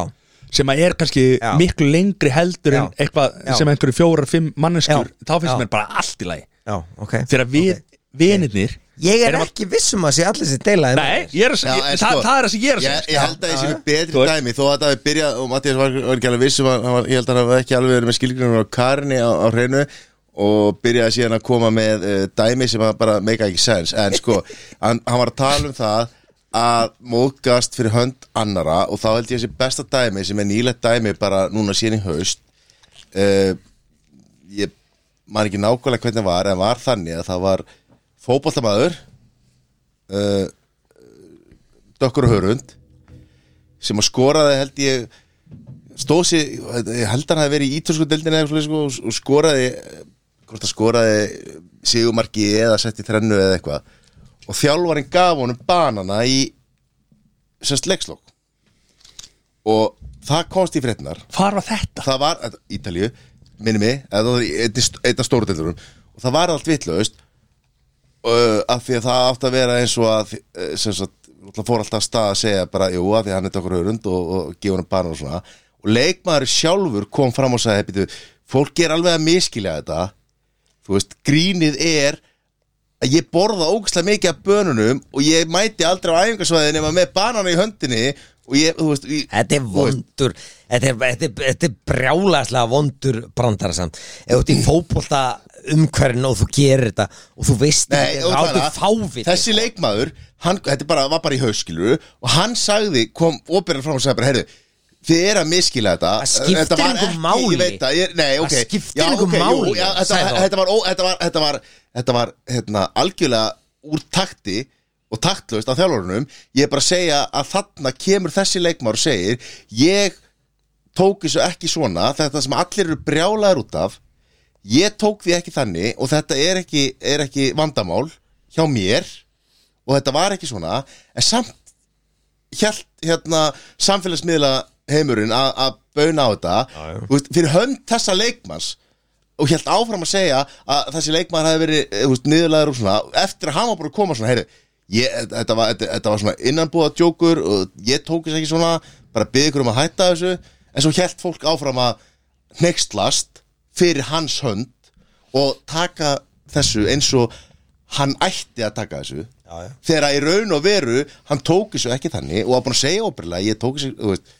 sem að er kannski Já. miklu lengri heldur en Já. eitthvað Já. sem einhverju fjórar, fimm manneskjur Já. þá finnst Já. mér bara allt í lagi já, ok þegar við okay. vinirnir ég er erum að- ekki viss um að sé allir sem deila þeim Nei, ég er að Já, segja, það, en sko, það er það sem ég er að segja Ég, ég held að ég sé með betri Þú veist- dæmi þó að það hefði byrjað og Mattias var, var ekki alveg viss um að hann var, ég held að hann hafði ekki alveg verið með skilgrunum á karni á, á hreinu og byrjaði síðan að koma með uh, dæmi sem að bara make ekki sense en sko, hann, hann var að tala um það að móðgast fyrir hönd annara og þá held ég að sé besta dæmi sem er nýlegt dæmi bara núna síðan í haust uh, ég maður ekki nákvæmlega hvernig var en var þannig að það var fótboltamaður uh, dökkur og hörund sem að skoraði held ég stóð sér, ég held hann hafi verið í ítölsku deildinni eða eitthvað sko, og- og skoraði eh, hvort að skoraði sigumarki eða setti þrennu eða eitthvað og þjálfarinn gaf honum banana í semst leikslokk og það komst í fréttinar Hvar var þetta? það var, þetta- Ítalíu, minni mig eða það var í einni st- einna stóruðeldurum og það var allt vitlaust uh, af því að það átti að vera eins og að eh, sem sagt, náttúrulega fór alltaf af stað að segja bara, jú, af því að hann er okkur hörund og, og gefa hann bara og svona og leikmaður sjálfur kom fram og sagði "Bíddu, fólk er alveg að miskilja þetta þú veist, grínið er að ég borða ógæslega mikið af bönunum og ég mæti aldrei á æfingarsvæðin nema með banana í höndinni og ég, þú veist, ég, Þetta er þú veist, vondur Þetta er, þetta er, þetta er brjálæslega vondur brandara samt Ef þú ert í fótbolta umhverfin og þú gerir þetta og þú veist Nei, ekki og þá bara, ertu fáviti þessi leikmaður hann, þetta bara, var bara í hauskiluru og hann sagði, kom opinir fram og sagði bara, heyrðu, þið er að miskila þetta Það skiptir Þetta var engu ekki- máli. ég veit að, ég, nei, Það ok skiptir Já, engu ok, máli, jú, já, þetta, sagði hann. þetta var, ó, þetta var, þetta var, þetta var hérna, algjörlega úr takti og taktlaust á þjálfurunum ég er bara að segja að þarna kemur þessi leikmaður og segir, ég tók þessu ekki svona, þetta sem allir eru brjálaður út af ég tók því ekki þannig og þetta er ekki, er ekki vandamál hjá mér og þetta var ekki svona en samt hjælt hérna samfélagsmiðla heimurinn að að bauna á þetta Þú veist, fyrir hönd þessa leikmanns og hjælt áfram að segja að þessi leikmann hafi verið eh, þú veist, niðurlegaður og svona eftir að hann var bara að koma svona heyrðu, ég, eh, þetta, var, þetta, þetta var svona innanbúða djókur og ég tók þess ekki svona bara byggði ykkur um að hætta þessu en svo hjælt fólk áfram að hneykslast fyrir hans hönd og taka þessu eins og hann ætti að taka þessu Já, já. þegar að í raun og veru hann tók þessu ekki þannig og var búin að segja óbyrlega ég tók þessu, þú veist,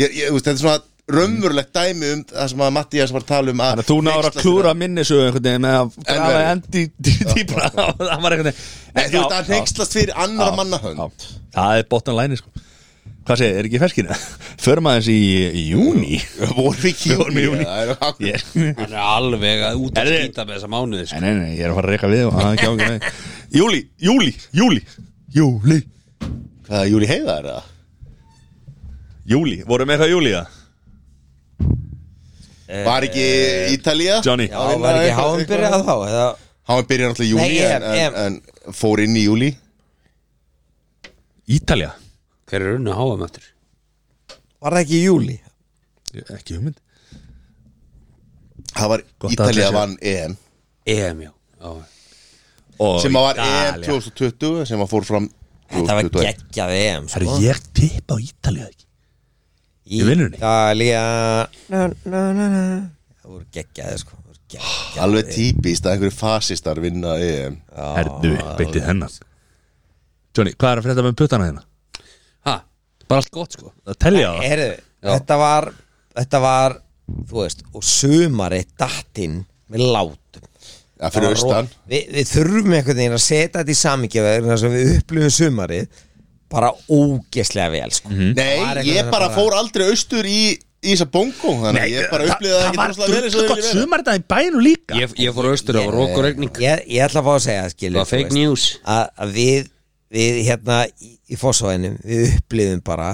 ég, ég, þú veist þetta er svona raunverulegt dæmi um það sem að Mattias var að tala um að Þannig að þú náður að hneykslast klúra minni svo einhvern veginn með að grafa verður. endi dýbra það var einhvern veginn fyrir, þú veist að Já, hneykslast fyrir annar já, manna hönd já. Það er bottom line sko Hvað segir, er ekki í ferskinu? Förum aðeins í, í júni Vorum við ekki í júni Já, já, já. Ég- Hann er alveg að út að Herri. skýta með þessa mánuði sko. Nei, nei, nei, ég er að fara að reyka við og það er ekki ákveð með Júli, júli, júli Júli hvað, Júli Heiða er það? Júli, vorum við eitthvað júli það? Var ekki Ítalía? Eh, Johnny Já, var ekki háum byrjað þá eða, Háum byrjar náttúrulega í júli Nei, EM, en, en, en fór inn í júli Ítalja Hver er runni að háa með þetta? Var það ekki í júli? Ekki hugmynd það var Gott að Ítalía allir sjá. vann EM EM, já, já. Og sem að var EM Ítalía. 2020 sem að fór fram Það var 2021. geggjað EM Það sko. er ég tippa á Ítalja ekki Í vinnunni? Ítalía na, na, na, na. Það voru geggjaði sko Það voru geggjaðir. alveg típist að einhverju fasistar vinna EM Herðu, beittið hennar Johnny, hvað er að frétta með puttana þína? Ha, bara allt gott sko Það telja það Heyrðu, þetta var Þetta var, þú veist Og sumari dattinn Við látum ja, fyrir Það var austan ro- við, við þurfum einhvern veginn að setja þetta í samingi Þannig að við upplifum sumarið Bara ógeslega vel sko. Var Nei, eitthvað ég sem bara fór aldrei austur í í þessa bongo, þannig að ég bara upplýði það ekki droslega Það vel eins og það var vilja vera sumar þetta í bænum líka Ég, ég fór austur, það var rók og regning ég, ég ætla að fá að segja skilur, Það var þú fake veist, news. að, að við, við hérna í, í fósóinum Við upplifum bara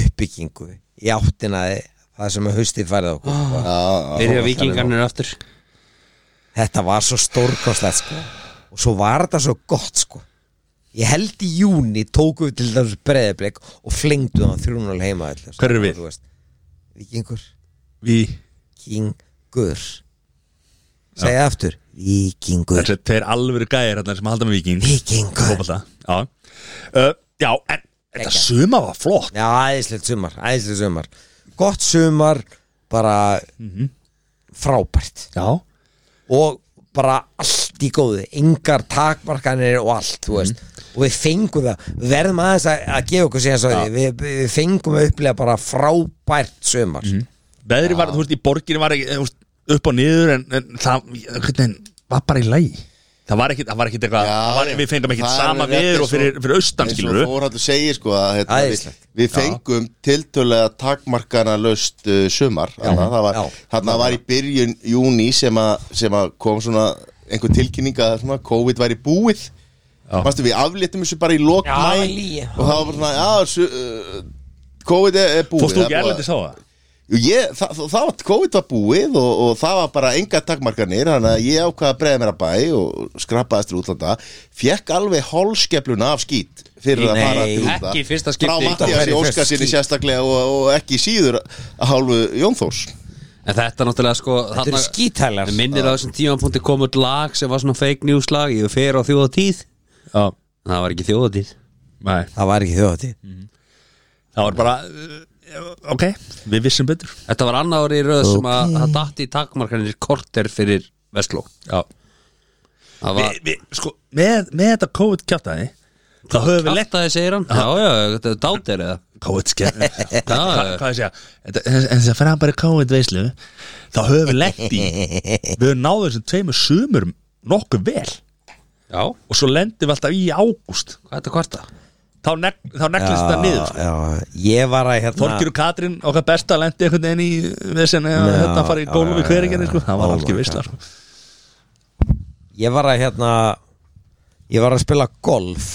uppbyggingu Í áttinaði Það sem að haustið færið okkur sko. Ah. Byrja vikingarnir aftur Þetta var svo stórkostlegt sko Og svo var þetta svo gott sko Ég held í júni tóku við til þessu breyðablik Og flengdu hann þrjúnul heima allir, Hver eru við? Þú veist, Víkingur Við Víkingur Segja aftur Víkingur Þessi tveir alvöru gæðir hérna sem halda með viking Víkingur Fótbolta Já uh, Já, en þetta sumar var flott Já, æðislegt sumar, æðislegt sumar Gott sumar, bara frábært Já og bara allt í góðu engar takmarkanir og allt þú veist, og við fengum það við verðum aðeins að, að gefa okkur síðan svo því við, við fengum að upplega bara frábært sömar Veðri var, þú veist, í borginni var ekki eh, þú veist, upp og niður en, en það, hvernig veginn, var bara í lægi Það var ekkit, það var ekkit eitthvað Já, það var- já. Við fengum ekkit Það er sama rétt veður eins og fyrir, fyrir austan eins skilur og Þórhaldur segir sko að hérna, við, Æðislegt. við fengum tiltölulega takmarkana löst uh, sumar þannig að það var, já. þarna var í byrjun júni sem, a, sem að kom svona einhver tilkynning að svona, COVID væri búið Mastu, við afléttum þessu bara í lok Já, maí lí. og það var bara svona já, su, uh, COVID er, er búið Fórstu það ekki er búið að- erlendis á það? Jú, Ég, það, það, það var, COVID var búið og, og það var bara enga takmarkanir þannig að ég ákvaða að breiða mér að bæ og skrapaðist til útlanda fekk alveg hálskefluna af skít fyrir að Nei, fara til útlanda ekki í fyrsta skipti. frá Þetta var Mattias í í fyrsta Óskarsinni skít. sérstaklega og, og ekki síður að hálfu Jónþórs En þetta náttúrulega sko þetta eru skítælar Við minnir að þessum tímanpunkti kom út lag sem var svona fake news lag Ég fer á þjóðatíð Já, Það var ekki þjóðatíð nei það var ekki þjóðatíð Það var bara, uh, ok, við vissum betur Þetta var annað ári í röð sem að það datti í takmarkanir korter fyrir Vestló Já Það við, var við, sko, með, með þetta COVID kjátaði þá höfum við lett Kjáttaði segir hann Já, já, þetta er dátir eða COVID skjátaði Já, hvað já. hvað ég segja en þess að fara bara COVID veislu þá höfum við lett í við höfum náðu þessum tveimur sumur nokkuð vel Já, hvað og svo lendum við alltaf í ágúst er þetta kvarta? þá, nek, þá neglist þetta niður sko. ég var að hérna Þorgir og Katrín okkar besta lendi einhvern veginn í vissin að Já, þetta fara í já, gólum í já, hveringinni sko. já, það var já, algjör já. veisla sko. ég var að hérna ég var að spila golf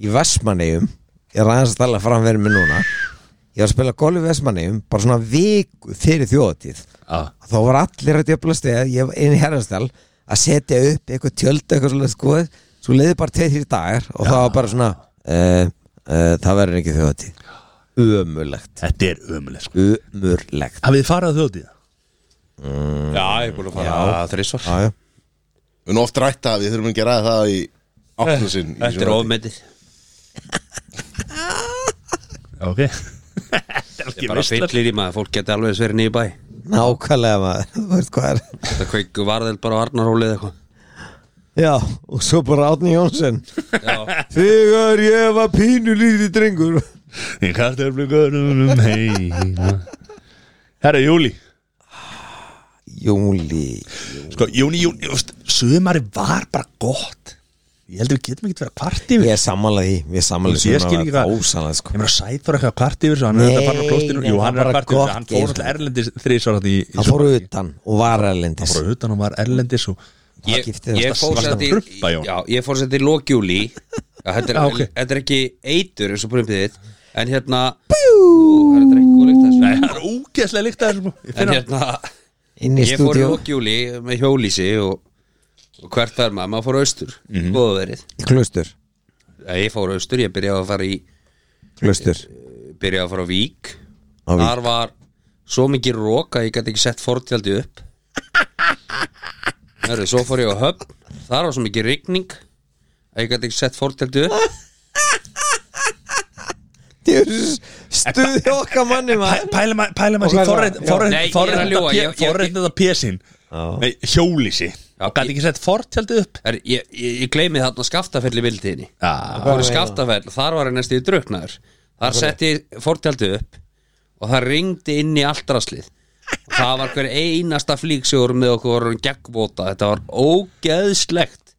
í Vestmannegjum ég er aðeins að tala framverið mig núna ég var að spila golf í Vestmannegjum bara svona viku fyrir þjóðatíð Já. þá var allir að djöfla stið ég var inn í herrastal að setja upp eitthvað tjöld eitthvað svolítið sko svo leiði bara tveið þrjir dagar og það var bara svona uh, uh, það verður ekki þjóðatíð umurlegt Þetta er ömuleg sko umurlegt Hafið þið farið að þjóðtíða? Já, ég er búin að fara að þrísvar já, já. Við erum oft rætt að við þurfum ekki að ræða það í áttunum sinn í Þetta er svona- ofmetið Ok Þetta er Ég ekki bara veistlar fyllir í maður, fólk geti alveg sverið nýju bæ nákvæmlega maður þú veist hvað er Þetta kveiku varðel bara á Arnarhólið eitthvað já og svo bara Átni Jónsson þegar ég var pínu lítið drengur Í kartöflugunum heima Herra júli júli Sko, júni, júni, þú veist, sumari var bara gott Ég held að við getum ekkert verið að kvart yfir ég er sammálaði ég er sammálaði Ég skil ekki það ósalega sko Ég meina Sæþór eitthvað kvart yfir svo Hann er Nei, þetta farin á klostinu nei, Jú, það hann er bara að kvart yfir svo, gott Hann fór yfir. alltaf erlendis þrísvar hann í, í hann fór sumar. utan og var erlendis Fór utan og var erlendis og Ég, skiptir ég alltaf- fór varstu sett að í prumpa, Jón? Já, ég fór sett í lokjúli Já, þetta, Já, er, Ah, ok. þetta er ekki eitur eins og prumpið þitt En hérna Ú, Það er drengulikt Nei, þessu það er ógeðslega líkt að þessu Ég En finn að hérna, inn í ég fór í stúdíu lokjúli með hjólísi og, og hvert var maður, maður fór austur mm Mhm. -hmm. Góðverið í klustur Ég fór austur, ég byrjaði að fara í klustur byrjaði að fara á Vík Á Vík. þar var svo mikið róka ég gæti ekki sett fortjaldi upp Hörru, svo fór ég á höfn þar var svo mikið rigning að ég gæti ekki sett fortjaldi upp stuði okkar manni maður Pælum að pælum að Og því hvað er það? Já. Nei, ég er að ljúga, ég- ég- Forreitnað að pésin Nei, hjólísi Gæti ekki sett fortjaldið upp er, ég, ég, ég gleymi þarna skaftafelli vildiðinni Já, það voru skaftafell, þar var ég næstu í druknaður þar setti ég fortjaldi upp og það ringdi inn í allt raslið Og það var hver einasta flíksjóður með okkur vorum gegnbóta, þetta var ógeðslegt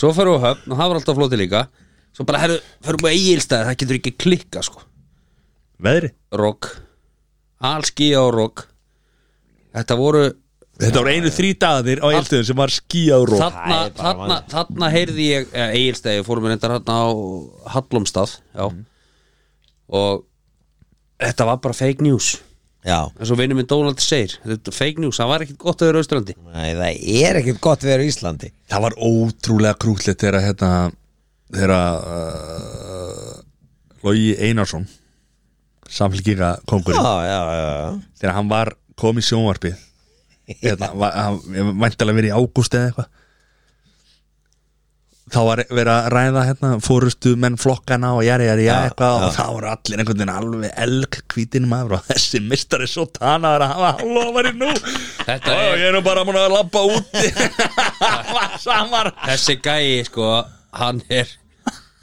svo fyrir við á höfn og það var alltaf flóti líka svo bara herru, fyrir við eigilstæði, það getur ekki klikka sko, veðri rock allskíja og rock þetta voru, Þetta voru einu þrý dagarnir á eilstöðum sem var skíjáður og þarna, þarna, þarna heyrði ég eh, eigilstæði, fórum við reyndar þarna á Hallumstað já Mhm. og þetta var bara fake news já eins og vinnum minn Donald segir þetta er fake news, það var ekkert gott að vera austrandi Nei, það er ekkert gott við erum í Íslandi Það var ótrúlega krútlegt þegar hérna þegar uh, Logi Einarsson samfélgíka kongurinn Já, já, já þegar hann var kom í sjónvarpið hérna, var- hann væntalega verið í ágúst eða eitthvað þá var verið að ræða hérna, fórustu menn flokkana og jæri, jæri, jæri eitthvað og þá voru allir einhvern veginn alveg elg hvítin maður og þessi mistari svo tanaður að hafa lofari nú Þetta og er- ég er nú bara múin að labba úti Það var samar þessi gæi sko, hann er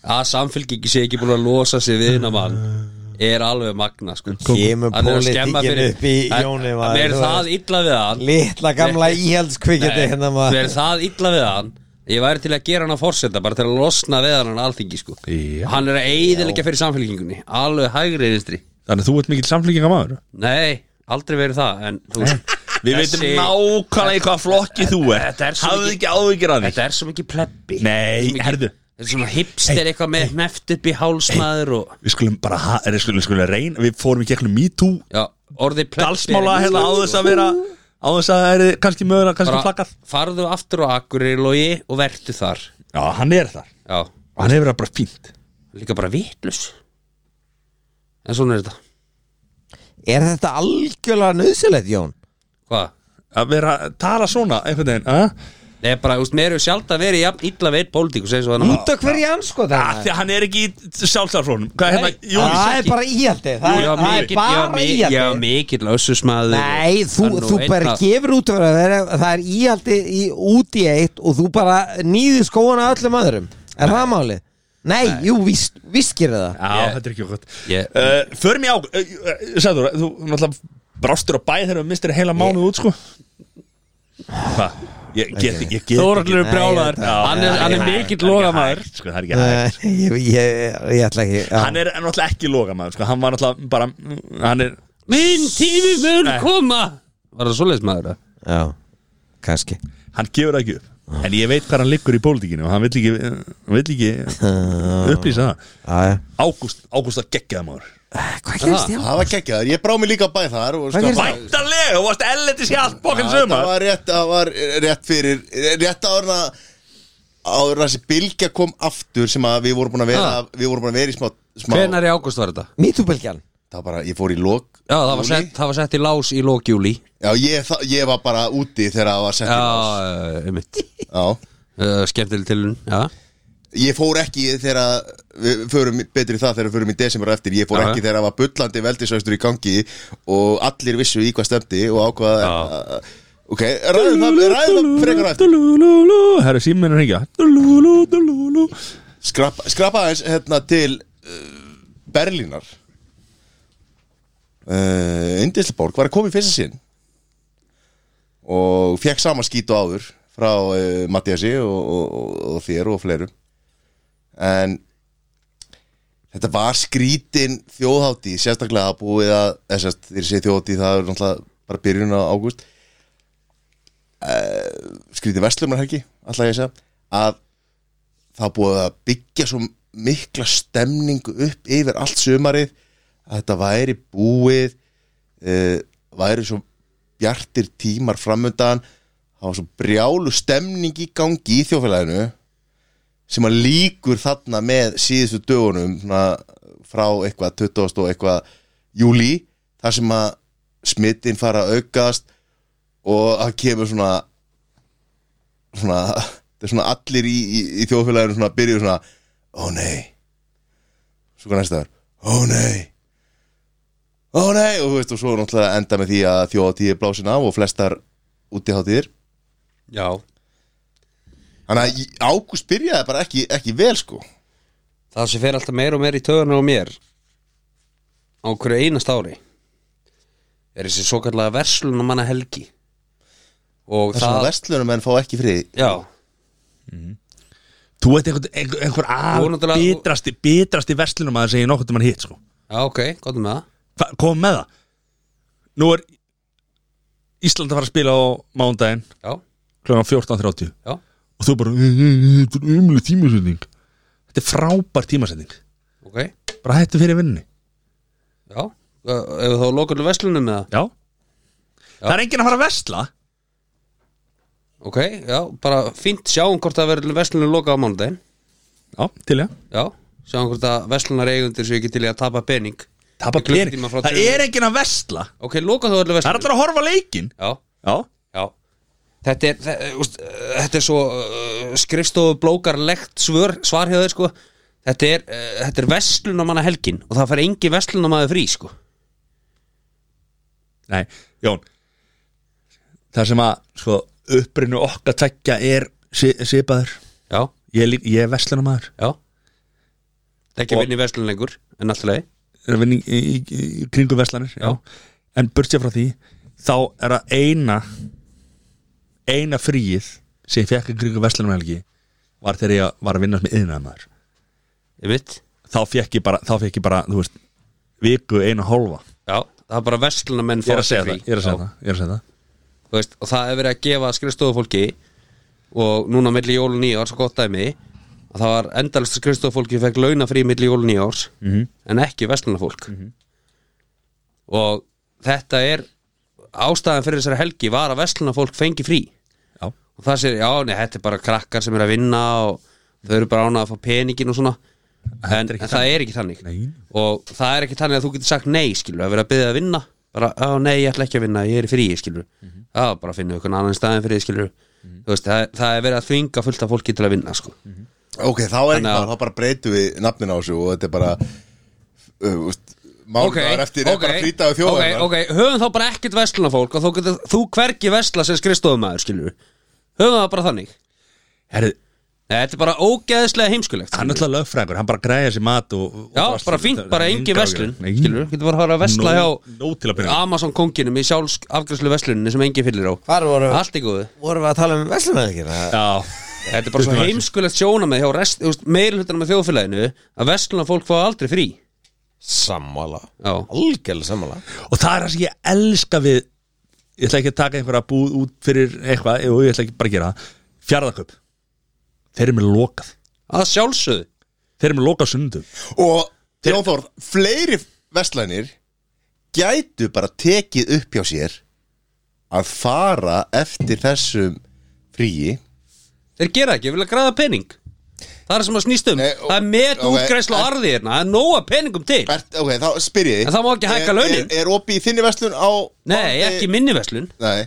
að samfélkingi sé ekki búin að losa sig við hennar mann er alveg magna sko Kemur Hann er að skemma pólitíkin fyrir- upp í Hann- Jóni Mér er það illa við hann Litla gamla íhaldskvikindi hérna Mér er maður það illa við hann Ég væri til að gera hann að forseta bara til að losna við hann alþingi sko Já. Hann er að eiðilegja fyrir samfélkingunni Alveg hægri einstri Þannig að þú ert mikill samfélgíka maður Nei, aldrei verið það En þú veist Við þessi- veitum nákvæmlega í hvaða flokki þú er Þetta er svo Hafðu mikið- ekki áhyggjur af því Þetta er svo mikið plebbi Nei, herðu Þetta er svona hipster eitthvað með neft upp í hálsmaður og við skulum bara ha- er- við skulum, við skulum reyna, við fórum í gegnum MeToo Já, orðið plebbi er dalsmála ekki hérna á slæmt, þess að vera á þess að það er kannski mögulega kannski Bara flaggað Farðu aftur á Akureyri logi og vertu þar já, hann er þar Já, og hann hefur það bara fínt líka bara vitlus En svona er þetta Er þetta algjörlega nöðsilegt, Jón? Hvað? að vera tala svona einhvern veginn eh? að Nei, bara, úst, mér hefur sjálft að vera jafn illa veit pólitíkus eins og hann Út af hverju anskotar að því að hann er ekki í sjálfsarflónum hvað er Nei. hérna Jú, Það er bara íhaldi Það Ég er- var það er mikill- ég var bara mi- Ég var íhaldi mikill össusmaður Nei, þú, Hann er nú þú einn bara að- gefur út að vera að vera- Það er íhaldi í, út í eitt og þú bara nýðir skóana öllum öðrum Er það málið? Nei, jú, víst, víst gerir það já, Ég- þetta er ekki gott Ég- uh, förum í á uh, uh, sagður, þú náttúrulega brástur á bæ þegar við mistir heila mánuð út sko hvað ég get ég get Þórhallur er Nei, brjálaður þetta- Hann er- hann er mikill logamæður sko, það er ekki hægt Nei, Ég, ég, ég ætla ekki já. hann er náttúrulega ekki logamæður sko. hann var náttúrulega bara hann er, Minn tími mun Nei. koma Var það svoleiðis maður? eða? Já, kannski hann gefur það ekki upp en ég veit hvað hann liggur í pólitíkinu og hann vill ekki, hann vill ekki upplýsa það Æ, Ágúst, Ágúst að geggjaða maður Hvað gerist ég? Það var geggjaður, ég brá mig líka á bæ þar og, Hvað gerist? Væntanlega, þú varst ellendis í allt bókinn Það sumar var rétt, það var rétt fyrir Rétt árna áður en þessi bylgja kom aftur sem að við vorum búin að vera, Ha. við vorum búin að vera í smá, smá Hvenær í ágúst var þetta? mítúbylgjan það var bara, ég fór í lok Já, það var, júlí. sett, það var sett í lás í lókjúli Já, ég, það, ég var bara úti þegar það var sett í lok Já, einmitt Já, uh, Skemmtileg tilun Já, ég fór ekki í þegar að- við förum betri það þegar við förum í desember á eftir ég fór Já. ekki þegar það var bullandi veldisvæstur í gangi og allir vissu í hvað stemdi og ákvaða Já. ok, ræðum það, ræðum það frekar á eftir Dulululu, herru síminn er hengja Dulululu, dulululu Skrapa, skrapa aðeins hérna til uh, Berlínar uh, Indisleborg var að koma í fyrsta sinn og fekk sama skít og áður frá uh, Mattiasi og, og, og- og þér og fleirum en þetta var skrítin þjóðhátti sérstaklega að búið að þessast, þeir sé þjóðhátti það er náttúrulega bara byrjun á ágúst Eh, uh, skrítin vestlumar alltaf ég að segja að það er búið að byggja svo mikla stemningu upp yfir allt sumarið að þetta væri búið uh, væri svo bjartir tímar framöndan það var svo brjálu stemning í gangi í þjófélaginu sem að líkur þarna með síðustu dögunum svona, frá eitthvað 20. og eitthvað júli þar sem að smittin fara að aukast og það kemur svona svona, þetta er svona allir í, í, í þjóðfélaginu svona byrjuð svona ó nei svo hvað næsta er, ó nei ó nei og þú veist og svo náttúrulega enda með því að þjóðatíð er blásin af og flestar útiháttíðir já þannig að í- ágúst byrjaði bara ekki, ekki vel sko Það sem fer alltaf meira og meira í töðuna á mér á hverju einast ári er þessi svo kallega verslunumanna helgi og þess að það, vestlunum en fá ekki frið já, Þú veit einhver, einhver, einhver Þú al náttúrulega- bitrasti, bitrasti verslunum að segja nokkuð um hann hitt sko já ok, gott með það Hva, Kom með það Nú er Ísland að fara að spila á mándaginn já, kl. 14.30 já, og þú bara Þetta er umlega tímasetning Þetta er frábær tímasetning ok Bara hættu fyrir vinninni já, uh, ef þá lokaðu verslunum með það, Já. Það er enginn að fara að vesla ok, já, bara fínt sjáum hvort það verður verslunum lokað á mánudaginn Já, til ég já, sjáum hvort að verslunar eigundir sem ekki til í að tapa pening Tapa Í pening klukkutíma frá Það tveimur. er enginn að vesla ok, loka þú Það öllu er verslunum allir að horfa á leikinn já, Já Já Þetta er, þe- úst, eh, þetta er svo uh, skrifstofu blókarlegt svör, svar hjá þeir sko Þetta er, uh, þetta er vestlunamanna helgin og það fær engi vestlunamaður frí sko Nei, Jón Það sem að sko, upprinu okkar tvekja er si- svipaður Já, Ég er, lí- ég er veslanamaður já Það er ekki Og- að vinna í verslun lengur en alltaf leið Er að vinna í, í, í, í kringum veslanir já. En burtsér frá því Þá er það eina Eina fríið sem ég fekk í kringum veslanum helgi Var þegar ég var að vinna með yðnaðamaður Ég mitt Þá fekk ég bara, þá fekk ég bara, þú veist Viku eina hálfa Já, það er bara vestlunamenn Ég er að fá segja sér frí. það, ég er að segja Já. það, ég er að segja það Þú veist, og það er verið að gefa skrifstofufólki og núna milli jól og nýjárs gott dæmi að það var endalist skrifstofufólki fekk launafrí milli jól og nýjárs -hmm. en ekki vestlunafólk -hmm. og þetta er ástæðan fyrir þessari helgi var að vestlunafólk fengi frí Já, og það sér, já, nei, þetta er bara krakkar sem er að vinna og þau eru bara ánað að fá peningin og svona en, en það er ekki þannig Nei. og það er ekki þannig að þú getur sagt nei, skilur, að vera að byrja að vinna bara, já, nei, ég ætla ekki að vinna, ég er í fríi, skilur mm já, bara finna ykkur annan staðin fyrir, skilur þú veist, það, það er verið að þvinga fullt af fólki til að vinna, sko ok, þá er ekki Þannig að- það, þá bara breytum við nafnin á þessu og þetta er bara uh, úst, mánuðar eftir er bara frýtaðu ok, þjóðar ok, höfum þá bara ekkert vestlunafólk og þú, getur, þú hvergi vesla sem skrifstofumæður, skilur höfum það bara þannig herrið, Nei, þetta er bara ógeðslega heimskulegt hann er skilurðu. alltaf lögfræðingur, hann bara græja sér mat og, og Já, drasl. bara fínt, Það er bara engar engi áhyggjur. verslun Nei. Skilur, getur bara að fara að vesla Nóg- hjá nóg til að byrja með. Amazon konginum í sjálfs afgræslu versluninni sem engi fyllir á Hvar voru- Allt í góðu vorum við að tala um veslumæðingir Já, Þetta er bara svo heimskulegt sjóna með hjá rest, you know, meirhlutunum með þjóðfélaginu að verslunar fólk fá aldrei frí sammála, Já, algjörlega sammála og það er það sem ég elska við ég ætla ekki að taka einhverja búð út fyrir eitthvað og ég ætla ekki bara að gera það fjárðaköp, þeir eru með lokað að sjálfsögðu þeir eru með lokað sundum Og Jón Þór, fleiri vestlænir gætu bara tekið upp hjá sér að fara eftir þessum fríi Þeir gera ekki, vilja græða pening Það er sem að snýst um Nei, ó- Það er met ok, útgræslu á en- arði hérna Það er nóga peningum til Ert, ok, þá spyr ég þig. En það má ekki hækka Er- launin. Er, er opið í þinni vestlun á Nei, ekki minni verslun Nei,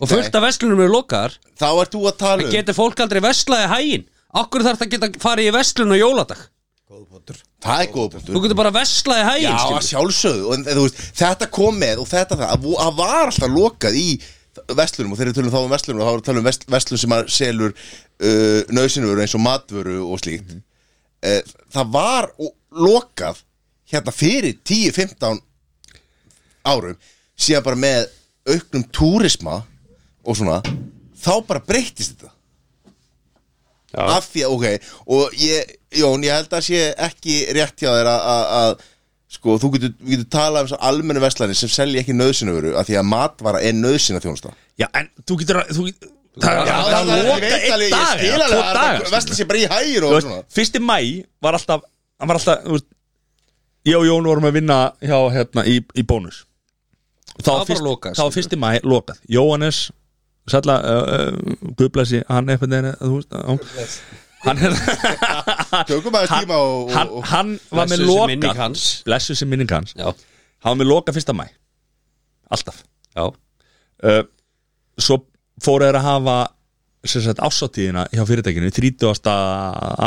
Og fullt af verslunum eru lokaðar þá ert þú að tala um Getur fólk aldrei verslaði hægin Akkur þarf það að geta farið í verslun á jóladag Það er góð punktur Þú getur bara verslaði Já, hægin að skilur. sjálfsögðu og, en, þú veist, Þetta kom með og þetta það að vo- að var alltaf lokað í vestlunum og þegar við tölum þá um vestlunum og þá erum við að tala um vest, vestlun sem að selur uh, nöðsynvöru eins og matvöru og slíkt mm Það var o- lokað hérna fyrir 10-15 árum síðan bara með auknum túrisma og svona þá bara breyttist þetta af því að, ok, og ég Jón, ég held að sé ekki rétt hjá þér að- að að, sko, þú getur, við getur talað um svo almennu verslanir sem selja ekki nöðsynavöru af því að matvara er nöðsynna þjónusta Já, en þú getur að þú, það, Já, það, það loka einn dag ég eða skil tvo alveg að daga versla sé bara í hægir Þú og svona veist, Fyrsti mæ var alltaf hann var alltaf þú veist, ég og Jón vorum að vinna hjá hérna í, í bónus og þá Það var var bara fyrst, lokað, þá var fyrsti mæ lokað Jóhannes sætla uh, uh, guðblessi hann eitthvað neina þú veist uh, hann, tökum aðeins hann, tíma og, hann, og, og hann var með Blessuð sé minning lokað hans. blessu sem minning hans Já, hann var með lokað fyrsta mæ alltaf já, uh, svo fóru þeir að hafa sem sagt ásatíðina hjá fyrirtækinu 30.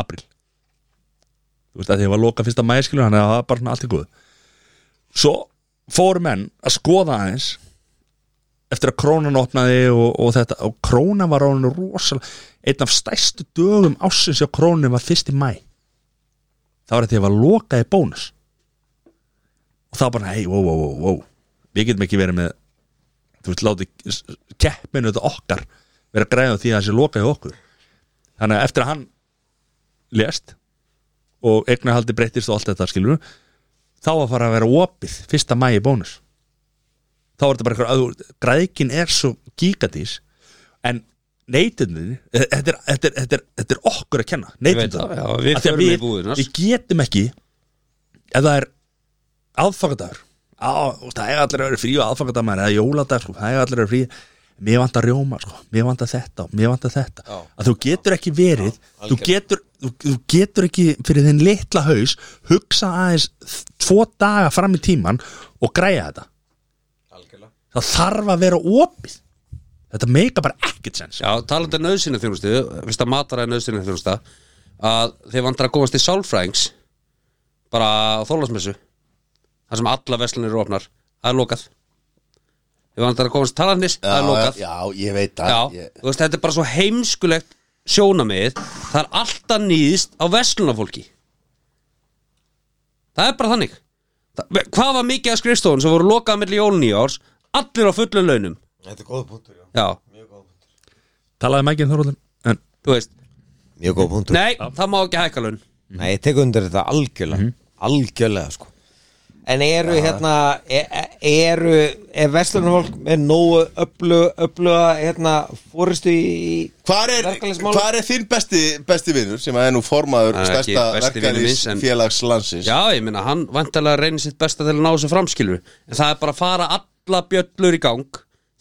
april þú veist að því að var loka fyrsta mæskilur þannig að það var bara svona allt í góð svo fóru menn að skoða aðeins eftir að krónan opnaði og, og þetta og krónan var ráðinu rosal einn af stærstu dögum ásins hjá krónin var fyrst í mæ það var að því að var lokaði bónus og það var bara hei, wow, wow, wow, wow við getum ekki verið með þú veist, láti keppinu þetta okkar vera að græða á því að það sé loka hjá okkur þannig að eftir að hann lést og eignahaldi breyttist og allt þetta skilur þá var fara að vera opið fyrsta mæi bónus þá var þetta bara eitthvað græðkin er svo gíkadís en neytundin þetta er, þetta, er, þetta, er, þetta er okkur að kenna ég veit neytundin það já, Við Af því að förum í búðunar við getum ekki ef það er aðfangadagur á, þú veist, það er allir að vera frí og aðfangadagur maður, eða jóladag, sko, það er allir að vera frí mér vantar rjóma, sko, mér vantar þetta og mér vantar þetta, að þú getur ekki verið þú getur, þú, þú getur ekki fyrir þinn litla haus hugsa aðeins þ- tvo daga fram í tíman og græja þetta það þarf að vera opið þetta meika bara ekkert sens Já, talandi nöðsynið þjónustu Fyrst að matara er nöðsynið þjónusta Að þeir vantar að komast í sálfræðings Bara á þólasmessu þar sem alla veslunir eru opnar Það er lokað Þeir vantar að komast talarnis, það er lokað já, ég veit Já, það ég, þú veist, þetta er bara svo heimskulegt sjónamið Það er alltaf nýðist á verslunafólki Það er bara þannig það, Hvað var mikið af skrifstofun sem voru lokað milli jól og nýjárs Allir á fullum launum Þetta er góð punktur, já Já, Mjög góð punktur talaði mækinn Þorvaldin, en þú veist Mjög góð punktur Nei, það má ekki hækka laun Nei, ég tek undir þetta algjörlega Mhm. Algjörlega, sko En eru hérna e- e- Eru, er verslunarfólk með nógu öflu, öfluga hérna, fóristu í Hvar er, Verkalýðsmálum? hvar er þinn besti, besti vinnur sem að er nú formaður Hann er ekki stærsta besti vinur míns, en- verkalýsfélags landsins Já, ég meina, hann vantarlega reynir sitt besta til að ná þessu framskilu En það er bara að fara alla bjöllur í gang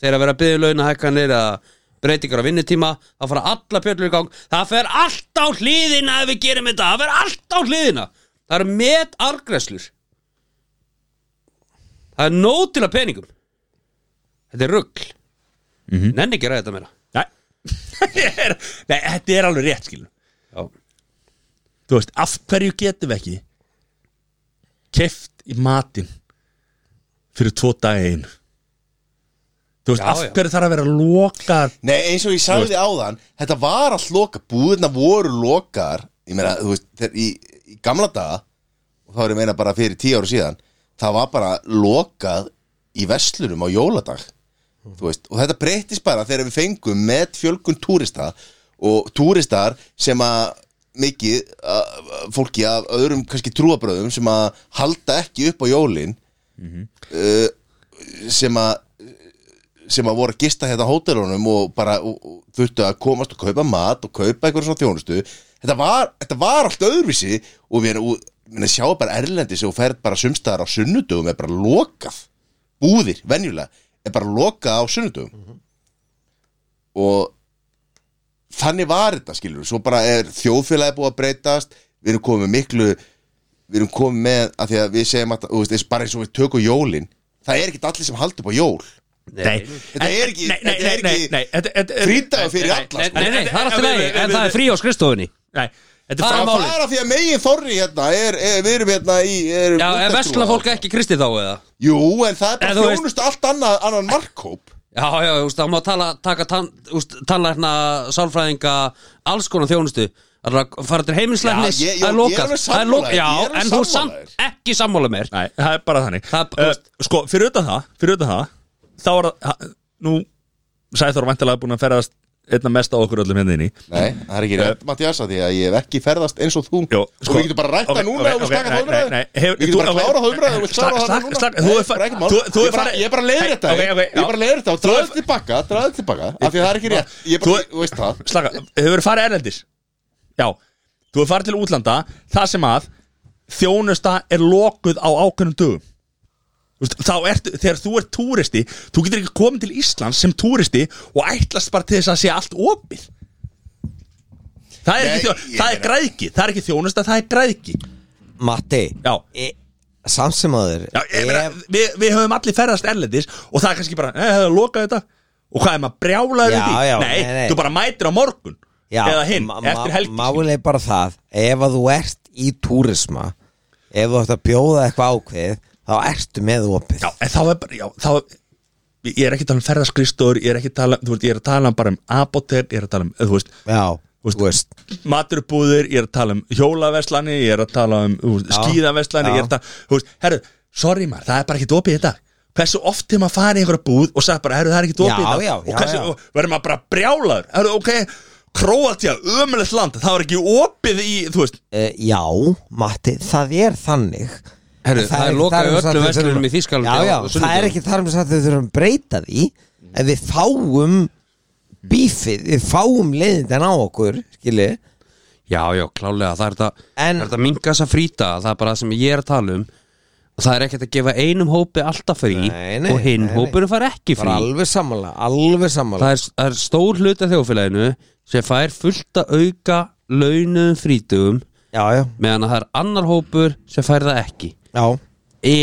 Þegar að vera að byggja launahækkanir eða breytingar á vinnutíma Það fara alla bjöllur í gang Það fer allt á hliðina ef við gerum þetta Það fer allt á hliðina Það eru met argreslur Það er nóg til að peningum Þetta er rugl Nenni ekki að ræða þetta meira nei, nei þetta er alveg rétt skilur Já, þú veist, af hverju getum við ekki keft í matinn fyrir tvo daga einu þú veist, Já, af já. hverju þarf að vera lokar Nei, eins og ég sagði áðan Þetta var allt loka, búðina voru lokar Ég meina, þú veist, þegar í, í gamla daga Og þá er ég meina bara fyrir tíu ára síðan Það var bara lokað í veslunum á jóladag Þú veist, og þetta breyttist bara þegar við fengum með fjölgun túrista Og túristar sem að mikið að, fólki af öðrum kannski trúabröðum sem að halda ekki upp á jólin uh, sem að sem að voru að gista hérna á hótelunum og bara og, og, þurftu að komast og kaupa mat og kaupa eitthvað svona þjónustu þetta var, þetta var allt öðruvísi og við erum, minna, sjá bara erlendis og ferð bara sumstaðar á sunnudögum er bara lokað, búðir, venjulega er bara lokað á sunnudögum og þannig var þetta skilur svo bara er þjóðfélagi búið að breytast við erum komið miklu við erum komið með að því að við segjum að þú veist, eins- bara eins og við tökum jólin það er ekki allir sem haldur upp á jól Nei, Þetta er ekki- Nei, nei, þetta er nei, ekki nei, nei, þetta er- frídagur fyrir Nei, alla, nei, sko. nei, Nei, nei, það er alltaf leiði, en það er frí á skrifstofunni Nei, þetta er Það er það fram málið. er að því að megin þorri hérna er, er, við erum hérna í erum Já, er útvarpstrúar. vesla fólk ekki kristið þá eða? jú en það er En bara þú veist- þjónust allt annað annan markkóp Já, já, já, úst, það má tala, taka tann, úst, tannlækna, sálfræðinga, alls konar þjónustu Það er að fara til heiminslæknis, Já, ég- ég- ég það er er lokað alveg Það er sammála þér, lokað, já, ég er alveg en þú sammála samt ekki sammála mér Nei, það er bara þannig Það- uh, Sko, fyrir utan það, fyrir utan það Þá er það, nú Sæþór vantilega búin að ferðast einna mest á okkur öllum hérna inn í nei það er ekki rétt Mattias að því að ég hef ekki ferðast eins og þú Jó, og við getum bara rætt það núna og stakka það umræðu við getum bara klára það umræðu og við klára það núna Þú Nei, er bara farið ekki mál. Ég bara- ég er bara leiður þetta ég er bara leiður þetta og draðu þetta tilbaka draðu þetta tilbaka af því að það er ekki rétt ég er bara Þú- þú veist það Slaka, hefur verið farið erlendis Já, þú hefur farið til útlanda Það sem að þjónusta er lokuð á ákveðnum dögum Þú veist, Þá ertu, þegar þú ert túristi Þú getur ekki komið til Íslands sem túristi Og ætlast bara til þess að sé allt opið Það er, Nei, ekki, ég þjó, það er meina- græðki, það er ekki þjónusta, það er græðki Matti Já, e, Samt sem aður Já ég meina, við, við höfum allir ferðast erlendis og það er kannski bara, neða, það er lokað þetta og hvað er maður brjálaður Já, við því? já, nei, nei, nei. þú bara mætir á morgun eða hinn, eftir helgi skilur. Málega bara það, ef að þú ert í túrisma Ef þú ert að bjóða eitthvað ákveð Þá ertu með opið Já, en þá er bara, já, þá ég er ekki að tala um ferðaskristur, ég er ekki að tala þú veist, ég er að tala um bara um apotek ég er að tala um, þú veist, Já, veist- þú veist maturbúðir ég er að tala um hjólaverslani, ég er að tala um þú veist, Já, skíðaverslani, já. ég er að tala þú veist, herru, sorry maður, það er bara ekki dopið í dag hversu oft hefur maður farið í einhverja búð og sagt bara, herru, það er ekki dopið í Já, dag já, og já, hversu, já. og verður maður bara brjálaður herru, ok, Króatía, ömulegt land það var ekki opið í, þú veist Uh, já, Matti, það er þannig Herru, En það er ekki lokað þar í með öllum sagt við verslunum þurfum- í Þýskalandi Já, á- já, á það er sunnudögum. Mm. ekki þar með sagt að við þurfum að breyta því En við fáum bífið, við fáum leiðindan á okkur, skilji Já, já, klálega, það er þetta En- Það er þetta minga þess að frýta, það er bara það sem ég er að tala um Það er ekkert að gefa einum hópi alltaf frí Nei, nei, og hinn nei, nei. hópurinn fær ekki Bara frí alveg sammála, alveg sammála það er, það er stór hluti af þjóðfélaginu sem fær fullt að auka launum frítugum Já, já, meðan að það er annar hópur sem fær það ekki já,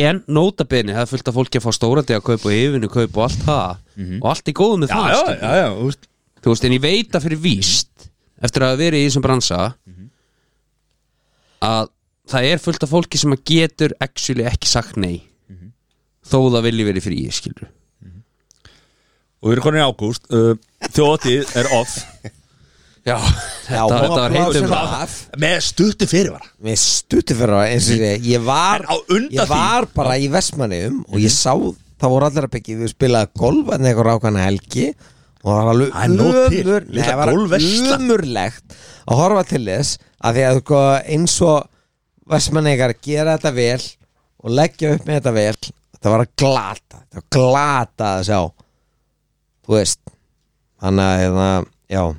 en nótabenni það er fullt af fólki að fá stórandi að kaupa og yfirinu kaupa og allt það og allt í góðum með Mhm. já, það já, skilur. já, já, þú veist þú veist en ég veit að fyrir víst eftir að hafa verið í þessum bransa Mhm. að það er fullt af fólki sem að getur actually ekki sagt nei Mhm. þó það vilji verið fyrir ég skilur og við erum konin í ágúst uh, þjóðatíð er off já, já þetta, þetta var heitt um það með stuttu fyrirvara Mér stutti fyrir það eins og ég Ég var, En á undan ég því- Mhm. var bara í Vestmanniðum og ég sá, það voru allir að byggja við spilaði golf en eitthvað rákana helgi og það var Það er nóg til. alveg ömur, nei, Litla það var golfversla. ömurlegt að horfa til þess að því að sko, eins og Vestmanniðar gera þetta vel og leggja upp með þetta vel það var að glata það var glata að sjá þú veist þannig að hérna, já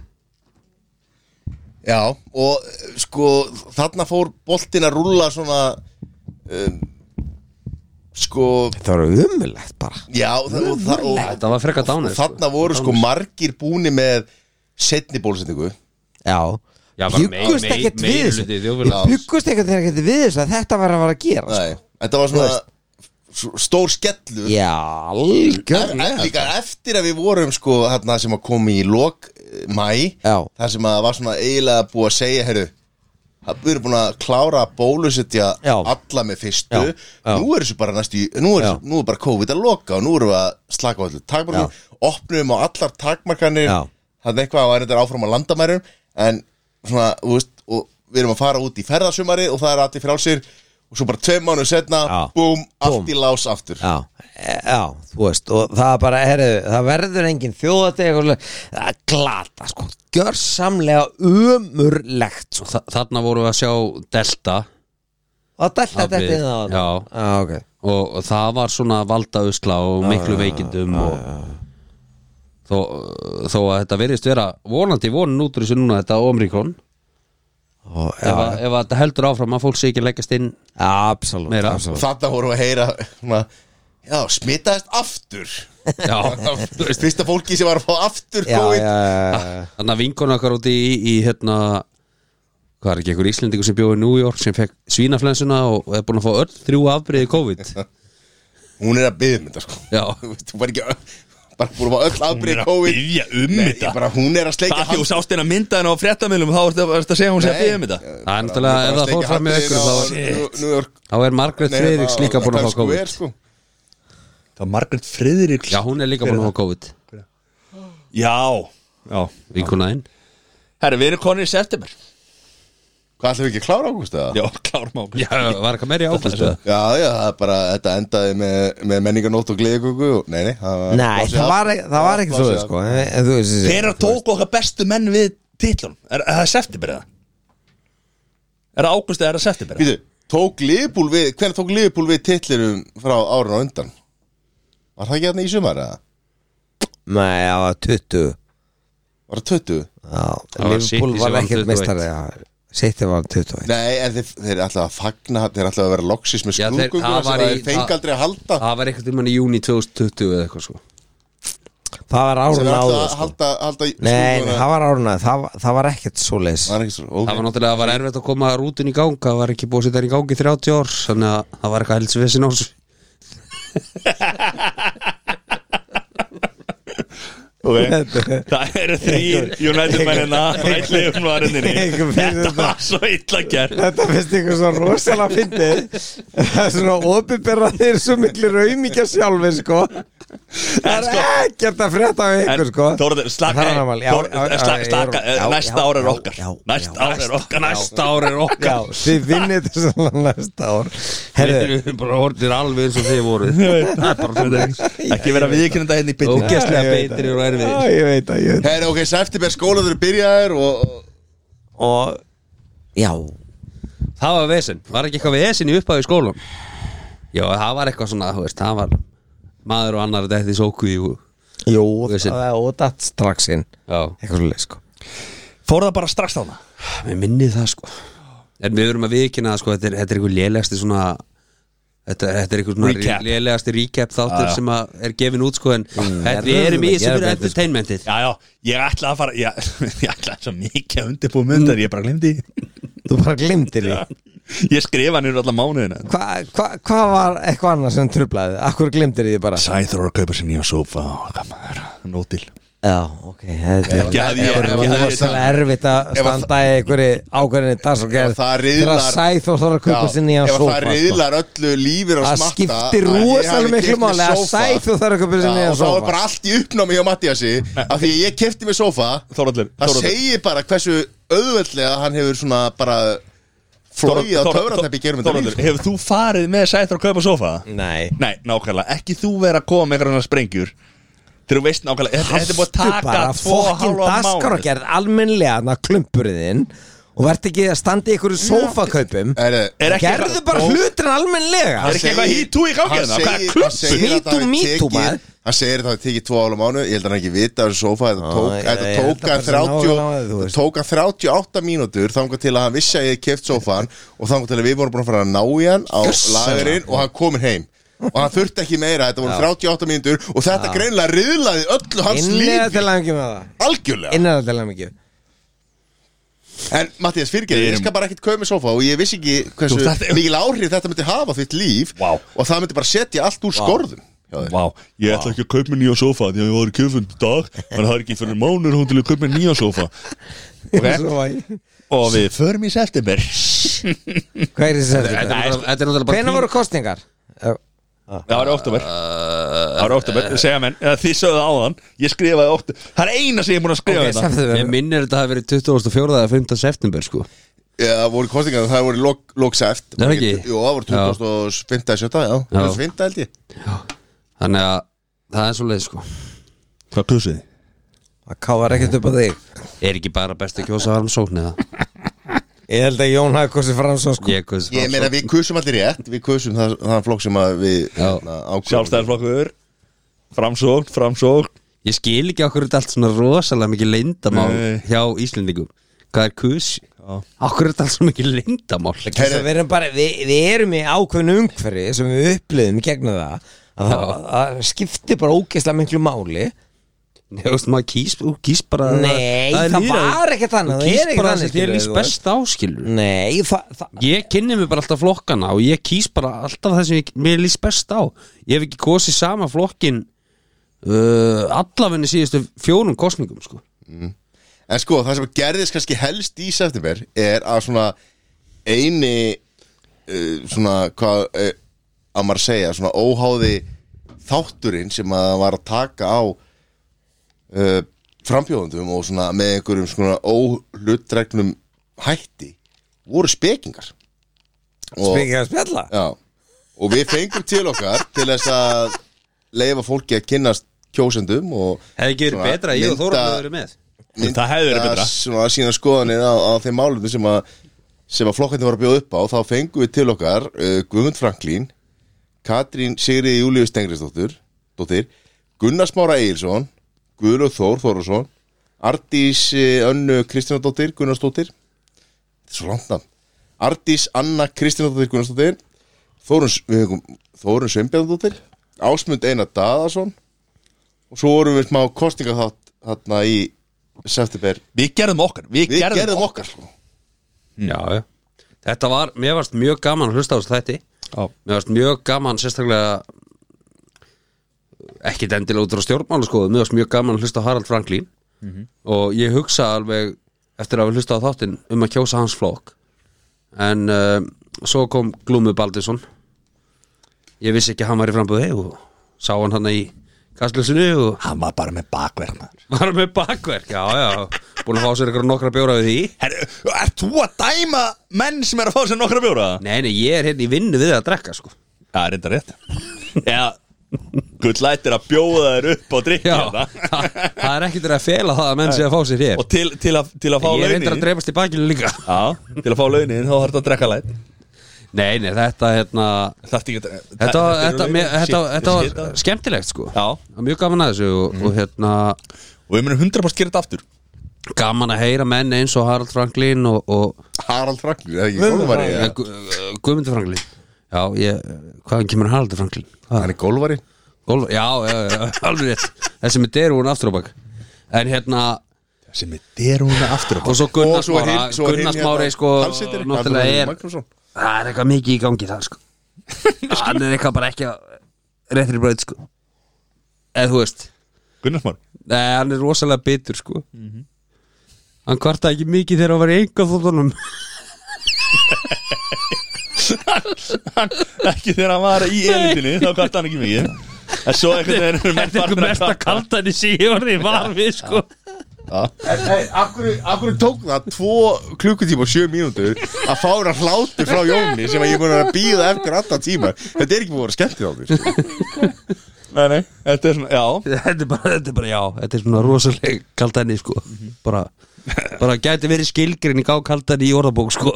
já og eh, sko þarna fór boltin að rúlla svona um, sko það var ömurlegt bara já það- og það- og- Þetta var frekar dánir og þarna voru sko margir búni með setni bólusetningu Já, Já, bara byggust mei- mei- ekkert við meirihluti þessu þjóðfélags. Byggust ekkert ekkert við þessu að þetta var að vera að gera sko. Nei, þetta var svona s- stór skellur Já, En en algjörlega líka eftir að við vorum sko þarna sem að kom í lok eh, mæ Já. þar sem að var svona eiginlega búið að segja herru, það við erum búin að klára að bólusetja Já. alla með fyrstu Já. Já. nú er þessu bara næstu í- nú er, Já. nú er bara COVID að loka og nú erum við að slaka á allir takmarkanir, opnum á allar takmarkanir Já. það er eitthvað að þetta áfram á landamærum en svona, þú veist og við erum að fara út í ferðasumari og það er allir frálsir og svo bara tveim mánu setna, Já. búm, Búm. allt í lás aftur Já, e- já, þú veist og það er bara, herru, það verður engin þjóðateg og svoleiðis. það er glata sko, gjörsamlega umurlegt sko. Þa- þarna vorum við að sjá Delta og þetta Að þetta við- inn á þetta já. ok og, og það var svona valdausla og miklu veikindum og þó, þó að þetta verðist vera vonandi vonin út úr þessu núna þetta Omrikon og, ef, já, að- ef að þetta heldur áfram að fólk sé ekki að leggjast inn absolutt, Meira. absolutt. Þarna vorum við að heyra svona, Já, smitaðist aftur Já, þú veist Fyrsta fólki sem var að fá aftur já, já, COVID já, já. Þannig að vinkona okkar úti í, í hérna Hvað er ekki, einhver Íslendingur sem bjóði í New York sem fekk svínaflensuna og er búin að fá öll þrjú afbreiði COVID Hún er að byggja um þetta sko Já. Þú veist, Hún var ekki bara búin að fá öll Hún afbrið er að COVID biðja um Nei, þetta. bara hún er að sleika Það því þú sást hérna myndaðin á fréttamilum Þá varst varstu að segja hún sé að byggja Nei. um þetta Það er náttúrulega, ef það fór fram með ykkur þá, þá er Margrét Friðriks líka búin að fá COVID sko. Það var Margrét Friðriks Já, hún er líka búin að fá COVID Já, já Vinkonaðinn Herra, við erum konir í september Hvað ætlum við ekki að klára ágúst eða? Já, klárum á Já, var eitthvað meiri ákvæmst Já, já, það er bara, þetta endaði með, með menninganótt og gleðgöku og, Nei, nei, það var Nei, það var, ekki- það var ekki svo sko. en, en þú veist þessi- Þeirra tóku okkar bestu menn við titlun Er, er það september eða? Er það águst eða er það september? eða? Býtu, tók Liverpool við, hvernig tók Liverpool við titlirum frá árun á undan? Var það ekki hérna í sumar eða? Nei, það var 20 Var það 20? já, var City Liverpool sem var vann ekkert 21. meistari Sitti var 21 Nei, en þeir, þeir ætlaði að fagna, þeir ætlaði að vera loksis með Já, þeir- skrúðgöngu það sem var þeir í- það- fengi aldrei að halda Það var eitthvað um hann í júni 2020 eða eitthvað sko Það var sem árun þeir ætlaði áður að sko. halda, halda Nei, nei, það var árun áður Það, það var ekkert svo leis var ekki svo, Það var ok náttúrulega, það var erfitt að koma rútin í gang Það var ekki búið að setja hann í gangi 30 ár Þannig að það var eitthvað heldsvesin ás Það eru þrýr United mennina Í klifum varinninni Einhver fyrir Þetta þetta. var svo illa gert Þetta finnst ykkur svo rosalega fyndið Það er svona opinberað þeir svo miklu raumíkja sjálfi sko Það er sko- ekkert að frétta af En ykkur sko Þórður, slaka Það er annað mál, já, já, já, slaka, já, slaka, eh, já, já, Næsta ár er já, okkar já, Næsta já, ár er okkar Næsta ár er Já, þið vinnið þessu svona næsta ár Herðu, Við erum bara hortir alveg eins og þið voru ár Ekki vera viðkynna þetta hérna í byrni Ógeðslega Ég veit beitri og erfið Já, ég veit að ég veit Herri, ok, september skóla þeir byrjaðir og, og Og, já Það var vesen, var ekki eitthvað vesen í upphafi í skólan Já, það var eitthvað svona, þú veist, það var Maður og annar þetta sóku í og- Jú, Vissin. það er ódatt straxinn Já, Eitthvað svo leis sko Fór það bara strax þána við minnið það sko En við verum að viðkynna það sko Þetta er, þetta er eitthvað lélegasti svona Þetta, þetta er eitthvað svona Recap. lélegasti recap þáttur já. sem að er gefin út sko En þetta, við verðum erum í að þessu gera fyrir betur, sko. entertainmentið Já, já, ég ætla að fara Ég, ég ætla svo mikið að undirbúið myndar Ég bara glemdi Þú bara glimtir því Ég skrifa hann yfir alla mánuðina Hvað hva, hva var eitthvað annað sem trublaði? Akkur glimtir því bara? Sæþur að kaupa sér nýja sófa og hvað maður, nótil Já, ok Þetta er Ekki að ég- þetta er ekki að ég- rosalega erfitt Ef að að standa í einhverju ákveðinni Ef dagsókjær að það Þegar að riðlar- sæð og þarf að Já, kupa sinni í að ef að sófa það sko. riðlar öllu lífir og Það smatta skiptir að ég rosalega hafi miklu keypt mér máli að sófa. Sæþór þarf að kaupa sér Já, nýjan og þá sófa. er bara allt í uppnámi hjá Mattiasi af því að ég kefti mér sófa Þórhallur, það Þórhallur. segir bara hversu auðveldlega hann hefur svona bara flóið á töfratæpi gerum þetta Þorvaldur, hefur þú farið með Sæþur að kaupa sófa? Mm. Nei Nei, nákvæmlega, ekki þú vera að koma með einhverjana sprengjur Þegar þú veist nákvæmlega, þetta- þetta er búið að taka tvo og fokkin hálfa mánuð dagsókjær almenlega hann að klumpurinn og verð ekki að standa í einhverju sófakaupum Er, Er ekki- Gerðu bara hlutin almenlega Er ekki eitthvað í tú í gangi hérna? Hvað er klumpur? Me too, me too, maður. Hann segir að það hafi tekið tvo ála mánu Ég held að hann ekki vita af þessu sófa Þetta tók, ég- þetta ég held tók, að að bara svona 30 nálega, þú þetta veist. tók að 38 mínútur Þangar til að hann vissi að ég keft sófan Og þangar til að við vorum búin að fara að ná í hann Á lagerinn og hann komin heim Og hann þurfti ekki meira, þetta voru 38 mínútur Og þetta greinlega riðlaði öllu hans Innlega lífi til langi með það Algjörlega Innlega til langi En Mattias, fyrirgeðu, ég skal bara ekkert kaupa með sófa Og ég vissi ekki hversu Þú, þetta- mikil áhrif þetta myndi hafa á þitt líf Vá. Og það myndi bara setja allt úr skorðum hjá þér. Vá, ég ætla ekki að kaupa mér nýja sófa Því að ég var í kjöfund í dag En það er ekki fyrir mánuð hún til að kaupa mér nýja sófa Hvað Og við förum í september er þessi Þetta sæðið? er náttúrulega- þetta er náttúrulega bara Hvenær voru kostningar? Það var í oktober Það var í oktober, Eh, segja menn eða Þið sögðu áðan, ég skrifaði oktober Það er eina sem ég er búin að skrifa hérna. Ok, þetta september. Ég minnir þetta hafi verið 24. eða 5. september sko Já, það voru kostingar, það voru lok- loksæft Nei, ekki? Jú, það voru 2015 já. 17, já, 2015 held ég Þannig að það er svo leið sko Hvað kusuði? Það káðar ekkert upp á þig Er ekki bara best að kjósa framsókn eða Ég held að Jón hafi kosið fram svo sko Ég kjósa Ég meina, framsókn við kusum allir rétt, við kusum það, það flokk sem að við hérna, Já. ákvæmum Sjálfstæðarflokkur Framsókn, framsókn Ég skil ekki okkur þetta allt svona rosalega mikið leyndamál Nei. hjá Íslendingum Hvað er kus? Já, Akkur er þetta alls svo mikið lindamál Þess að Við erum, bara, við, við erum í ákveðnu umhverfi sem við upplifum gegna það að það- að það skiptir bara ógeðslega miklu máli Nei, þú veist, maður kýs, þú kýs bara Nei, það lýðræði. var ekkert Þú þannig, það er kýs ekkert bara þannig, þess að þér skilur líst við, best áskilur Nei, það, það, Ég kynni mig bara alltaf flokkana og ég kýs bara alltaf það sem ég, mér líst best á Ég hef ekki kosið sama flokkin uh, allafinni síðustu fjórum kosningum sko. En sko, það sem gerðist kannski helst í september er að svona eini uh, svona, hvað uh, að maður segja, svona óháði þátturinn sem að var að taka á uh, frambjóðundum og svona með einhverjum svona óhlutregnum hætti voru spekingar og, Spekja að spjalla Já, og við fengum til okkar til þess að leifa fólki að kynnast kjósendum og Hefði ekki verið svona betra að ég og mynda- Þóra hefði verið með Það hefði verið betra. svona, sína skoðanir á, á þeim málum sem að sem að flokkarnir var að bjóða upp á þá fengum við til okkar uh, Guðmund Franklín Katrín Sigriði Júliu Stengriðsdóttir dóttir, Gunnar Smára Egilson Guðlaug Þór Þórusson Ardís eh, Önnu Kristjánadóttir Gunnarsdóttir þetta er svo langt nafn Ardís Anna Kristjánadóttir Gunnarsdóttir Þórun, við hefum Þórun Sveinbjörndóttir Ásmund Einar Daðarsson og svo vorum við smá kostninga þátt þarna í september Við gerðum okkar Við, Við gerðum, okkar sko. Já, já Þetta var, mér varst mjög gaman að hlusta á þessu þætti Já. Mér varst mjög gaman sérstaklega ekkit endilega út á stjórnmála skoðu Mér varst mjög gaman að hlusta á Harald Franklín og ég hugsa alveg eftir að við hlusta á þáttinn um að kjósa hans flokk en uh, svo kom Glúmi Baldinsson Ég vissi ekki að hann var í frambúði og sá hann hann í kastljósinu og Hann var bara með bakverð maður. var með bakverk Já, já, búin að fá sér ykkur nokkra bjóra við því Herru, ert þú að dæma menn sem er að fá sér nokkra bjóra? Nei, nei, ég er hérna í vinnu við að drekka sko Það er þetta rétt Já, gull lætir að bjóða þér upp á drikki Já, hérna. það, það er ekkert verið að fela það að menn sé að fá sér hér Og til, til, að, til að fá Ég er launin reyndar að dreifast í bakinu líka Já, til að fá launin þá þarf þetta að drekka læt Nei, nei, þetta hérna Þarfti ekki að drekka Þetta, eru þetta, launin. mér, þetta, Shit, þetta shit, var skemmtilegt sko Já. Mm. Það var Mjög gaman að þessu og, og hérna Og við munum 100% gera þetta aftur Gaman að heyra menn eins og Harald Franklín og, og Harald Franklín, það er ekki gólvari ja. ja. Gu, eh, uh, Guðmundur Franklín Já, ég, hvaðan kemur Haraldur Franklín? Hvað? Hann er gólvari Golf, já, já, já, alveg rétt Þessi með derúin aftur á bak En hérna, Sem er derúna aftur og svo Gunnar Og svo Smára hinn- svo hinn Gunnar hérna, Smára er sko Hallsittir, náttúrulega Halldór er Magnússon. það er eitthvað mikið í gangi það sko hann er eitthvað bara ekki á réttri bröð sko eða þú veist Gunnarsmár nei, hann er rosalega bitur sko Mhm. hann kvarta ekki mikið þegar hann var í enga þóttunum Ekki þegar hann var í elitinni Þá kvart hann ekki mikið En svo einhvern veginn eru menn þetta er eitthvað farnir að mesta kvarta. kaldan í síðan ég var við sko En hey, akkur, akkur tók það tvo klukkutíma og sjö mínútur að fá hérna hlátur frá Jóni sem að ég er búin að býða eftir alltaf tíma Þetta er ekki búin að vera skemmtið á því sko. Nei, nei, þetta er svona, já þetta er bara, þetta er bara já þetta er svona rosalega kaldan í sko Mhm. bara, bara gæti verið skilgrinning á kaldan í orðabók sko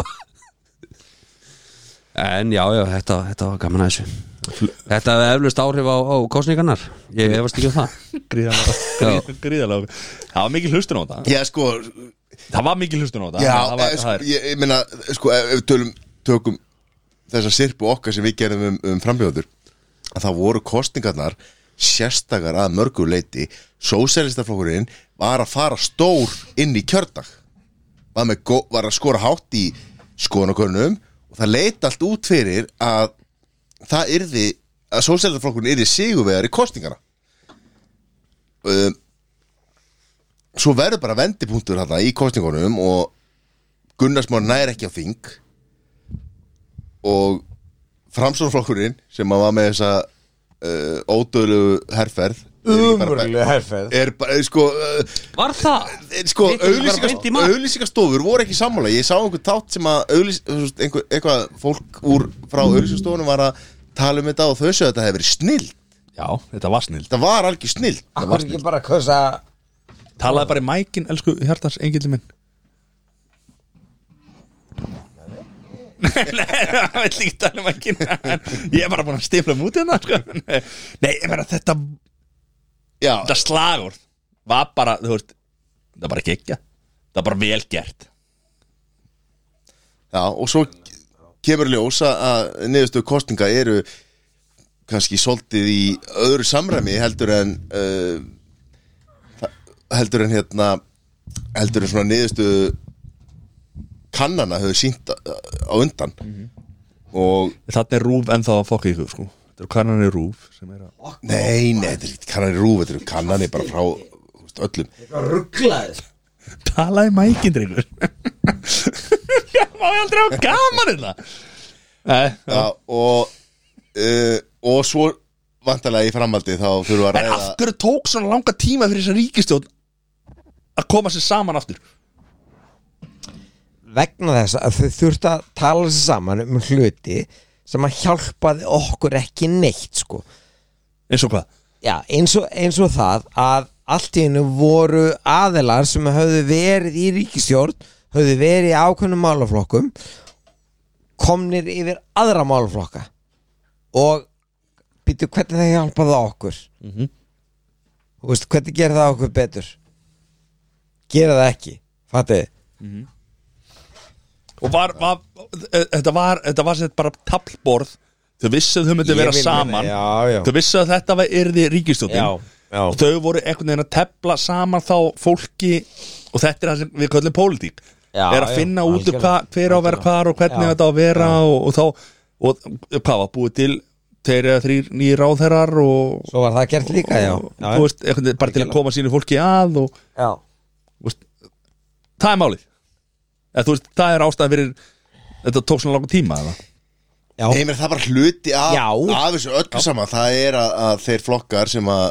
en já, já, þetta, þetta var gaman að þessu þetta hefði eflust áhrif á, á kosningarnar ég hefast ekki um það gríðalega gríðalega það var mikil hlustun á þetta Já sko, það var mikil hlustun á þetta já, það var, eh, það sko er, ég, ég meina, sko, ef ef við tölum, tökum þessa sirpu okkar sem við gerðum um, um frambjóður að það voru kostningarnar sérstakar að mörgu leiti sósælistaflokkurinn var að fara stór inn í kjördag var, með, gó- var að skora hátt í skoðanakörnum og það leit allt út fyrir að það yrði að sósælistaflokkurinn yrði sigurvegar í kostningarna um, svo verður bara vendipunktur þarna í kostningunum og Gunnarsmár næri ekki á þing og framsóknflokkurinn sem að var með þessa uh, ódöðlegu herferð er ekki bara- Umurlega herfæð er bara, sko uh, var það? Eh, sko, Hittum við bara beint í mark? auðlýsingastofur voru ekki sammála ég sá einhver tátt sem að auglýs- þú veist, einhver, eitthvað fólk úr frá auðlýsingastofunum var að tala um þetta og þau sögðu að þetta hefði verið snill já, þetta var snill þetta var algjör snill Akkur ekki bara að kosa talaði bara í mækin, elsku hjartans, engildi minn Nei, það vill ekki tala um mækin Ég er bara búin að stifla mútið hérna sko. Nei, Nei, ég meina þetta já, Þetta slagur Var bara, þú veist Það er bara ekki ekki Það er bara vel gert Já, og svo kemur ljós að- að niðurstöðu kostninga eru kannski svolítið í öðru samræmi heldur en uh, heldur en hérna heldur en svona niðurstöðu kannana hefur sínt á undan Mhm. og Þannig er rúf ennþá að fokka ykkur sko Þetta eru kannanir rúf sem er að nei, nei, þetta er ekki kannanir rúf þetta eru kannanir bara frá þú veist, öllum Rugglaður Talaði mækinn, drengur Má ég aldrei hafa gaman hérna? þetta Nei, já. Já, og uh, og svo vantarlega í framhaldi þá þurfum við að En af ræða hverju tók svona langa tíma fyrir þessa ríkistjórn að koma sér saman aftur vegna þess að þau þurftu að tala sér saman um hluti sem að hjálpaði okkur ekki neitt sko. eins og hvað Já, eins, og, eins og það að allt í hennu voru aðilar sem höfðu verið í ríkistjórn höfðu verið í ákveðnum málaflokkum komnir yfir aðra málaflokka og býtu hvernig það hjálpaði okkur mm Mhm. -hmm. veist, hvernig gera það okkur betur gera það ekki fattiði og var, var, e, þetta var þetta var sett bara tablborð þau vissu að þau myndi Ég vera vil meina, saman já, já. þau vissu að þetta var yrði ríkistjóttin Já, já. og þau voru einhvern veginn að tefla saman þá fólki og þetta er það sem við köllum pólitík Já, er að já, finna út úr algjörlega, hvað, hver á að vera hvar og hvernig Já. þetta á að vera og, og þá, og hvað var búið til þeir eða þrýr nýjir ráðherrar og, svo var það gert líka, já, og, já, þú veist, einhvern veginn bara til að koma sínu fólki að og já. þú veist, það er málið eða þú veist, það er ástæðan fyrir þetta tók svona langan tíma eða? Já. Nei, mér það er bara hluti af, Já. af þessu öllu saman Það er að, að þeir flokkar sem að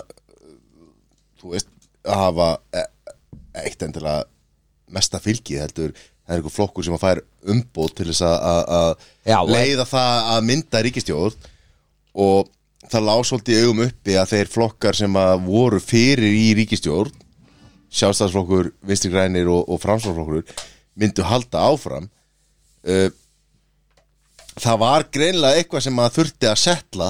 þú veist, hafa e- eitt endilega mesta fylgi heldur það er einhver flokkur sem að fær umbót til þess að- að Já, að leiða það að mynda ríkistjóð og það lá svolítið í augum uppi að þeir flokkar sem að voru fyrir í ríkistjórn sjálfstæðsflokkur, vinstri grænir og, og framstæðsflokkur myndu halda áfram uh, það var greinlega eitthvað sem að þurfti að setla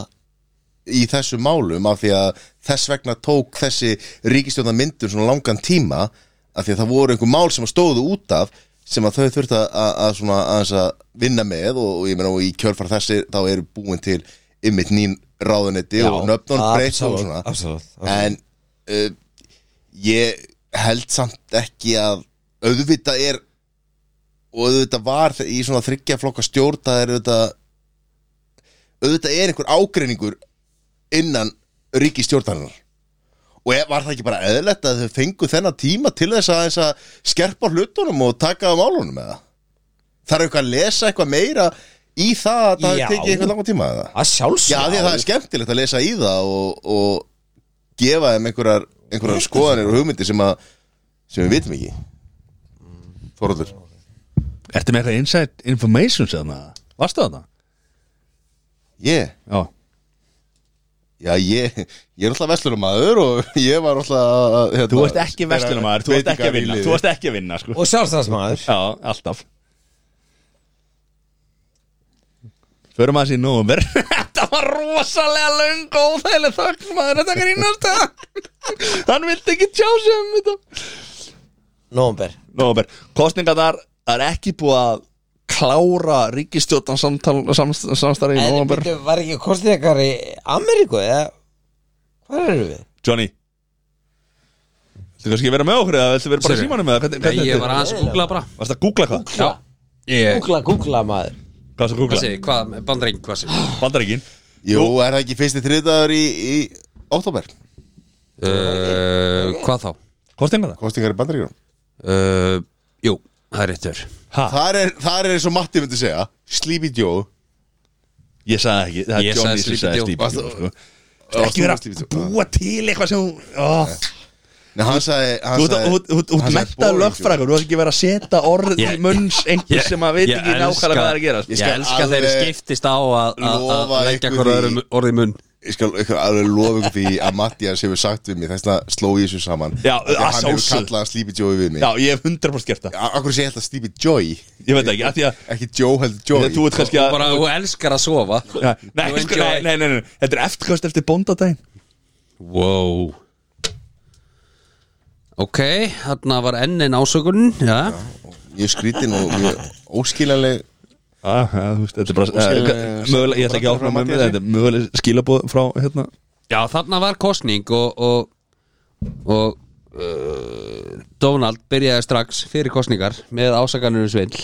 í þessu málum af því að þess vegna tók þessi ríkistjórna myndun svona langan tíma af því að það voru einhver mál sem að stóðu út af sem að þau þurfti að, að, að svona aðeins að vinna með og, og ég meina og í kjölfar þessi þá eru búin til ymmit nýn ráðunetti og nöfnum breytt og svona absolutt, en uh, ég held samt ekki að auðvitað er og auðvitað var þe- í svona þryggja flokka stjórn það er auðvitað auðvitað er einhver ágreiningur innan ríkistjórnarinnar og e- var það ekki bara eðlilegt að þau fengu þennan tíma til þess að, þess að skerpa á hlutunum og taka á málunum eða það er eitthvað að lesa eitthvað meira í það að það Já. tekið eitthvað langan tíma eða Já, að því að það sjálfsög er skemmtilegt að lesa í það og, og gefa þeim einhverjar, einhverjar skoðanir og hugmyndir sem, að, sem við vitum ekki Þorður Ertu með eitthvað inside information sem það? Varstu það það? Ég, Já já ég, ég er alltaf vestlunumæður og ég var alltaf að, hérna, Þú varst ekki verslunumæður, þú varst ekki að vinna breytingar í liði. Þú varst ekki að vinna, sko og sjálfstæðsmaður Já, alltaf Förum að þessi í nóvumber Þetta var rosalega löng og óþægileg þögn maður Þetta grínast það Hann vildi ekki tjá sig um þetta nómber Nóvember, kostninga þar er ekki búið að klára ríkistjóttan samstarfi í en nóvember byrju, var ekki kostningar í Ameríku eða hvað eru við? Johnny Þú kannski vera með okkur eða viltu vera bara í Sorry. símanum eða hvernig, Nei, hvernig ég var aðeins að googla bara Varst að googla hvað? Já Ég, Googla, googla maður Hvað varst að hvað googla? segir, hvað, bandring, hvað segir Bandaríkin Jú, er það ekki fyrsti þriðdagur í, í óttóber uh, Hvað þá? Kostinga það? Kostingar í bandaríkjum Uh, jú, það er réttur Ha, Þar er, þar er eins og Matti myndi segja Sleepy Joe ég sagði ekki Það Ég er Johnny sagði sem Sleepy sagði Joe. Sleepy Varst- Joe sko. varst þú Ekki vera að Sleepy Joe? búa til eitthvað sem ó, Nei, hann sagði hann Þú ert að- sagði- þú ert- þú ert- þú hann ert sagði mentað boring lögfrækur Þú ert ekki verið að setja orð í Ég- munns einhver Ég- sem að veit ég ekki elska- nákvæmlega hvað það er að gera Ég Ég, sko. skal elska alveg þeir skiptist á að- að að lofa leggja ykkur hver því- öðrum orðið munn ég skal ykkur alveg lofa ykkur því að Mattias hefur sagt við mig þess að sló ég þessu saman Já, Af því að að hann hefur sjálfsögðu. kallað hann Sleepy Joey við mig Já, ég hef 100% gert það Akkur sé ég alltaf Sleepy Joy Ég veit ekki, af því að ekki Joe heldur því Joy að þú ert kannski að Bara, þú elskar að sofa Ja, Nei, You sko, enjoy. nei, nei, nei, nei, þetta er eftirkvæmst eftir bóndadaginn Wow Ok, þarna var enn einn ásökun Já, mjög skrítin og mjög óskiljanleg Ah, ja, þú veist, þetta er bara skilur, eh, eh, mögulega, ég ætla ekki að áfram með þetta er mögulega skilabóð frá hérna Já, þarna var kosning og og, og uh, Donald byrjaði strax fyrir kosningar með ásakanur um svindl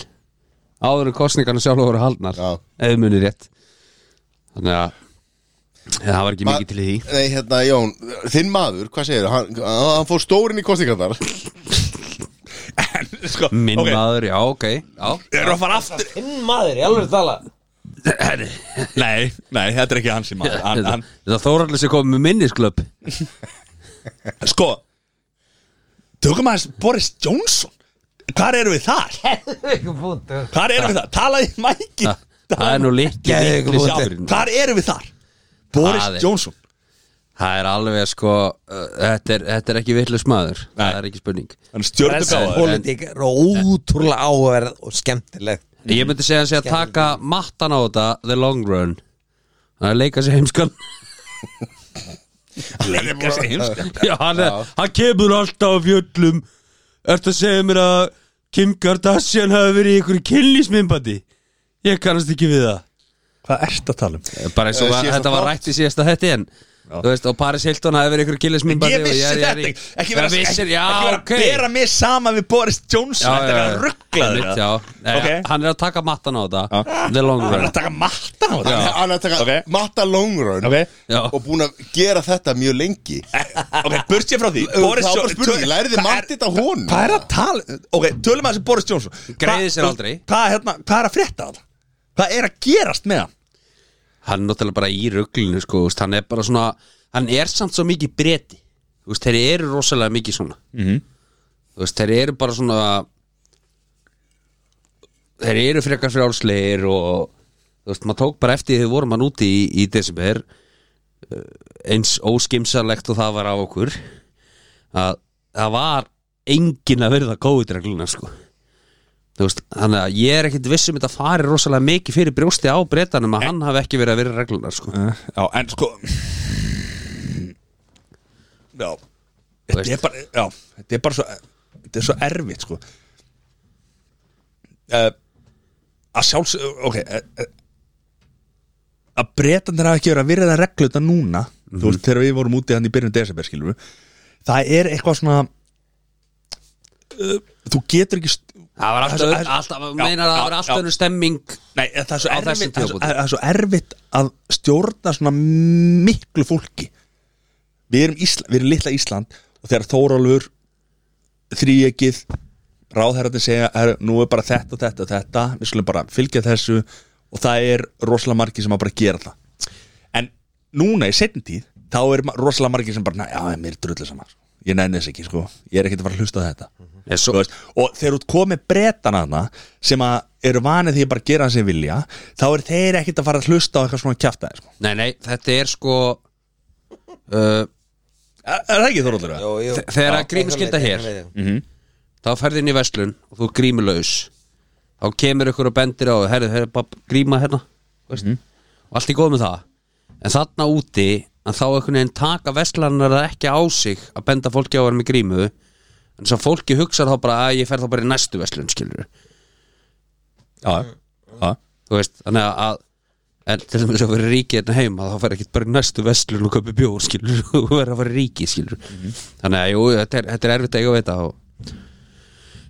áður en kosningarna sjálf voru haldnar Já. ef munið rétt þannig að ja, það var ekki mikið til í því Nei, hérna, Jón, þinn maður, hvað segir hann, hann fór stórin í kostingarnar sko, Minn ok, maður, já, ok já. Erum við að fara aftur? Hinn maður, ég alveg að tala Nei, nei, þetta er ekki hans í maður hann, Þetta, hann, þetta Þóraldur sem kom með minnisklöp Sko Tökum aðeins Boris Johnson Hvar erum við þar? Geðveikur punktur. Hvar erum við þar? Talaði mæki það, það er nú litli Geðveikur litli punktur. sjálfurinn. Hvar erum við þar? Boris Það er- Johnson Það er alveg sko uh, þetta er, þetta er ekki villus maður Nei. Það er ekki spurning Hann Brennsa stjórnum pólitík er ótrúlega áverð og skemmtilegt Ég myndi segja hans að taka mattan á þetta The long run Það er að leika sér heimskan Leika sig heimskan Já, hann, er, hann kemur alltaf á fjöllum Ertu að segja mér að Kim Kardashian hafi verið í einhverju kynlísmyndbandi Ég kannast ekki við það Hvað ert að tala um? Bara eins og Eh, var, síðasta þetta var þátt. rætt í síðasta þetta en Þú veist, og Paris Hilton hafi verið í einhverju kynlísmyndbandi Ég og vissi er- ég er þetta í- ekki Ekki vera, Það vissir, já, ekki vera ok að bera mig sama við Boris Johnson Þetta er að rugglaður Einmitt, já. Nei, Ok. Hann er að taka mattan á þetta The long Hann er run að taka matta á þetta Hann er að taka Ok. matta long run Ok, Já. og búin að gera þetta mjög lengi Eh, ok, burt sér frá því Það var bara spurning, Tö- lærði hvað er- Martin þetta honum? Hvað er að tala, ok, tölum að þessi Boris Johnson Greiðir Hvað- sér aldrei. Hvað hérna, hvað er að frétta hann? Hvað er að gerast með hann? Hann er náttúrulega bara í rugglinu sko, þú veist, Hann er bara svona Hann er samt svo mikið breti Þú veist, Þeir eru rosalega mikið svona mm veist, Þeir eru bara svona Þeir eru frekar frjálsleir og þú veist, maður tók bara eftir því þegar við vorum hann úti í, í desember eh, eins óskimsalegt og það var á okkur að það var engin að verða COVID-regluna sko Þú veist, þannig að ég er ekkit viss um þetta fari rosalega mikið fyrir brjósti á breytanum að hann hafi ekki verið að vera regluna sko. Já, en sko Já Þetta er veist. bara, já, þetta er bara svo Þetta er svo erfitt, sko uh, Að sjálfs, ok eh, eh, Að breytandir hafa ekki verið að virða reglu þetta núna Mhm. Þú veist, þegar við vorum úti hann í byrjun desember, skilur við Það er eitthvað svona uh, Þú getur ekki st- það var alltaf, Það er alltaf, svo- Já, meinar að já, það var alltaf já. önnur stemming Nei, það er svo Á þessum erfitt það er svo- tímapunkti. það er svo erfitt að stjórna svona miklu fólki Við erum, Ísla, við erum litla Ísland og þegar Þórólfur þríegið ráðherrarnir segja er, nú er bara þetta og þetta og þetta við skulum bara fylgja þessu og það er rosalega margir sem að bara gera það en núna í setjum tíð þá er ma- rosalega margir sem bara "Nei, já, mér er drullu saman, ég nenni þess ekki sko ég er ekkert að fara að hlusta á þetta Ég svo- Þú veist, og þegar þú komið bretana þarna sem að eru vanið því að bara gera sem vilja þá er þeir ekkert að fara að hlusta á eitthvað svona kjaftaði sko. nei, nei, þetta er sko uh, er, er það ekki Þórólfur? Jú, jú. þe- þegar að grímuskylda hér þá ferði inn í verslun og þú grímulaus þá kemur ykkur og bendir á þig, herri, herri, bara gríma hérna mm -hmm. og allt í góð með það en þarna úti en þá einhvern veginn taka verslanar ekki á sig að benda fólki á að vera með grímu en svo fólki hugsar þá bara að ég fer þá bara í næstu verslun skilur Já, já þú veist, þannig að- að en til þess að vera ríki hérna heima þá fer ekki bara í næstu verslun og köpi bjór skilur og vera að fara í ríki skilur Mhm. þannig að jú, þetta er, þetta er erfitt að eiga við þetta og...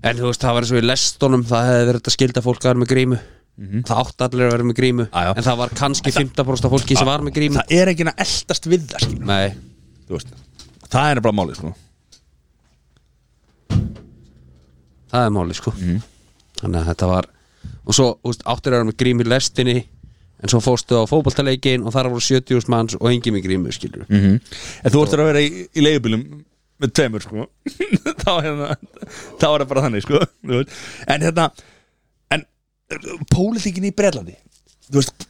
en þú veist, það var eins og í lestunum það hefði verið þetta skilda fólk að vera með grímu það átti allir að vera með grímu Mhm. Já, já. en það var kannski 15% af fólki sem var með grímu það er ekki að eldast við það skilur. nei, Þú veist, það er bara málið sko. það er máli sko Mhm. þannig að þetta var og svo þú veist, áttir að vera með grímu í lestinni en svo fórstu á fótboltaleikin og þar voru 70.000 manns og engin með grímu skilur mm en þú ertur að vera í, í leigubílum með tveimur sko þá, hérna, þá er það bara þannig sko þú veist. en hérna en pólitíkin í Breitlandi þú veist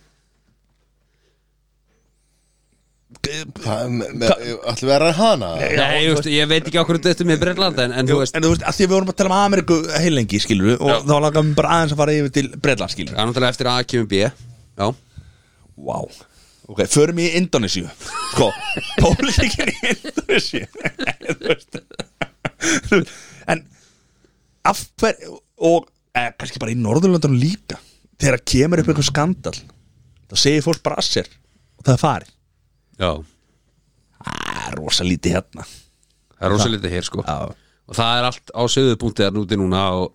Ætlum við að ræða hana? Nei, ég, veist, ég veit ekki okkur um þetta er með Breitland en, en þú veist, en þú veist, að því að við vorum að tala um Ameríku heilengi skilur og þá langar við bara aðeins að fara yfir til Breitland skilur það er náttúrulega eftir A kemur B Já, wow. ok, förum í Indonesia sko, pólitíkin í Indonesia Þú veist. Þú veist, en af hver og eh, kannski bara í Norðurlandunum líka þegar kemur upp eitthvað skandal þá segir fólk bara að sér og það er farið Já, Það er rosa lítið hérna það er rosa lítið hér sko Já. Og það er allt á söðupunkti þar núti núna og,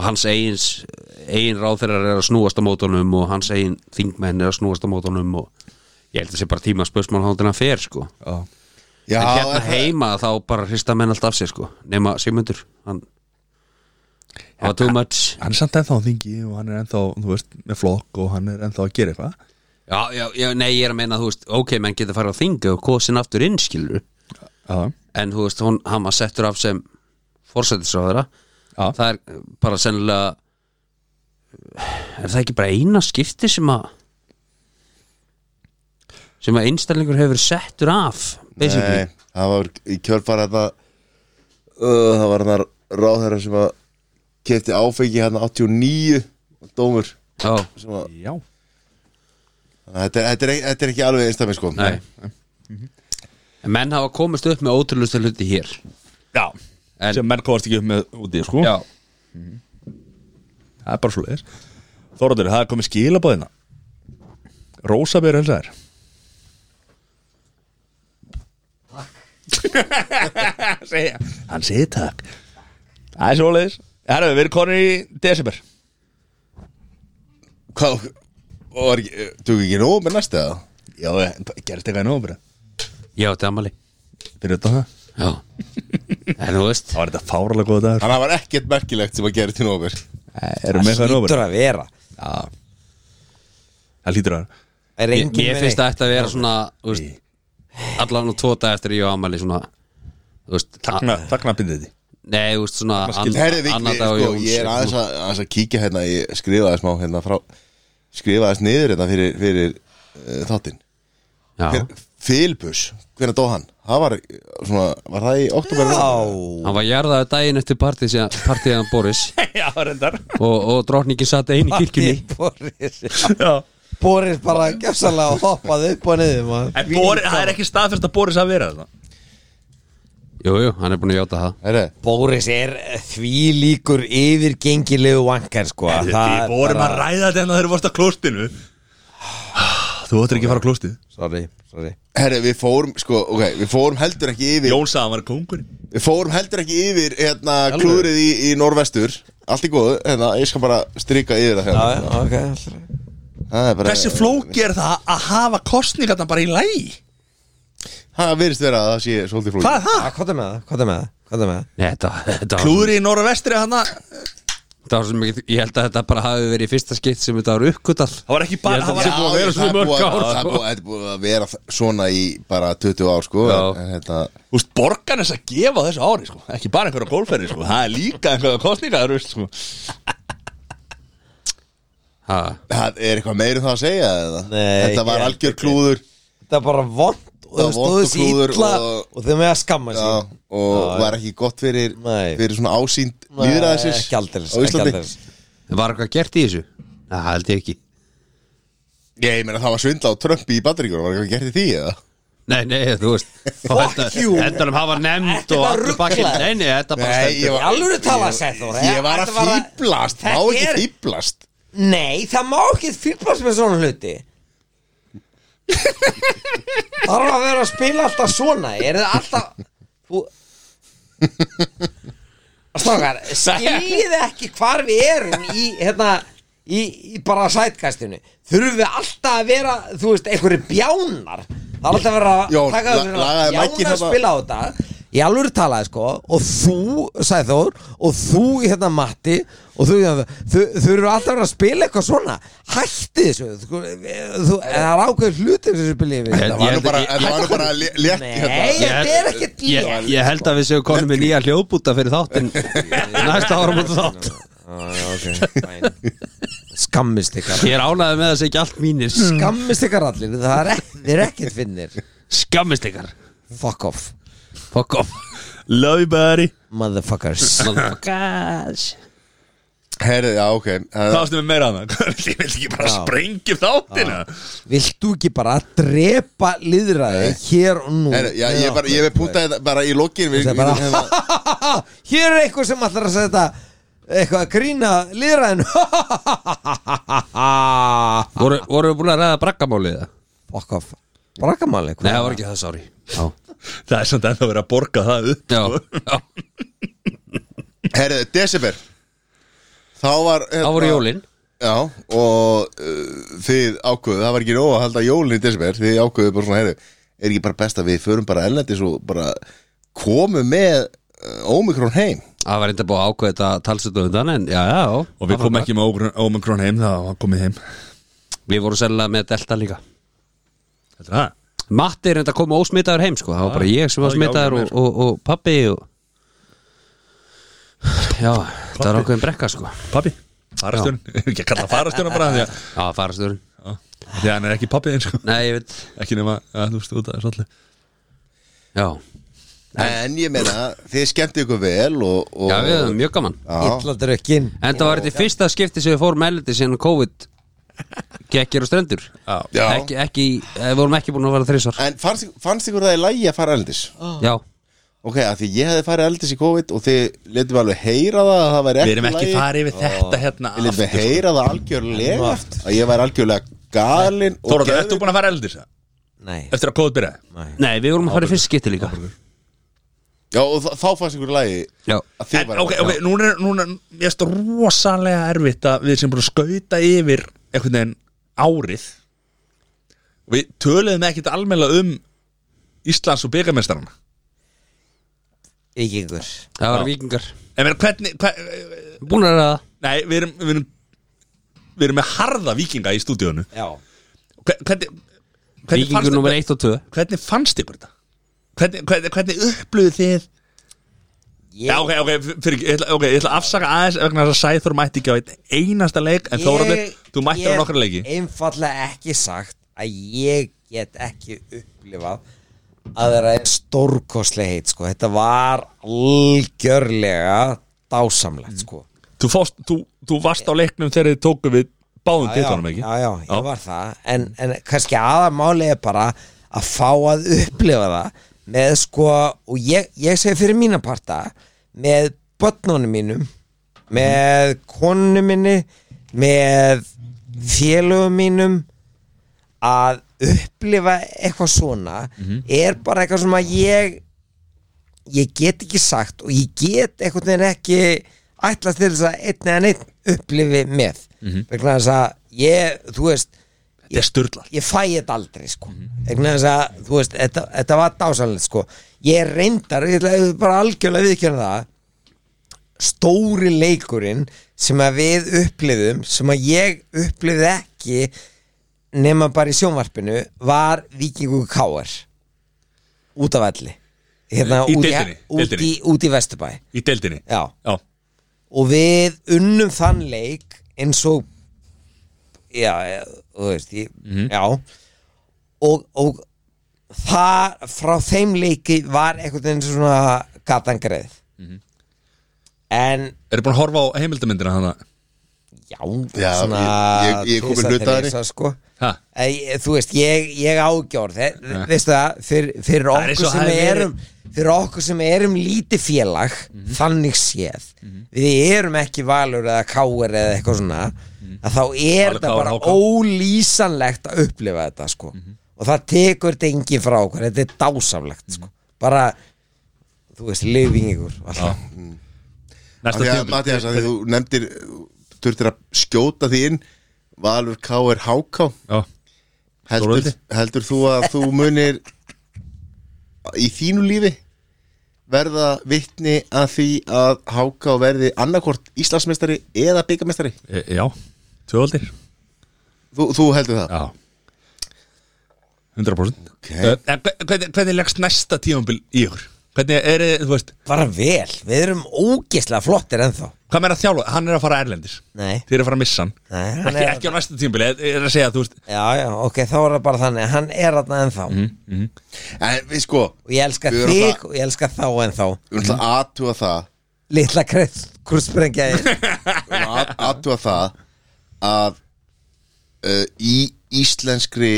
og hans eigins eigin ráðherrar er að snúast á mótunum og hans eigin þingmenn er að snúast á mótunum og ég held að sé bara tíma spörsmál hátina fer sko Já, En hérna er það- heima þá bara hrista menn allt af sér sko nema Sigmundur hann Það var too much Hann er samt ennþá á þingi og hann er ennþá þú veist, með flokk og hann er ennþá að gera eitthvað Já, já, já, nei, ég er að meina, þú veist, ok, menn getur farið á þingi og kosin aftur inn, skilur Já, en þú veist, hún, hann var settur af sem forsætisráðara Já. það er bara sennilega er það ekki bara eina skipti sem að sem að einstælingur hefur verið settur af basically, Nei, það var í kjölfara þetta uh, það var hann ráðherra sem að kefti áfengi hérna hann 89 dómur já, sem að, já. þetta, er, þetta, er, ekki- þetta er ekki alveg einstæmi sko nei en menn hafa komist upp með ótrúlustu hluti hér já. En- sem menn komast ekki upp með úti sko. það er bara svo leiðis Þóraður, það er komið hérna. skilabóðina Rósabjör helsaðir Segja Hann segir takk Það er svo leiðis Herra, við erum konur í desember Hvað, var ekki, tók ekki nóg með næsta eða? Já, gerðist eitthvað í nómur já, þetta er amali Fyrir þetta það já, en þú veist Það var þetta fáralega góða dagur Þannig að það var ekkert merkilegt sem að gera til sko. nógur Mm. Erum með eitthvað í nómur Lítur að vera Já Það lítur að vera. Er Ég, engin ég með finnst neitt? að þetta að vera svona þú veist, allan og tvo dag eftir að ég á amæli svona þú veist, Þakna, þakna bindið því a- Nei, þú veist svona En herri, ann- Vigni, annar dag á sko, Jóns hérna. ég er aðeins að, aðeins að kíkja hérna Ég skrifaði smá hérna frá Skrifaði niður hérna fyrir, fyrir uh, þáttinn Já, Hver- Filbus, hvernig dó hann? Það var, eh, svona, var það í oktober? Á, hann var jarðaði daginn eftir partí síðan- partíðan Boris Já, reyndar og, og drókningin satt einu í kirkjunni Matti Boris Já Boris bara gefsalega hoppaði upp og niður maður. En Boris, það er ekki staðfyrst að Boris að vera þetta Jú, jú, hann er búin að játa það Herri, Boris er því líkur yfirgengilegu vankar sko Við vorum að bara- ræða þetta hérna en það eru vorst að klóstinu Þú ættir ekki að fara á klóstið Sorry, sorry herri, við fórum, sko, ok, við fórum heldur ekki yfir Jón sagði að hann var kóngur Við fórum heldur ekki yfir, hérna, klúrið í, í norvestur Allt í góðu, hérna, ég skal bara strika yfir það Já, hérna já, ok allra. Það er bara- Hversu flóki er það að hafa kostningarna bara í lægi? Það virðist vera að það sé svolítið flóki Hvað er það? Ah, Hvað er með það? Hvað er með það? Hvað er með það? Nei, þetta, þetta, var- Klúðri í norðvestri hann að þetta var sem ekki, ég held að þetta bara hafi verið í fyrsta skipt sem þetta var uppkutað Það var ekki bara Ég held það var, Já, það er að búið að vera svo mörg búið að- ár, það er sko. búið- þetta er búið að vera svona í bara 20 ár sko Já. en þetta, Úst, borgan þess að gefa á þessu ári sko. Ekki bara einhverja gólferði sko. Það er líka einhverja kostningar sko. Ha, það er eitthvað meira um það að segja eða? Nei, þetta var ég- algjör klúður Þetta er bara vond Það og það var vont stóðu og sér klúður illa og- og þau með að skamma já, sér og var ekki gott fyrir, Nei. fyrir svona ásýnd Nei, líðræðisins ekki aldeilis, á ekki Íslandi aldeilis. Var eitthvað gert í þessu? Nei, það held ég ekki ég meina það var svindla á Trump í Bandaríkur var eitthvað gert í því eða Nei, nei, þú veist Fuck you. Endanum hafa nefnd Þetta og var allir bakið ruglað. Nei, nei, þetta bara Nei, stendur ég var- Alvöru talað, sagði Þóra, ég, ég var að þetta var að- fýblast, má Þetta ekki er- fýblast Nei, það má ekki fýblast með svona hluti Þarf að vera að spila alltaf svona Er það alltaf Þú Strákar, skiljið ekki hvar við erum í, hérna, í, í bara sætkastinu Þurfum við alltaf að vera, þú veist, einhverju bjánar Það er alltaf að vera að Jón, taka la- lagaðu mækinn bjánar að þarna. spila á þetta Í alvöru talaði sko Og þú, sagði Þór Og þú, hérna, Matti Og þú, þau þau eru alltaf að vera að spila eitthvað svona Hætti þessu Þú, þú, það er ákveður hlutir sem þessu spilið við Ég- það var nú held- bara, ég- það var nú bara lé- létt Nei, hérna. þetta er ekkert ég, létt. ég held að við séum konum með nýja hljóðbúta fyrir þáttinn Næsta ára mútu þátt Skammist ykkar Ég er ánægði með þessi ekki allt mínir Skammist ykkar allir Það er ekkert, þið er ekkert finnir Skammist ykkar Fuck off Fuck off Love you buddy Motherfuckers Motherfuckers herri, já ok Það Það- varstu með meira að það Ég vil ekki bara Já. sprengja þáttina Viltu ekki bara drepa liðraði hér og nú herri, já, ég, hérna bara, ég puntaði þetta bara í lokin við- Það er við- bara Hér er eitthvað sem allar að setja eitthvað að grína lýðræðinu voru, voru búin að ræða braggamálið það? Fuck off Brakamáli Nei, það var ekki það, sorry Já, Það er samt ennþá verið að borga það upp já, sko. já. Herðu, December Þá var hérna, það voru jólin Já, og uh, þið ákveðu, það var ekki nóg að halda jólin í December Þið ákveðu bara svona, herðu Er ekki bara best að við förum bara ellendis og bara komum með uh, Omikron heim Það var eitthvað búið að ákveða þetta talsötu undan en já, já, já Og við Það var komum ekki með Ógr- Ómikron heim Það var komið heim bara- Við vorum sennilega með Delta líka Heldur það? Matti er enda að koma ósmitaður heim sko Það var bara Já, ég sem var það er ekki smitaður ákveðið og, og, og pappi og... Já, þetta var ákveðin brekka sko Já, Pappi? Farastjón? Ekki að kalla farastjóna bara Því að, farasturinn því að hann er ekki pappi eins og Nei, ég veit Ekki nema að þú veist út að svolítið Já, En ég meina, þið skemmtu ykkur vel og, og já við höfum mjög gaman Já, Ítla drökkin En það var þetta í fyrsta skipti sem við fórum meðliti síðan COVID Gekkir og strendur Já. Ekki, ekki, eh, við vorum ekki búin að vera þrísar En fannst, fannst ykkur það í lægi að fara eldis? Já, Ok, af því ég hefði farið eldis í COVID og þið letum alveg heyra það að það væri Við erum ekki í lagi. farið yfir þetta hérna Ég letum við aftur, sko. heyra það algjörlega að ég væri algjörlega galinn og Þóra, geðveikur. ertu búin að fara eldis? Nei Eftir að kóðið byrjaði? nei, við vorum að fara í fyrst skipti líka Já, og þá- þá fannst ykkur í lagi Já, að þið En, væri ok, ok, núna er, núna, er- mér erst rosalega erfitt að við sem búin að skauta yfir einhvern veginn árið við töluðum ekkit almennilega um Íslands og byggamestarana Víkingur það var vikingar en mér, hvernig, hver, Búin að ræða nei, við erum við erum, við erum með harða vikinga í stúdíónu Já Hver- hvernig, hvernig, Vikingur fannst, nummer 1 og 2 hvernig fannst ykkur þetta? Hvernig, hvernig, hvernig upplöðu þið? Ég- Já, ok, ok, fyrir, ekki, ég ætla, ok, ég ætla að afsaka aðeins vegna þess að Sæþór mætti ekki á einn einasta leik en Þóraður, þú mættir á nokkra leiki Ég hef einfallega ekki sagt að ég get ekki upplifað að það er stórkostlega heitt sko. Þetta var algjörlega Mm. dásamlegt sko. Þú, fórst, þú, þú varst á leiknum þegar þið tóku við báðum Já, titlunum já, ekki já, já, ég var það en, en kannski aðamáli er bara að fá að upplifa það með sko, og ég, ég segi fyrir mína parta, með börnunum mínum, með konunum minni með félögum mínum að upplifa eitthvað svona er bara eitthvað sem að ég ég get ekki sagt og ég get einhvern veginn ekki ætlast til þess að einn eða neitt upplifi með vegna þess að ég, þú veist Þetta er sturlað ég fæ þetta aldrei sko vegna þess að, þú veist, þetta, þetta var dásanlegt sko, ég reyndar ég ætla að bara algjörlega viðkjörna það stóri leikurinn sem að við upplifum sem að ég upplifði ekki nema bara í sjónvarpinu var Víkingu Káar út af alli hérna, Í út, deildinni, út, í, deildinni. út í Vesturbæ í deildinni já Já, og við unnum þann leik eins og já, já, þú veist ég, já og, og það frá þeim leiki var einhvern veginn svona gatangreið en eru búin að horfa á heimildamindina hana já, Já, ég- ég- ég er kominn tvisvar, hluta af henni. þrisvar, sko. Ha? Æ, þú veist, ég, ég ágjör veistu það, fyr, fyrir Það er eins okkur og sem hafi verið- erum fyrir okkur sem erum lítið félag Mhm. þannig séð við erum ekki valur eða káir eða eitthvað svona að þá er Mhm. Valur, KR, það bara HK. ólýsanlegt að upplifa þetta sko Mhm. og það tekur þetta engin frá okkur þetta er dásamlegt Mhm. sko bara, þú veist, living ykkur og allt það. Næsta Af því að, tíma Mattias, að því þú nefndir Turtir að skjóta því inn Valur K.R. Háká Já, heldur, Stórveldi. heldur þú að þú munir Í þínu lífi Verða vittni að því að Háká verði annarkort Íslandsmeistari eða byggamestari e, já tvöaldir Þú, þú heldur það? Já 100% Ok. Ö, Eh, En hve- hvernig, hvernig leggst næsta tímambil í ykkur? Hvernig er, þið, þú veist, bara vel, við erum ógislega flottir ennþá hvað með að þjálfa? Hann er að fara erlendis nei, Þið er að fara að missa hann nei hann Ekki, er- ekki á næsta tímambil, ég er að segja, þú veist já, já, ok, þá er það bara þannig hann er þarna ennþá En við sko, og ég elska Við erum þig það- og ég elska þá en þá við erum alltaf aðtúa það litla krustsprengja aðtúa það að uh, í íslenskri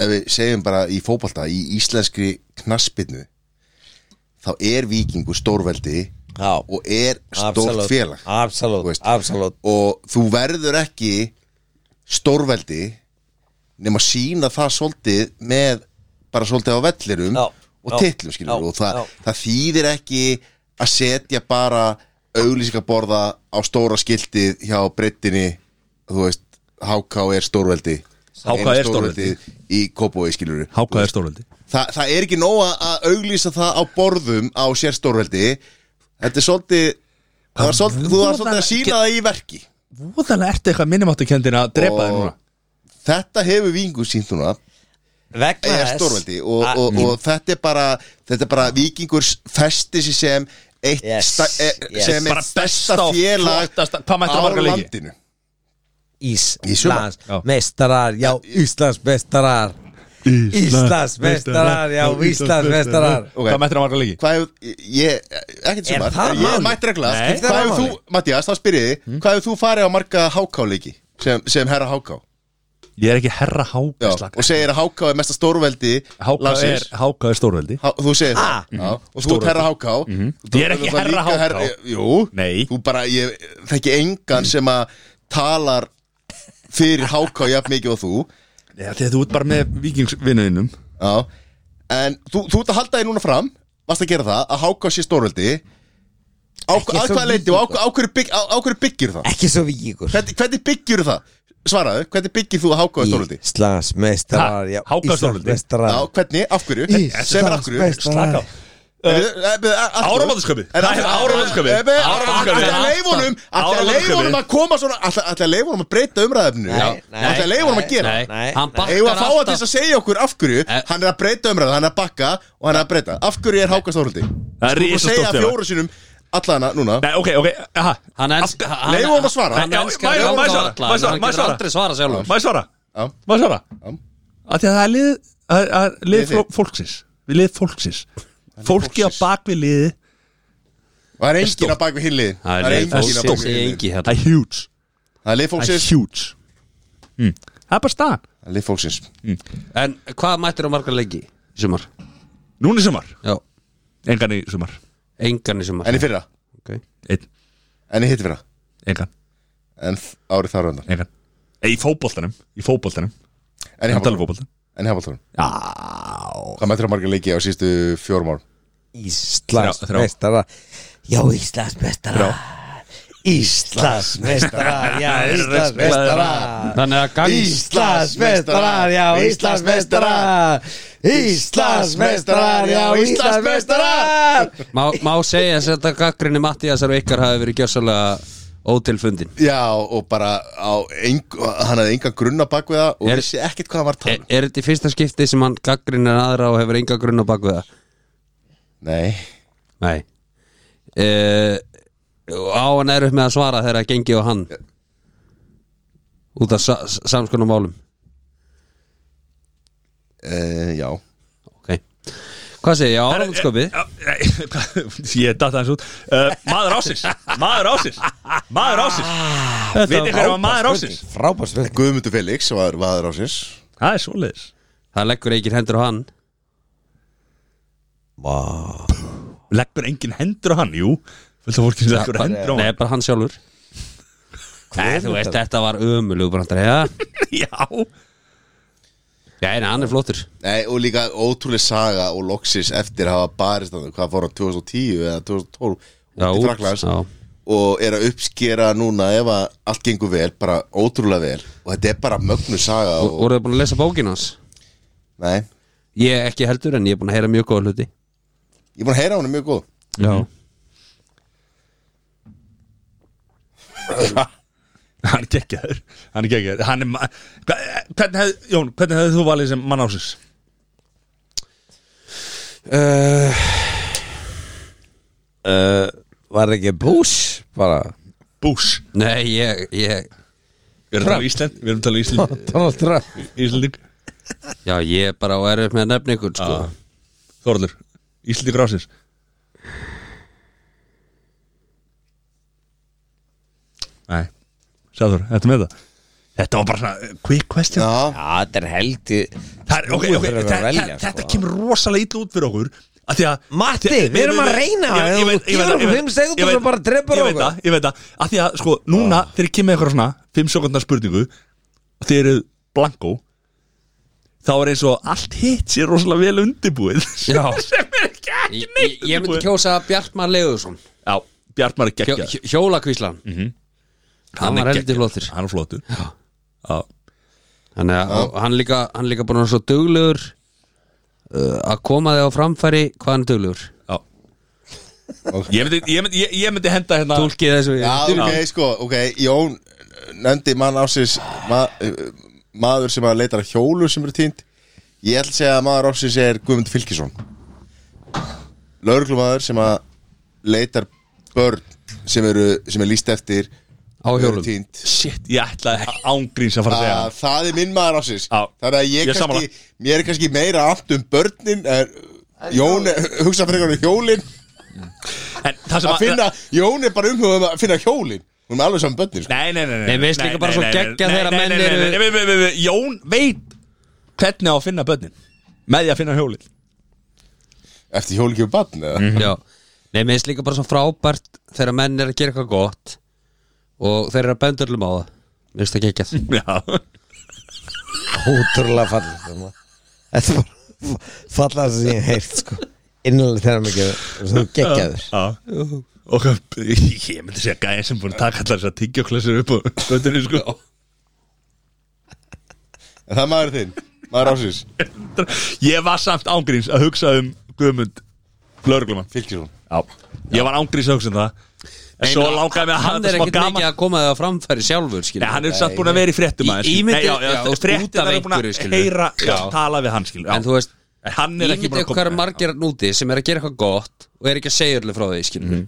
ef við segjum bara í fótbalta í íslenskri knaspinu þá er vikingu stórveldi Já. og er stórt félag Þú Absolutt, veist. absolutt og þú verður ekki stórveldi nema sína það svolítið með bara svolítið á vellirum Já, og já, titlum skilur já, og það, já. það þýðir ekki að setja bara auglýsingaborða á stóra skiltið hjá breyttinni þú veist, HK er stórveldi HK Eina er stórveldið. stórveldið í Kópói skilur Hákaði stórveldi Þa, það er ekki nóg að- að auglýsa það á borðum á sér stórveldi Þetta er svolítið það var svolítið- Þú var svolítið að sína það í verki Voðalega ertu eitthvað minnumáttukendin að drepa þér núna Þetta hefur vingu sínt núna eh, vegna er þess stórveldi og, að- og, Mm. og þetta er bara þetta er bara vikingur festi sig sem eitt Yes, sta, e, yes. sem Bara er besta besta og félag flottasta- hvað mættir að á marga leiki? landinu Íslands Já. mestarar, já, Íslands mestarar Íslands mestarar, já, Íslands mestarar Ok. Hvað mættir að marga leiki? Hvað hefur, ég, ekkert sem Er það að ég málið? mætti regla Nei. Hvað Skiptir það Hmm? hefur þú, máli? Mattias, þá spyrir ég þig Hvað hefur þú farið á marga hákáleiki sem, sem herra háká? Ég er ekki herra Já, hákaði og segir að Háká er mesta stórveldi Hákaði er, landsins. HK er stórveldi Há, þú segir Ah. það Mhm. Já, og þú ert Stórveldi. herra Háká Mhm. Ég er ekki herra HK. Jú, Nei. þú bara, ég þekki engan sem að talar fyrir Háká jafn mikið og þú Þegar þú ert bara með vikingsvinnuðinum Já, en þú, þú ert að halda þig núna fram varst að gera það, að Háká sé stórveldi á, Ekki að svo hvað leiti mikið, og sko. á, á, hverju bygg, á, á hverju byggir það? ekki svo vikingur Hvernig, hvernig byggir það? Svaraðu, hvernig byggir þú að Háká er stórveldi? Íslands mestarar, Ha, já, Háka Íslands stórveldi. Já, mestarar hvernig, af hverju? Sem er af Íslands hverju? Slaka á mestarar Áramótasköpið. Það er áramótasköpið. Áramótasköpið. Alltaf að leifunum Alltaf að Áramótasköpið. leifunum að koma svona Alltaf að leifunum að breyta umræðefnu Nei, nei, Alltaf að leifunum að gera Nei, Nei, hann nei. Eða bakkar að fá að þess alltaf að segja okkur af hverju Eh. Hann er að breyta umræðu, hann er að bakka Og hann er að breyta Af hverju er Háka Stórhaldi? Það er Þú risastórt segja félag. fjóru sinum allana núna Nei, ok, ok aha. Hann ens- Aftur- hann- Leyfum honum að svara. Hann Já, elskar mæ- að mæ- ráða svara, alla mæ- en svara, Hann mæ- getur svara. aldrei svara sjálfur Má ég svara? Já. Má ég svara? Já. Af því að það er lið það er- það er Liðið Lið þitt. fró- fólksins Við lið fólksins Fólki á fólksins. bakvið liði Og það er stórt. engin að baka við hinlið Það er enginn engin að að stórt. baka fólksins við í hinlið engi Það hérna er huge Það er Það leið er fólksins huge Mm. Það er bara staðan Það er leið fólksins En hvað mættir á margar leiki í sumar? Núna í sumar Já, Engan í sumar engan í sumar En í fyrra okay. Einn En í hitt fyrra Engan En þ- árið þar á undan Engan Nei, Í fótboltanum Í fótboltanum En í Hann talar hafbóltanum fótboltan En í hafbóltanum Já Hvað mættir að marga leiki á sístu fjórum árum? Íslands Þrjá- þrjá. mestarar já, Íslands mestarar Íslands mestarar já, Það er Íslands ruglaður. mestarar Þannig að gang Íslands mestarar, já, Íslands mestarar Íslands mestarar, já, Íslands mestarar Má, má segja að þetta gaggrinni Mattiasar og ykkar hafi verið gjössalega ótilfundin Já, og bara á eng, hann hafði enga grunna bak við það og Er- vissi ekkert hvað hann var að er, tala um. er þetta í fyrsta skipti sem hann gaggrinni aðra og hefur enga grunn á baku það? Nei, Nei uh, Á hann er upp með að svara þegar að gengi á hann Út af sa samskunum málum uh, já Ok Hvað segir ég á áramótskopið? Já, nei, Ég datta hans út uh, Maður ásins Maður ásins Maður ásins Veit ekki hvað var maður ásins frábær spurning Guðmundur Felix var vaður ásins Það er svoleiðis Það leggur ekki hendur á hann Leggur engin hendur á hann, jú Fullt af fólki sem leggur hendur á Nei, hann bara hann sjálfur Nei, þú veist, þetta var ömulug brandari, ja? Já Nei, nei, hann er flottur Nei, og líka ótrúlega saga og loksis eftir að hafa barist hann, hvað fór hann 2010 eða 2012 út Já, út, í Fraklands já. og er að uppskera núna ef að allt gengur vel, bara ótrúlega vel og þetta er bara mögnu saga og, Voruðu búin að lesa bókinu hans? Nei, Ég ekki heldur, en ég er búin að heyra mjög góða hluti ég er búin að heyra hann mjög góð Já Hann er geggjaður Hann er geggjaður Hann er ma- Hva- Hvernig hefði, Jón, hvernig hefði þú valið sem mann ásins? Eh, var það ekki Bush bara Bús Nei, ég, ég Við erum að tala um Ísland Við erum að tala um Ísland Donald Trump Íslanding Já, ég er bara á erfið með að nefna ykkur sko. Þorlur Íslanding rásins Nei Sæður, þetta með það Þetta var bara svona eh, quick question Já, Já, þetta er heldi Það er, ok, Nú er ok, verið að það, velja, það, sko. þetta kemur rosalega ítla út fyrir okkur Af því að- Matti, því- við erum að ég- reyna. ég- ég Ef þú veit- ég gefur veit- okkur ég veit- fimm sekúndur ég veit- þá bara drepur ég veit okkur. það, ég veit það Af því að sko, núna þegar ég kemur eitthvað svona 5 sekundar spurningu og þeir eru blanko þá er eins og allt hitt sér rosalega vel undirbúið Já. sem er ekki ekki Ég, neitt ég- ég myndi undirbúið. kjósa Bjartmar Leðursson Já, Bjartmar er hjó, geggja hjó- Hjólakvíslan Hann var heldur flottir Mhm. Hann er flottur Já, Þannig að og hann líka, hann líka búin að vera svo duglegur uh, að koma þig á framfæri hvað hann er duglegur já Ég myndi, ég, myndi, ég, ég myndi henda hérna Tólkið þessu Já, ok, sko, ok, Jón nefndi mann ásins ma uh, maður sem að leitar að hjólu sem eru týnd ég ætla að segja að maður ásins er Guðmund Fylkisson lauruglumadur sem að leitar börn sem eru sem er líst eftir á hjólum eru týnd Shit, ég ætlaði ángríns að fara að segja Ah. að það er minn maður ásins Já, þannig að ég, ég er sammála. kannski, mér er kannski meira allt um börnin er, Jón, er- hugsa fyrir um hjólin En það sem að finna, Jón er bara umhugum að finna hjólin hún er með alveg saman börnin sko. Nei, nei, nei Nei, mér finnst líka bara svo geggjað þegar menn eru- eru Jón veit hvernig á að finna börnin Með því að finna hjólið eftir hjólin kemur um barn eða Mhm. Já, nei, mér finnst líka bara svo frábært þegar menn er að gera eitthvað gott og þeir eru að benda öllum á það Mér finnst það geggjað Já, Ótrúlega fallið þarna. Þetta var fallast sem ég hef heyrt sko Innanlega þegar mikið Svo geggjaður já Og ég myndi segja gæði sem búin að taka allar þess að tyggja klessur upp og göttinu sko En það er maður þinn, maður ásins Ég var samt ángríns að hugsa um Guðmund Lörglumann Fylkisson Já, ég var ángríns að hugsa um það En svo langaði mig að hafa Hann þetta er smá ekkert gaman mikið að koma þig á framfæri sjálfur skilur Nei, hann er satt búin að vera í fréttum Í- aðeins skilur. ímyndi- Nei, já, já, þú veist, út af Fréttirnar er búin að einhverju, skilur. heyra Já. Tala við hann skilur já. En þú veist, En hann er ekki ímyndið búin að hvað koma er margir hann úti sem er að gera eitthvað gott og er ekki að segja öllu frá því skilur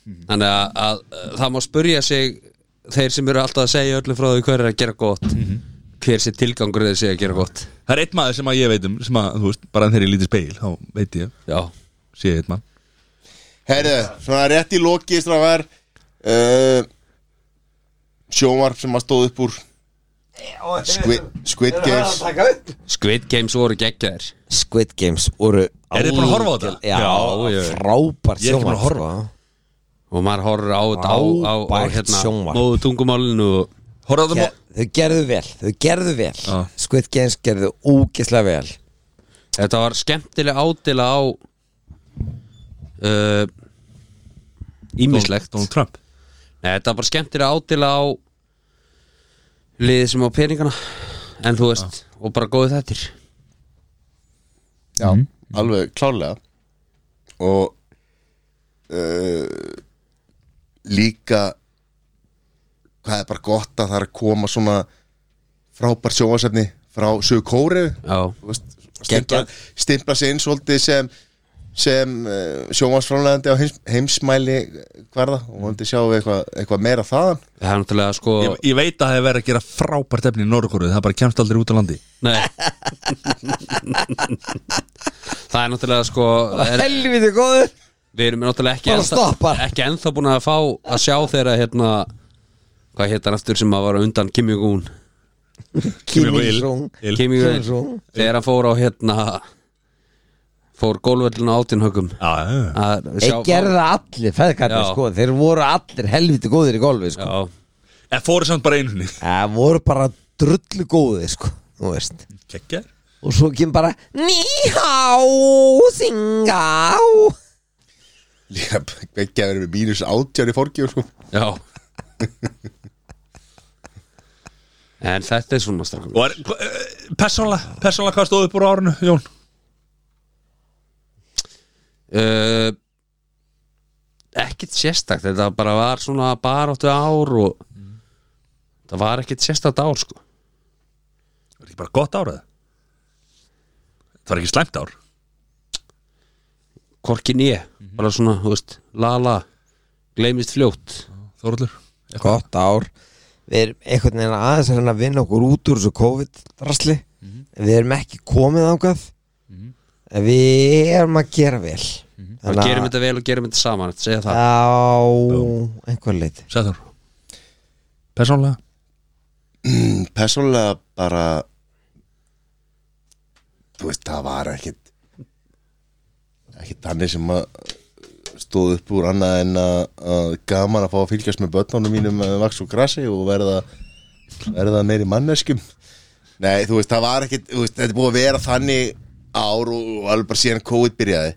Mhm. Þannig að, að uh, það má spurja sig þeir sem eru alltaf að segja öllu frá því hver er að gera gott Mhm. hver sé tilgangur þeir segja að gera gott Það er eitt maður sem að ég veit um sem að, þú veist, bara þegar ég lítið speil þá veit ég, Já, sé ég eitt mann Herðu, svona rétt í loki strafar uh, Sjónvarp sem að stóð upp úr Squid, Squid Games Squid Games voru geggjaðir Squid Games voru Er þið búin að horfa á algjör- þetta? Já, Já, já, já. Ég er ekki búin frábært sjónvarp að sko. horfa. og maður horfir á þetta á, á, á, á Frábært hérna, sjónvarp. móðu tungumálinu og Horfðu á það Ger- Þau gerðu vel, þau gerðu vel Já. Squid Games gerðu úkislega vel þetta var skemmtilega ádila á uh, ímislegt Donald Trump Nei, þetta var bara skemmtilega ádila á liðið sem á peningana en þú veist, og bara góði þettir Já, alveg klálega Og uh, Líka Hvað er bara gott að það er að koma svona Frábær sjónvarsefni Frá Suðu Kóru Já, stimpla, stimpla sig inn svolítið sem sem uh, sjónvarsframlegandi á heims, heimsmæli hverða og hundi sjáum við eitthvað eitthvað meira þaðan það er náttúrulega sko ég, ég veit að það hefur verið að gera frábært efni í Norrkóru það bara kemst aldrei út á landi Nei Það er náttúrulega sko er, Helviti góður Við erum náttúrulega ekki Bara stoppar. ekki ennþá búin að fá að sjá þeirra hérna hvað hétt hann aftur sem að var á undan Kim Jong-un Kim Il. Il-sung Il. Kim Kim Jong-un. Jong-un þegar hann fór á hérna fór gólvöllin á áttinhögum Já, já, já. Þeir gerðu það allir feðkarnir Já. sko Þeir voru allir helviti góðir í golfi sko Já, En fóru samt bara einu sinni Það voru bara drullu góðir sko Þú veist Kekkja Og svo kemur bara Níhá, singá líka ekki að vera með mínus átjár í forgjöf sko. já En þetta er svona strákum Og er, uh, persónlega, persónlega hvað stóð upp úr árinu, Jón? uh, ekkert sérstakt þetta bara var svona baráttu ár og Mm. það var ekkert sérstakt ár sko Var ekki bara gott árið? Það var ekki slæmt ár korkin ég, Mhm. bara svona, þú veist lala, gleymist fljótt Þóruldur Gott ár Við erum einhvern veginn aðeins að reyna að vinna okkur út úr þessu COVID-drasli Við erum ekki komið ángað mm. Við erum að gera vel mm. og gerum þetta vel og gerum þetta saman segja það, Á einhver leiti Sæður Persónlega persónulega bara þú veist það var ekkit ekki þannig sem að stóð upp úr annað en að, að gaman að fá að fylgjast með börnunum mínum eh, vaks og grassi og verða verða meiri manneskum Nei, þú veist, það var ekkit þú veist, þetta er búið að vera þannig ár og, og alveg bara síðan COVID byrjaði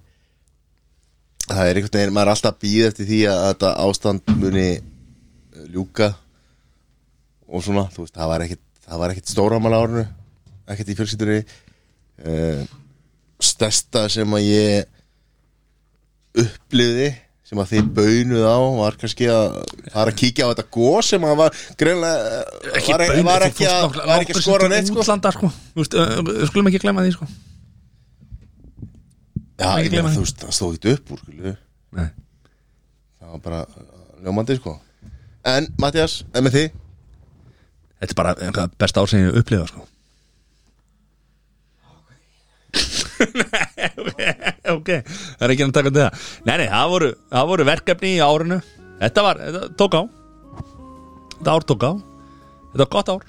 það er einhvern veginn, maður er alltaf býð eftir því að þetta ástand muni eh, ljúka og svona, þú veist, það var ekkit það var ekkit stóramál á árinu ekkit í fjölskyldunni uh, stærsta sem að ég upplifði sem að þið bönuð á var kannski að fara að kíkja á þetta gós sem að var greinlega ekki var, e- baunir, var þú ekki fórst að, nokkra- var ekki að nokkra skora sem til neitt sko útlanda sko Þú veist, ö, ö, skulum ekki glemma því sko ekki Já, ég meina, gleyma því. þú veist, það stóð ekki upp úr skilju. Nei. það var bara uh, ljómandi sko en Mattias, en með þið þetta er bara eitthvað besta ár sem ég hef upplifað sko Nei, ok, það er ekki að taka til það Nei, nei, það voru, það voru verkefni í árinu Þetta var, þetta tók á Þetta ár tók á Þetta var gott ár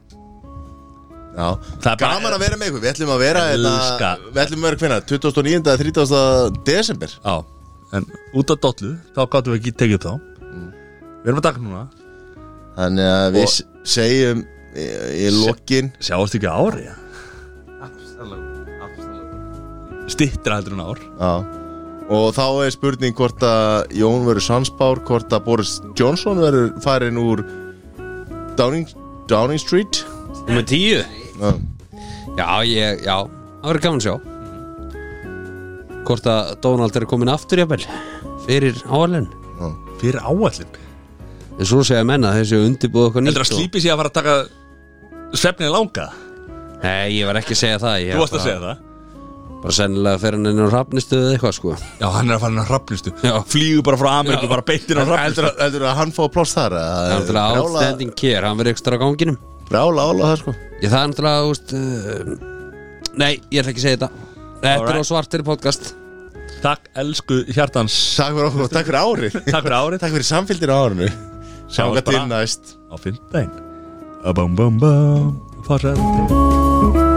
Já, Það er bara- gaman að vera með ykkur, við ætlum að vera þetta, Elska. við ætlum að vera hvenna, 29. að 30. desember Já, en út af dollu þá gáttum við ekki tekið upp þá Við erum að taka núna, þannig að við Og- s- segjum í, í lokin sjáast ekki á ári Stittra heldur en ár Já. og þá er spurning hvort að Jón verður Sandsbár, hvort að Boris Johnson verður farin úr Downing, Downing Street Númer tíu Já. Já, ég, já, það verður gaman að sjá Hvort að Donald er komin aftur jafnvel Fyrir áalinn Fyrir áallin En svo segja menna þessi undirbúið eitthvað nýtt Heldur að og- slípi sér að fara að taka svefnið langa Nei, ég var ekki að segja það ég Þú varst bara- að segja það Bara sennilega fer hann inn á rafnistu eða eitthvað sko Já, hann er að fara inn á hrafnistu Já. Flýgur bara frá Ameríku, Já. bara beintin á heldur, hrafnistu að- heldur að hann fá pláss þar Það er náttúrulega brála, outstanding care, hann verður ekki stóra á ganginum brála ála það sko Ég það er náttúrulega, úst uh, Nei, ég ætla ekki að segja þetta Þetta er á Alright. svartir podcast Takk, elsku hjartans takk fyrir okkur og takk fyrir árið Takk fyrir árið takk fyrir samfélgdina á árinu Sjáumst sjánga til bara. næst Á fyrndaginn Bum bum bum Farsætti